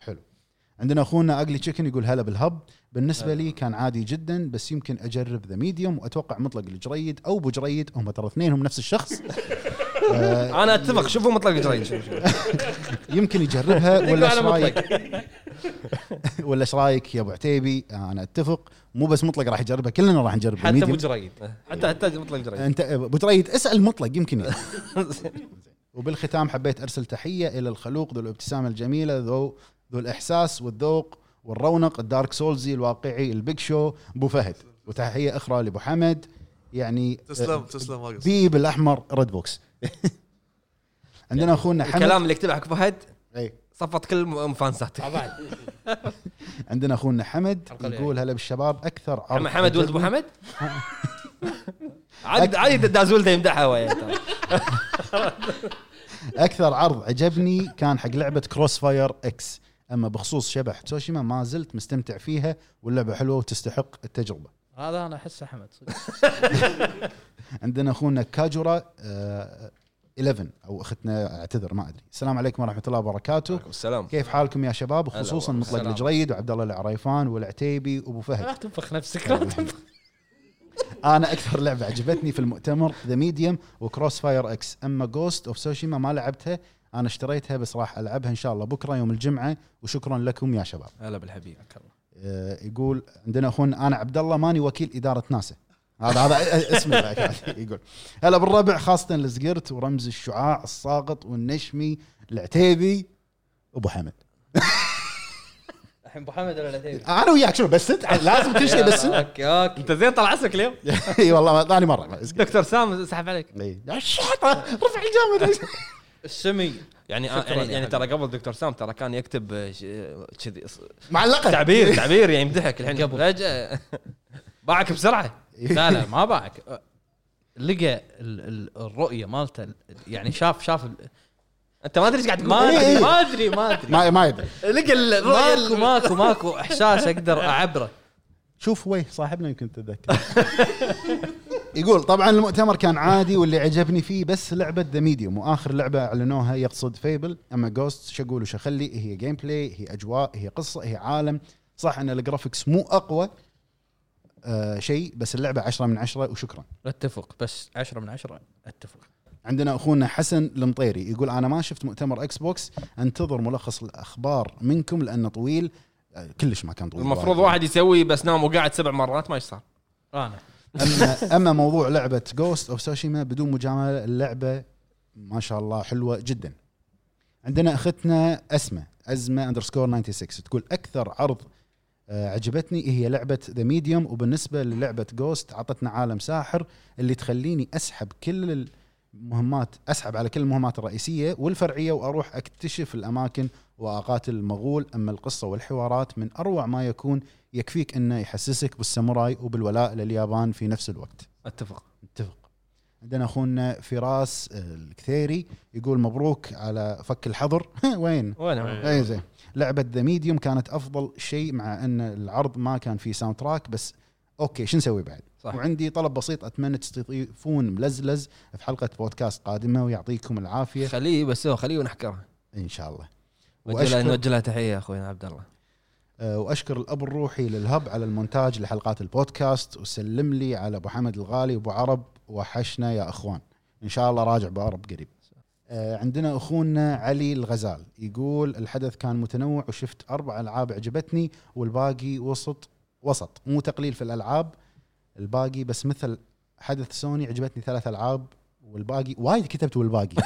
Speaker 2: حلو عندنا اخونا اجلي تشيكن يقول هلا بالهب بالنسبه لي كان عادي جدا بس يمكن اجرب ذا ميديوم واتوقع مطلق الجريد او ابو جريد هم ترى اثنينهم نفس الشخص آه،
Speaker 1: انا اتفق شوفوا مطلق جريد
Speaker 2: يمكن يجربها ولا ايش
Speaker 1: على
Speaker 2: رايك؟ ولا ايش رايك يا ابو عتيبي؟ انا اتفق مو بس مطلق راح يجربها كلنا راح نجرب
Speaker 5: حتى آه، ابو
Speaker 2: الميديم.
Speaker 5: جريد
Speaker 1: حتى حتى مطلق جريد
Speaker 2: انت ابو جريد اسال مطلق يمكن يعني. وبالختام حبيت ارسل تحيه الى الخلوق ذو الابتسامه الجميله ذو ذو الاحساس والذوق والرونق الدارك سولزي الواقعي البيج شو ابو فهد وتحيه اخرى لابو حمد يعني
Speaker 6: تسلم تسلم ما قصر
Speaker 2: ذيب الاحمر ريد بوكس عندنا اخونا حمد
Speaker 1: الكلام اللي كتبه حق فهد
Speaker 2: إيه.
Speaker 1: صفت كل م- مفانساتك
Speaker 2: عندنا اخونا حمد
Speaker 5: حلقة ليه.
Speaker 2: يقول هلا بالشباب اكثر عرض
Speaker 1: محمد حمد ولد ابو
Speaker 2: عجبني-
Speaker 1: حمد عاد عادي دازول ده يمدحها وياه ترى.
Speaker 2: اكثر عرض عجبني كان حق لعبه كروس فاير اكس اما بخصوص شبح تسوشيما ما زلت مستمتع فيها واللعبه حلوه وتستحق التجربه
Speaker 5: هذا انا احسه حمد صدق
Speaker 2: عندنا اخونا كاجورا آه 11 او اختنا اعتذر ما ادري السلام عليكم ورحمه الله وبركاته
Speaker 1: عليكم السلام
Speaker 2: كيف حالكم يا شباب
Speaker 1: هلا
Speaker 2: وخصوصا
Speaker 1: والله.
Speaker 2: مطلق
Speaker 5: السلام.
Speaker 2: الجريد وعبد الله العريفان والعتيبي وابو فهد
Speaker 5: لا تنفخ نفسك لا تنفخ
Speaker 2: انا اكثر لعبه عجبتني في المؤتمر ذا ميديوم وكروس فاير اكس اما جوست اوف سوشيما ما لعبتها انا اشتريتها بس راح العبها ان شاء الله بكره يوم الجمعه وشكرا لكم يا شباب
Speaker 1: هلا بالحبيب
Speaker 2: آه، يقول عندنا اخونا انا عبد الله ماني وكيل اداره ناسا هذا هذا اسمه بعد يقول هلا بالربع خاصه الزقرت ورمز الشعاع الساقط والنشمي العتيبي ابو حمد
Speaker 5: الحين ابو حمد ولا العتيبي
Speaker 2: انا وياك شنو بس انت لازم كل شيء بس انت
Speaker 5: اوكي اوكي
Speaker 1: انت زين طلع اسمك اليوم
Speaker 2: اي والله ثاني مره
Speaker 1: دكتور سام سحب عليك
Speaker 2: إي. إيه. رفع الجامد
Speaker 5: السمي
Speaker 1: يعني
Speaker 5: شكراً
Speaker 1: يعني,
Speaker 5: يا
Speaker 1: يعني
Speaker 5: حبيبي.
Speaker 1: ترى قبل دكتور سام ترى كان يكتب آه، ش- آه، كذي ص-
Speaker 2: معلقه
Speaker 1: تعبير تعبير يعني يمدحك الحين
Speaker 5: قبل.
Speaker 1: فجاه باعك بسرعه
Speaker 5: لا لا ما باعك أه، لقى ال- ال- الرؤيه مالته ال- يعني شاف شاف ال-
Speaker 1: انت ما ادري ايش قاعد تقول
Speaker 5: ما
Speaker 2: إيه.
Speaker 5: ادري ما ادري ما ادري
Speaker 2: ما ما يدري
Speaker 1: لقى الرؤيه
Speaker 5: ماكو
Speaker 1: ال-
Speaker 5: ماكو ماكو احساس اقدر اعبره
Speaker 2: شوف ويه صاحبنا يمكن تتذكر يقول طبعا المؤتمر كان عادي واللي عجبني فيه بس لعبه ذا ميديوم واخر لعبه اعلنوها يقصد فيبل اما جوست شو اقول وش اخلي هي جيم بلاي هي اجواء هي قصه هي عالم صح ان الجرافكس مو اقوى آه شيء بس اللعبه عشرة من عشرة وشكرا
Speaker 5: اتفق بس عشرة من عشرة اتفق
Speaker 2: عندنا اخونا حسن المطيري يقول انا ما شفت مؤتمر اكس بوكس انتظر ملخص الاخبار منكم لانه طويل آه، كلش ما كان طويل
Speaker 1: المفروض واحد يسوي بس نام وقعد سبع مرات ما ايش صار
Speaker 5: انا
Speaker 2: اما اما موضوع لعبه جوست اوف سوشيما بدون مجامله اللعبه ما شاء الله حلوه جدا عندنا اختنا اسمه ازمه اندرسكور 96 تقول اكثر عرض آه، عجبتني هي لعبه ذا ميديوم وبالنسبه للعبه جوست عطتنا عالم ساحر اللي تخليني اسحب كل المهمات اسحب على كل المهمات الرئيسيه والفرعيه واروح اكتشف الاماكن واقاتل المغول اما القصه والحوارات من اروع ما يكون يكفيك انه يحسسك بالساموراي وبالولاء لليابان في نفس الوقت
Speaker 1: اتفق
Speaker 2: اتفق عندنا اخونا فراس الكثيري يقول مبروك على فك الحظر وين
Speaker 1: وانا
Speaker 2: اي زين لعبه ذا ميديوم كانت افضل شيء مع ان العرض ما كان فيه ساوند تراك بس اوكي شو نسوي بعد
Speaker 1: صح.
Speaker 2: صح. وعندي طلب بسيط اتمنى تستضيفون ملزلز في حلقه بودكاست قادمه ويعطيكم العافيه
Speaker 1: خليه بس هو خليه ونحكره
Speaker 2: ان شاء الله
Speaker 1: نوجه له-
Speaker 2: وأشكر-
Speaker 1: نوجه له تحيه اخوينا عبد الله
Speaker 2: آه، واشكر الاب الروحي للهب على المونتاج لحلقات البودكاست وسلم لي على ابو حمد الغالي وابو عرب وحشنا يا اخوان ان شاء الله راجع ابو عرب قريب آه، عندنا اخونا علي الغزال يقول الحدث كان متنوع وشفت اربع العاب عجبتني والباقي وسط وسط مو تقليل في الالعاب الباقي بس مثل حدث سوني عجبتني ثلاث العاب والباقي وايد كتبت والباقي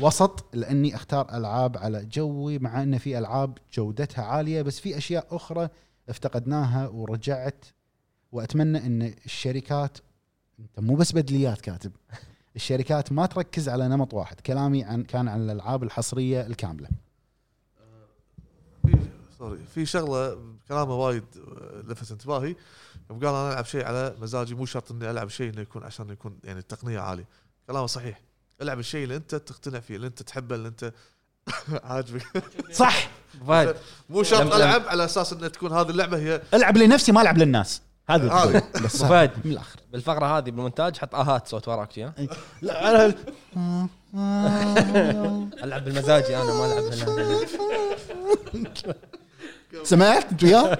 Speaker 2: وسط لاني اختار العاب على جوي مع ان في العاب جودتها عاليه بس في اشياء اخرى افتقدناها ورجعت واتمنى ان الشركات انت مو بس بدليات كاتب الشركات ما تركز على نمط واحد كلامي عن كان عن الالعاب الحصريه الكامله
Speaker 6: في- سوري في شغله كلامه وايد آه، لفت انتباهي يوم قال انا العب شيء على مزاجي مو شرط اني العب شيء انه يكون عشان يكون يعني التقنيه عاليه كلامه صحيح العب الشيء اللي انت تقتنع فيه اللي انت تحبه اللي انت عاجبك
Speaker 2: صح
Speaker 1: فهد
Speaker 6: مو
Speaker 1: لم- لم-
Speaker 6: شرط العب على اساس انها تكون هذه اللعبه هي
Speaker 2: العب لنفسي ما العب للناس هذا
Speaker 6: هذا.
Speaker 2: الدليل. بس
Speaker 1: أبو فهد.
Speaker 2: من الاخر
Speaker 1: بالفقره هذه بالمونتاج حط اهات صوت وراك شي، ها
Speaker 2: لا
Speaker 1: العب بالمزاجي انا ما العب بالمزاجي.
Speaker 2: سمعت انت وياه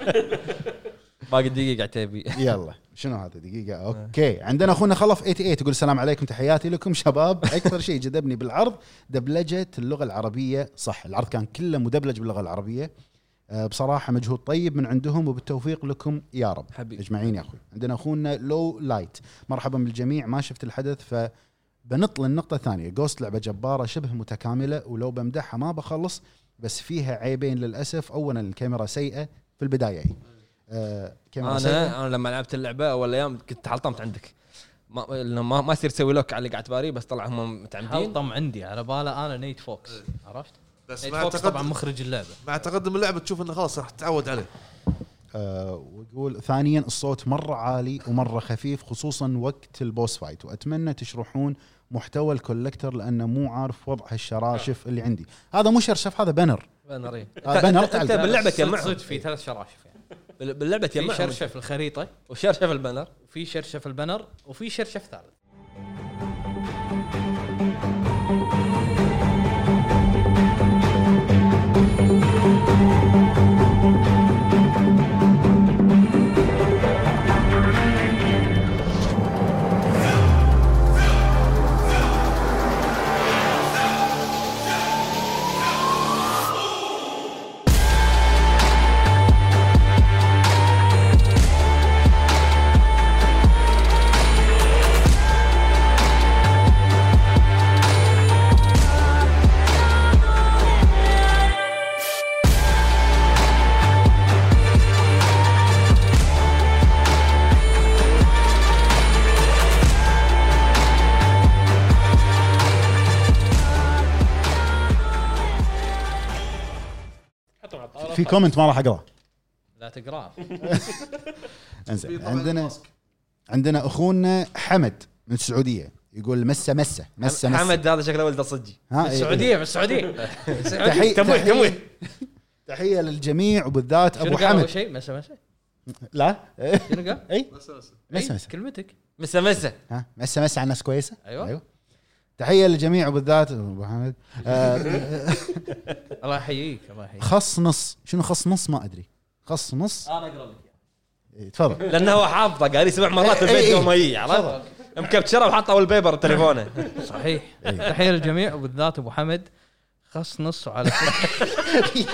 Speaker 1: باقي دقيقه عتيبي
Speaker 2: يلا شنو هذا دقيقة اوكي عندنا اخونا خلف 88 يقول السلام عليكم تحياتي لكم شباب اكثر شيء جذبني بالعرض دبلجة اللغة العربية صح العرض كان كله مدبلج باللغة العربية آه، بصراحة مجهود طيب من عندهم وبالتوفيق لكم يا رب
Speaker 1: حبيبي.
Speaker 2: اجمعين يا اخوي عندنا اخونا لو لايت مرحبا بالجميع ما شفت الحدث ف بنط للنقطة الثانية جوست لعبة جبارة شبه متكاملة ولو بمدحها ما بخلص بس فيها عيبين للأسف أولا الكاميرا سيئة في البداية آه كاميرا سيئة.
Speaker 1: انا انا لما لعبت اللعبه اول ايام كنت حلطمت عندك ما لأنه ما, ما يصير تسوي لوك على اللي قاعد باري بس طلع هم متعمدين
Speaker 7: حلطم عندي على باله انا نيت فوكس
Speaker 5: إيه.
Speaker 7: عرفت؟
Speaker 6: بس
Speaker 7: نيت
Speaker 6: مع
Speaker 7: فوكس طبعا
Speaker 6: تقدم
Speaker 7: مخرج اللعبه
Speaker 6: مع تقدم اللعبه تشوف انه خلاص راح تتعود عليه
Speaker 2: آه، ويقول ثانيا الصوت مره عالي ومره خفيف خصوصا وقت البوس فايت واتمنى تشرحون محتوى الكولكتر لانه مو عارف وضع هالشراشف اللي عندي هذا مو شرشف هذا بنر
Speaker 1: بانر إيه.
Speaker 2: آه، بنر
Speaker 1: أنت-
Speaker 2: تعال.
Speaker 1: أنت باللعبه
Speaker 7: صدق-
Speaker 1: تجمعهم
Speaker 7: صدق في ثلاث شراشف يعني
Speaker 1: بال- باللعبه
Speaker 7: في
Speaker 1: تجمعهم
Speaker 7: شرشف الخريطه
Speaker 1: وشرشف البانر
Speaker 7: وفي شرشف البنر وفي شرشف ثالث
Speaker 3: حطهم على الطاوله
Speaker 2: في كومنت ما راح اقراه
Speaker 7: لا تقراه
Speaker 2: انزين عندنا عندنا اخونا حمد من السعوديه يقول مسه مسه مسه مسه
Speaker 1: حمد هذا شكله ولده صجي
Speaker 2: ها، إيه،
Speaker 7: السعوديه
Speaker 2: إيه.
Speaker 7: من السعوديه
Speaker 2: تحية-
Speaker 1: تمويه
Speaker 2: تحية-
Speaker 1: تمويه
Speaker 2: تحيه للجميع وبالذات
Speaker 7: شنو
Speaker 2: ابو
Speaker 7: قال اول
Speaker 2: حمد
Speaker 7: شيء مسا مسا
Speaker 2: لا
Speaker 7: شنو قال؟
Speaker 2: مسه
Speaker 7: إي،
Speaker 2: مسه
Speaker 7: كلمتك
Speaker 1: مسا مسا
Speaker 2: ها مسا مسا على الناس كويسه
Speaker 7: أيوة.
Speaker 2: تحيه للجميع وبالذات ابو حمد آه،
Speaker 7: الله يحييك الله يحييك
Speaker 2: خص نص شنو خص نص ما ادري خص نص
Speaker 7: انا اقرا لك
Speaker 2: إيه، تفضل
Speaker 1: لانه هو حافظه قال لي سبع مرات البيت قبل ما يجي عرفت مكبشره وحاطه والبيبر تليفونه
Speaker 7: صحيح
Speaker 2: إيه.
Speaker 7: تحيه للجميع وبالذات ابو حمد خص نص وعلى فكره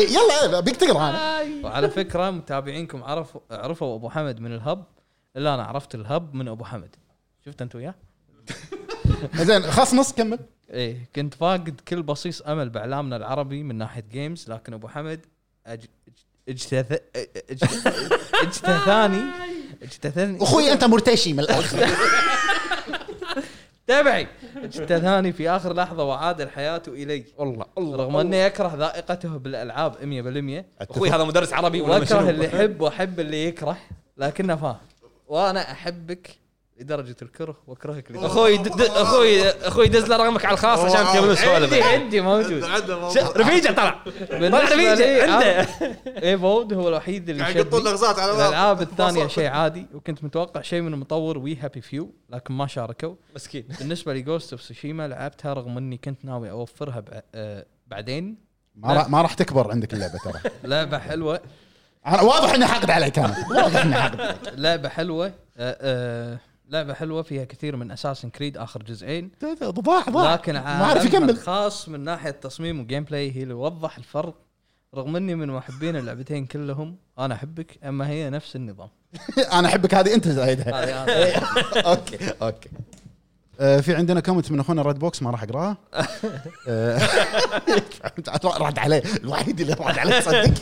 Speaker 2: يلا إيه، بيك تقرا انا
Speaker 7: وعلى فكره متابعينكم عرفوا عرفوا ابو حمد من الهب
Speaker 5: الا انا عرفت الهب من ابو حمد شفت انت وياه؟
Speaker 2: زين خلاص نص كمل
Speaker 5: ايه كنت فاقد كل بصيص امل باعلامنا العربي من ناحيه جيمز لكن ابو حمد أج... اج- اجتث... اج- اجتثاني اجتثني
Speaker 2: اخوي انت مرتشي من الاخر
Speaker 5: تبعي اجتثاني في اخر لحظه وعاد الحياه الي
Speaker 1: والله الله
Speaker 5: رغم اني اكره ذائقته بالالعاب 100%
Speaker 1: اخوي هذا مدرس عربي ولا ما شنو؟
Speaker 5: واكره اللي يحب واحب اللي يكره لكنه فاهم وانا احبك لدرجه الكره واكرهك لدرجه
Speaker 1: اخوي د- د- اخوي اخوي دز له رقمك على الخاص عشان تكمل السوالف
Speaker 5: عندي عندي موجود
Speaker 6: عندنا
Speaker 1: ش-
Speaker 6: موضوع
Speaker 1: رفيجه طلع طلع
Speaker 5: بالنسبه لي
Speaker 1: رفيجه عنده
Speaker 5: أنا- ايفولد هو الوحيد اللي
Speaker 6: قاعد
Speaker 5: شدني.
Speaker 6: يقطون لغزات على بعض.
Speaker 5: الالعاب الثانيه شيء عادي وكنت متوقع شيء من مطور وي هابي فيو لكن ما شاركوا
Speaker 1: مسكين
Speaker 5: بالنسبه لجوست اوف سوشيما لعبتها رغم اني كنت ناوي اوفرها بع- آه، بعدين
Speaker 2: ما راح ما راح تكبر عندك اللعبه ترى
Speaker 5: لعبه حلوه
Speaker 2: أنا واضح اني حقد عليك انا واضح اني حقد عليك
Speaker 5: لعبه حلوه آه، آه، لعبه حلوه فيها كثير من اساسن كريد اخر جزئين
Speaker 2: ضاع ضاع
Speaker 5: لكن
Speaker 2: ما عرف
Speaker 5: عالمها
Speaker 2: يكمل
Speaker 5: الخاص من ناحيه تصميم وجيم بلاي هي اللي وضح الفرق رغم اني من محبين اللعبتين كلهم انا احبك اما هي نفس النظام
Speaker 2: انا احبك هذه انت زايدها
Speaker 5: هذه أنا.
Speaker 2: اوكي اوكي آه، في عندنا كومنت من اخونا ريد بوكس ما راح اقراها آه، رد عليه الوحيد اللي رد عليه صدق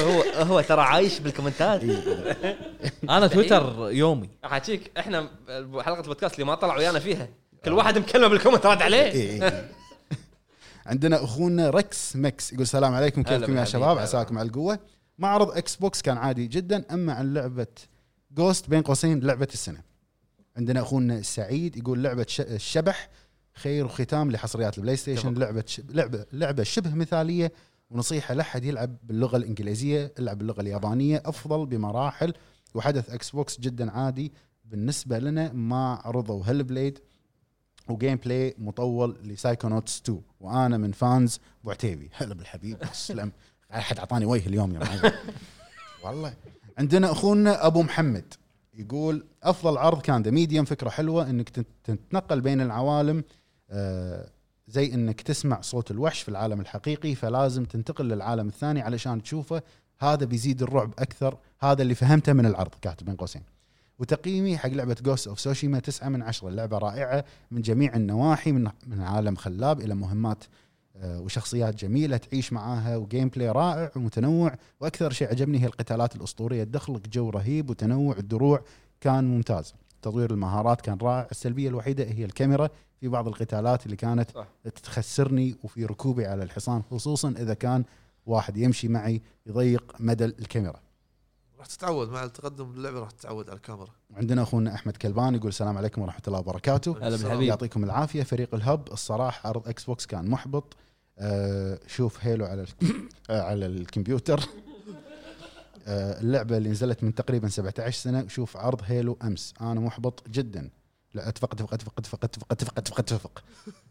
Speaker 8: هو هو ترى عايش بالكومنتات إيه.
Speaker 5: انا تويتر يومي
Speaker 1: احاكيك احنا حلقه البودكاست اللي ما طلع ويانا فيها كل واحد مكلمه بالكومنت رد عليه
Speaker 2: إي، إي. إيه. عندنا اخونا ركس مكس يقول السلام عليكم
Speaker 1: هلا
Speaker 2: كيفكم يا
Speaker 1: بالحبيب،
Speaker 2: شباب
Speaker 1: هلا.
Speaker 2: عساكم على القوه معرض اكس بوكس كان عادي جدا اما عن لعبه جوست بين قوسين لعبه السنه عندنا اخونا سعيد يقول لعبه ش- الشبح خير وختام لحصريات البلاي ستيشن لعبه ش- لعبه لعبه شبه مثاليه ونصيحه لحد يلعب باللغه الانجليزيه العب باللغه اليابانيه افضل بمراحل وحدث اكس بوكس جدا عادي بالنسبه لنا ما عرضوا هل بليد وجيم بلاي مطول لسايكونوتس 2 وانا من فانز ابو عتيبي هلا بالحبيب تسلم احد اعطاني وجه اليوم يا معلم. والله عندنا اخونا ابو محمد يقول افضل عرض كان ذا ميديوم فكره حلوه انك تت- تتنقل بين العوالم آه، زي انك تسمع صوت الوحش في العالم الحقيقي فلازم تنتقل للعالم الثاني علشان تشوفه هذا بيزيد الرعب اكثر هذا اللي فهمته من العرض كاتب بين قوسين وتقييمي حق لعبه جوست اوف سوشيما 9 من 10 اللعبه رائعه من جميع النواحي من من عالم خلاب الى مهمات آه، وشخصيات جميله تعيش معاها وجيم بلاي رائع ومتنوع واكثر شيء عجبني هي القتالات الاسطوريه تدخلك جو رهيب وتنوع الدروع كان ممتاز تطوير المهارات كان رائع السلبيه الوحيده هي الكاميرا في بعض القتالات اللي كانت
Speaker 1: صح.
Speaker 2: تخسرني وفي ركوبي على الحصان خصوصا اذا كان واحد يمشي معي يضيق مدى الكاميرا
Speaker 6: راح تتعود مع التقدم باللعبه راح تتعود على الكاميرا
Speaker 2: عندنا اخونا احمد كلبان يقول السلام عليكم ورحمه الله وبركاته
Speaker 6: هلا بالحبيب.
Speaker 2: يعطيكم العافيه فريق الهب الصراحه عرض اكس بوكس كان محبط آه شوف هيلو على ال- آه، على الكمبيوتر آه اللعبه اللي نزلت من تقريبا 17 سنه وشوف عرض هيلو امس انا محبط جدا لا اتفق اتفق اتفق اتفق اتفق اتفق اتفق, أتفق.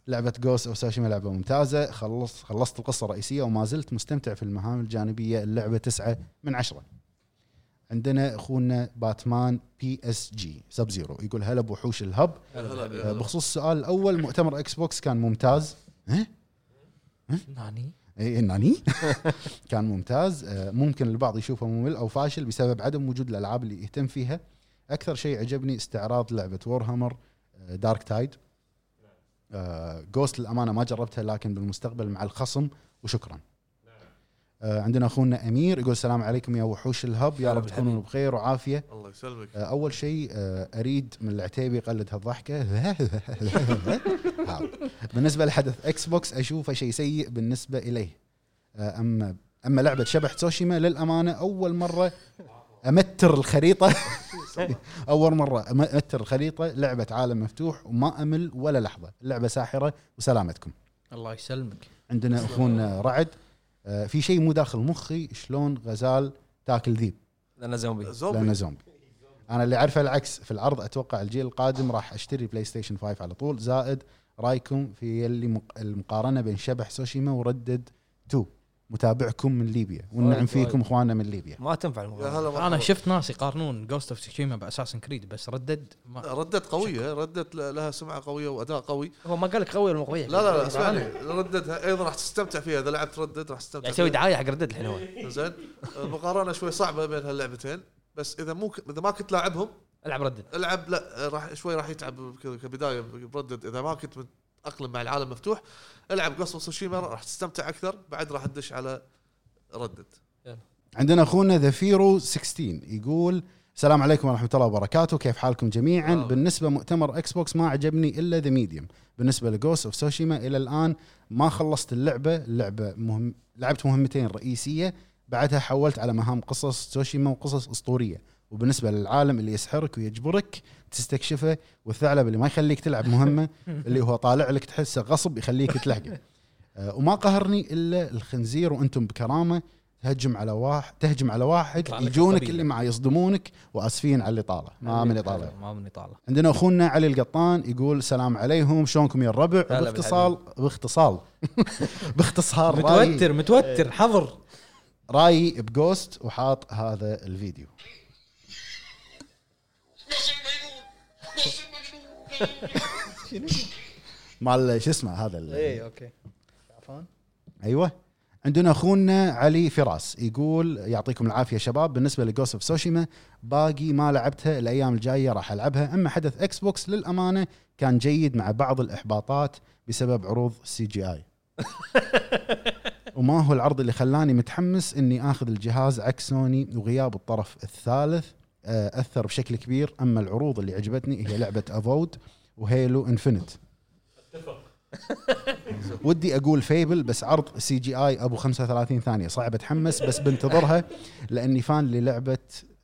Speaker 2: لعبه جوس او ساشيما لعبه ممتازه خلص خلصت القصه الرئيسيه وما زلت مستمتع في المهام الجانبيه اللعبه تسعة من عشرة عندنا اخونا باتمان بي اس جي سب زيرو يقول هلا بوحوش الهب
Speaker 6: هلا.
Speaker 2: آه، بخصوص السؤال الاول مؤتمر اكس بوكس كان ممتاز ها؟
Speaker 5: ناني
Speaker 2: اي ناني كان ممتاز آه، ممكن البعض يشوفه ممل او فاشل بسبب عدم وجود الالعاب اللي يهتم فيها اكثر شيء عجبني استعراض آه، لعبه وور هامر دارك تايد جوست للامانه آه، ما جربتها لكن بالمستقبل مع الخصم وشكرا آه، عندنا اخونا امير يقول السلام عليكم يا وحوش الهب يا رب تكونوا بخير وعافيه
Speaker 6: الله يسلمك
Speaker 2: آه، اول شيء آه، اريد من العتيبي يقلد هالضحكه هذا. بالنسبه لحدث اكس بوكس اشوفه شيء سيء بالنسبه اليه آه، اما اما لعبه شبح تسوشيما للامانه اول مره امتر الخريطه اول مره امتر الخريطه لعبه عالم مفتوح وما امل ولا لحظه اللعبه ساحره وسلامتكم
Speaker 5: الله يسلمك
Speaker 2: عندنا اخونا رعد آه، في شيء مو داخل مخي شلون غزال تاكل ذيب
Speaker 1: لانه زومبي
Speaker 2: لانه
Speaker 6: زومبي
Speaker 2: زومبي انا اللي عارفه العكس في العرض اتوقع الجيل القادم راح اشتري بلاي ستيشن 5 على طول زائد رايكم في اللي مق- المقارنه بين شبح سوشيما وردد 2 متابعكم من ليبيا والنعم
Speaker 1: وايد، وايد.
Speaker 2: فيكم اخواننا من ليبيا
Speaker 1: ما تنفع
Speaker 6: يا
Speaker 1: المغامرة.
Speaker 6: هلا
Speaker 5: انا
Speaker 6: مرحبا.
Speaker 5: شفت ناس يقارنون جوست اوف سوشيما باساسن كريد بس ردد ما
Speaker 6: ردت قويه ردت ل- لها سمعه قويه واداء قوي
Speaker 1: هو ما قال لك قوي ولا مو قوي
Speaker 6: لا لا لا اسمعني ردتها ايضا راح تستمتع فيها اذا لعبت ردت راح تستمتع
Speaker 1: يعني
Speaker 8: قاعد يسوي
Speaker 6: فيها.
Speaker 8: دعايه حق ردد الحين هو
Speaker 6: زين المقارنه شوي صعبه بين هاللعبتين بس اذا مو ك- اذا ما كنت لاعبهم
Speaker 1: العب ردد
Speaker 6: العب لا راح شوي راح يتعب ك- كبدايه بردد اذا ما كنت متاقلم مع العالم مفتوح العب قصص سوشيما راح تستمتع اكثر بعد راح تدش على ردد
Speaker 2: عندنا اخونا ذفيرو 16 يقول السلام عليكم ورحمه الله وبركاته كيف حالكم جميعا
Speaker 6: آه.
Speaker 2: بالنسبه مؤتمر اكس بوكس ما عجبني الا ذا ميديوم بالنسبه لجوست اوف سوشيما الى الان ما خلصت اللعبه اللعبه مهم لعبت مهمتين رئيسيه بعدها حولت على مهام قصص سوشيما وقصص اسطوريه وبالنسبه للعالم اللي يسحرك ويجبرك تستكشفه والثعلب اللي ما يخليك تلعب مهمه اللي هو طالع لك تحسه غصب يخليك تلحقه آه، وما قهرني الا الخنزير وانتم بكرامه تهجم على واحد تهجم على واحد
Speaker 5: كرامة
Speaker 2: يجونك
Speaker 5: القبيلة.
Speaker 2: اللي معاه يصدمونك واسفين على اللي طاله ما من طاله
Speaker 5: ما من اطاله
Speaker 2: عندنا اخونا علي القطان يقول السلام عليكم شلونكم يا الربع
Speaker 1: هلا
Speaker 2: باختصار باختصار باختصار رايي
Speaker 5: متوتر متوتر حظر
Speaker 2: رايي بجوست وحاط هذا الفيديو مال شو اسمه هذا ال-
Speaker 5: اي اوكي عفوا
Speaker 2: ايوه عندنا اخونا علي فراس يقول يعطيكم العافيه شباب بالنسبه لجوست اوف سوشيما باقي ما لعبتها الايام الجايه راح العبها اما حدث اكس بوكس للامانه كان جيد مع بعض الاحباطات بسبب عروض سي جي اي وما هو العرض اللي خلاني متحمس اني اخذ الجهاز عكس سوني وغياب الطرف الثالث آه، اثر بشكل كبير اما العروض اللي عجبتني هي لعبه افود وهيلو انفنت ودي اقول فيبل بس عرض سي جي اي ابو 35 ثانيه صعب اتحمس بس بنتظرها لاني فان للعبه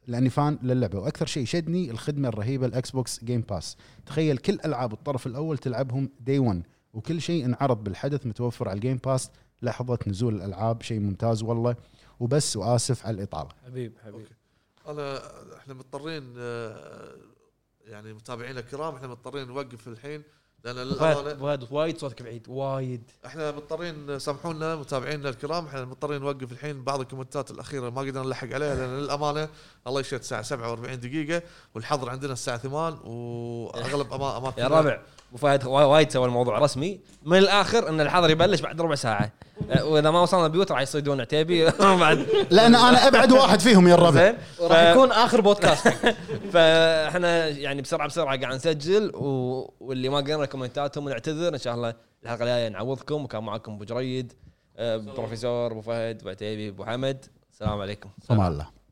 Speaker 2: لاني فان للعبه واكثر شيء شدني الخدمه الرهيبه الاكس بوكس جيم باس تخيل كل العاب الطرف الاول تلعبهم دي 1 وكل شيء انعرض بالحدث متوفر على الجيم باس لحظه نزول الالعاب شيء ممتاز والله وبس واسف على الاطاله
Speaker 5: حبيب حبيب
Speaker 6: انا احنا مضطرين آه، يعني متابعينا الكرام احنا مضطرين نوقف الحين لان
Speaker 1: فهد
Speaker 6: للامانه
Speaker 1: فهد وايد صوتك بعيد وايد
Speaker 6: احنا مضطرين سامحونا متابعينا الكرام احنا مضطرين نوقف الحين بعض الكومنتات الاخيره ما قدرنا نلحق عليها لان للامانه الله يشهد الساعه 47 دقيقه والحظر عندنا الساعه 8 واغلب أما- اماكن
Speaker 1: يا ربع ابو فهد وا- وايد سوى الموضوع رسمي من الاخر ان الحظر يبلش بعد ربع ساعه أه، واذا ما وصلنا البيوت راح يصيدون عتيبي بعد
Speaker 2: لان انا ابعد واحد فيهم يا الربع
Speaker 1: زين
Speaker 5: راح
Speaker 1: ف-
Speaker 5: يكون اخر بودكاست
Speaker 1: فاحنا يعني بسرعه بسرعه قاعد نسجل و... واللي ما قرينا كومنتاتهم نعتذر ان شاء الله الحلقه الجايه نعوضكم وكان معكم ابو جريد أه، بروفيسور ابو فهد ابو عتيبي ابو حمد السلام عليكم
Speaker 2: فما الله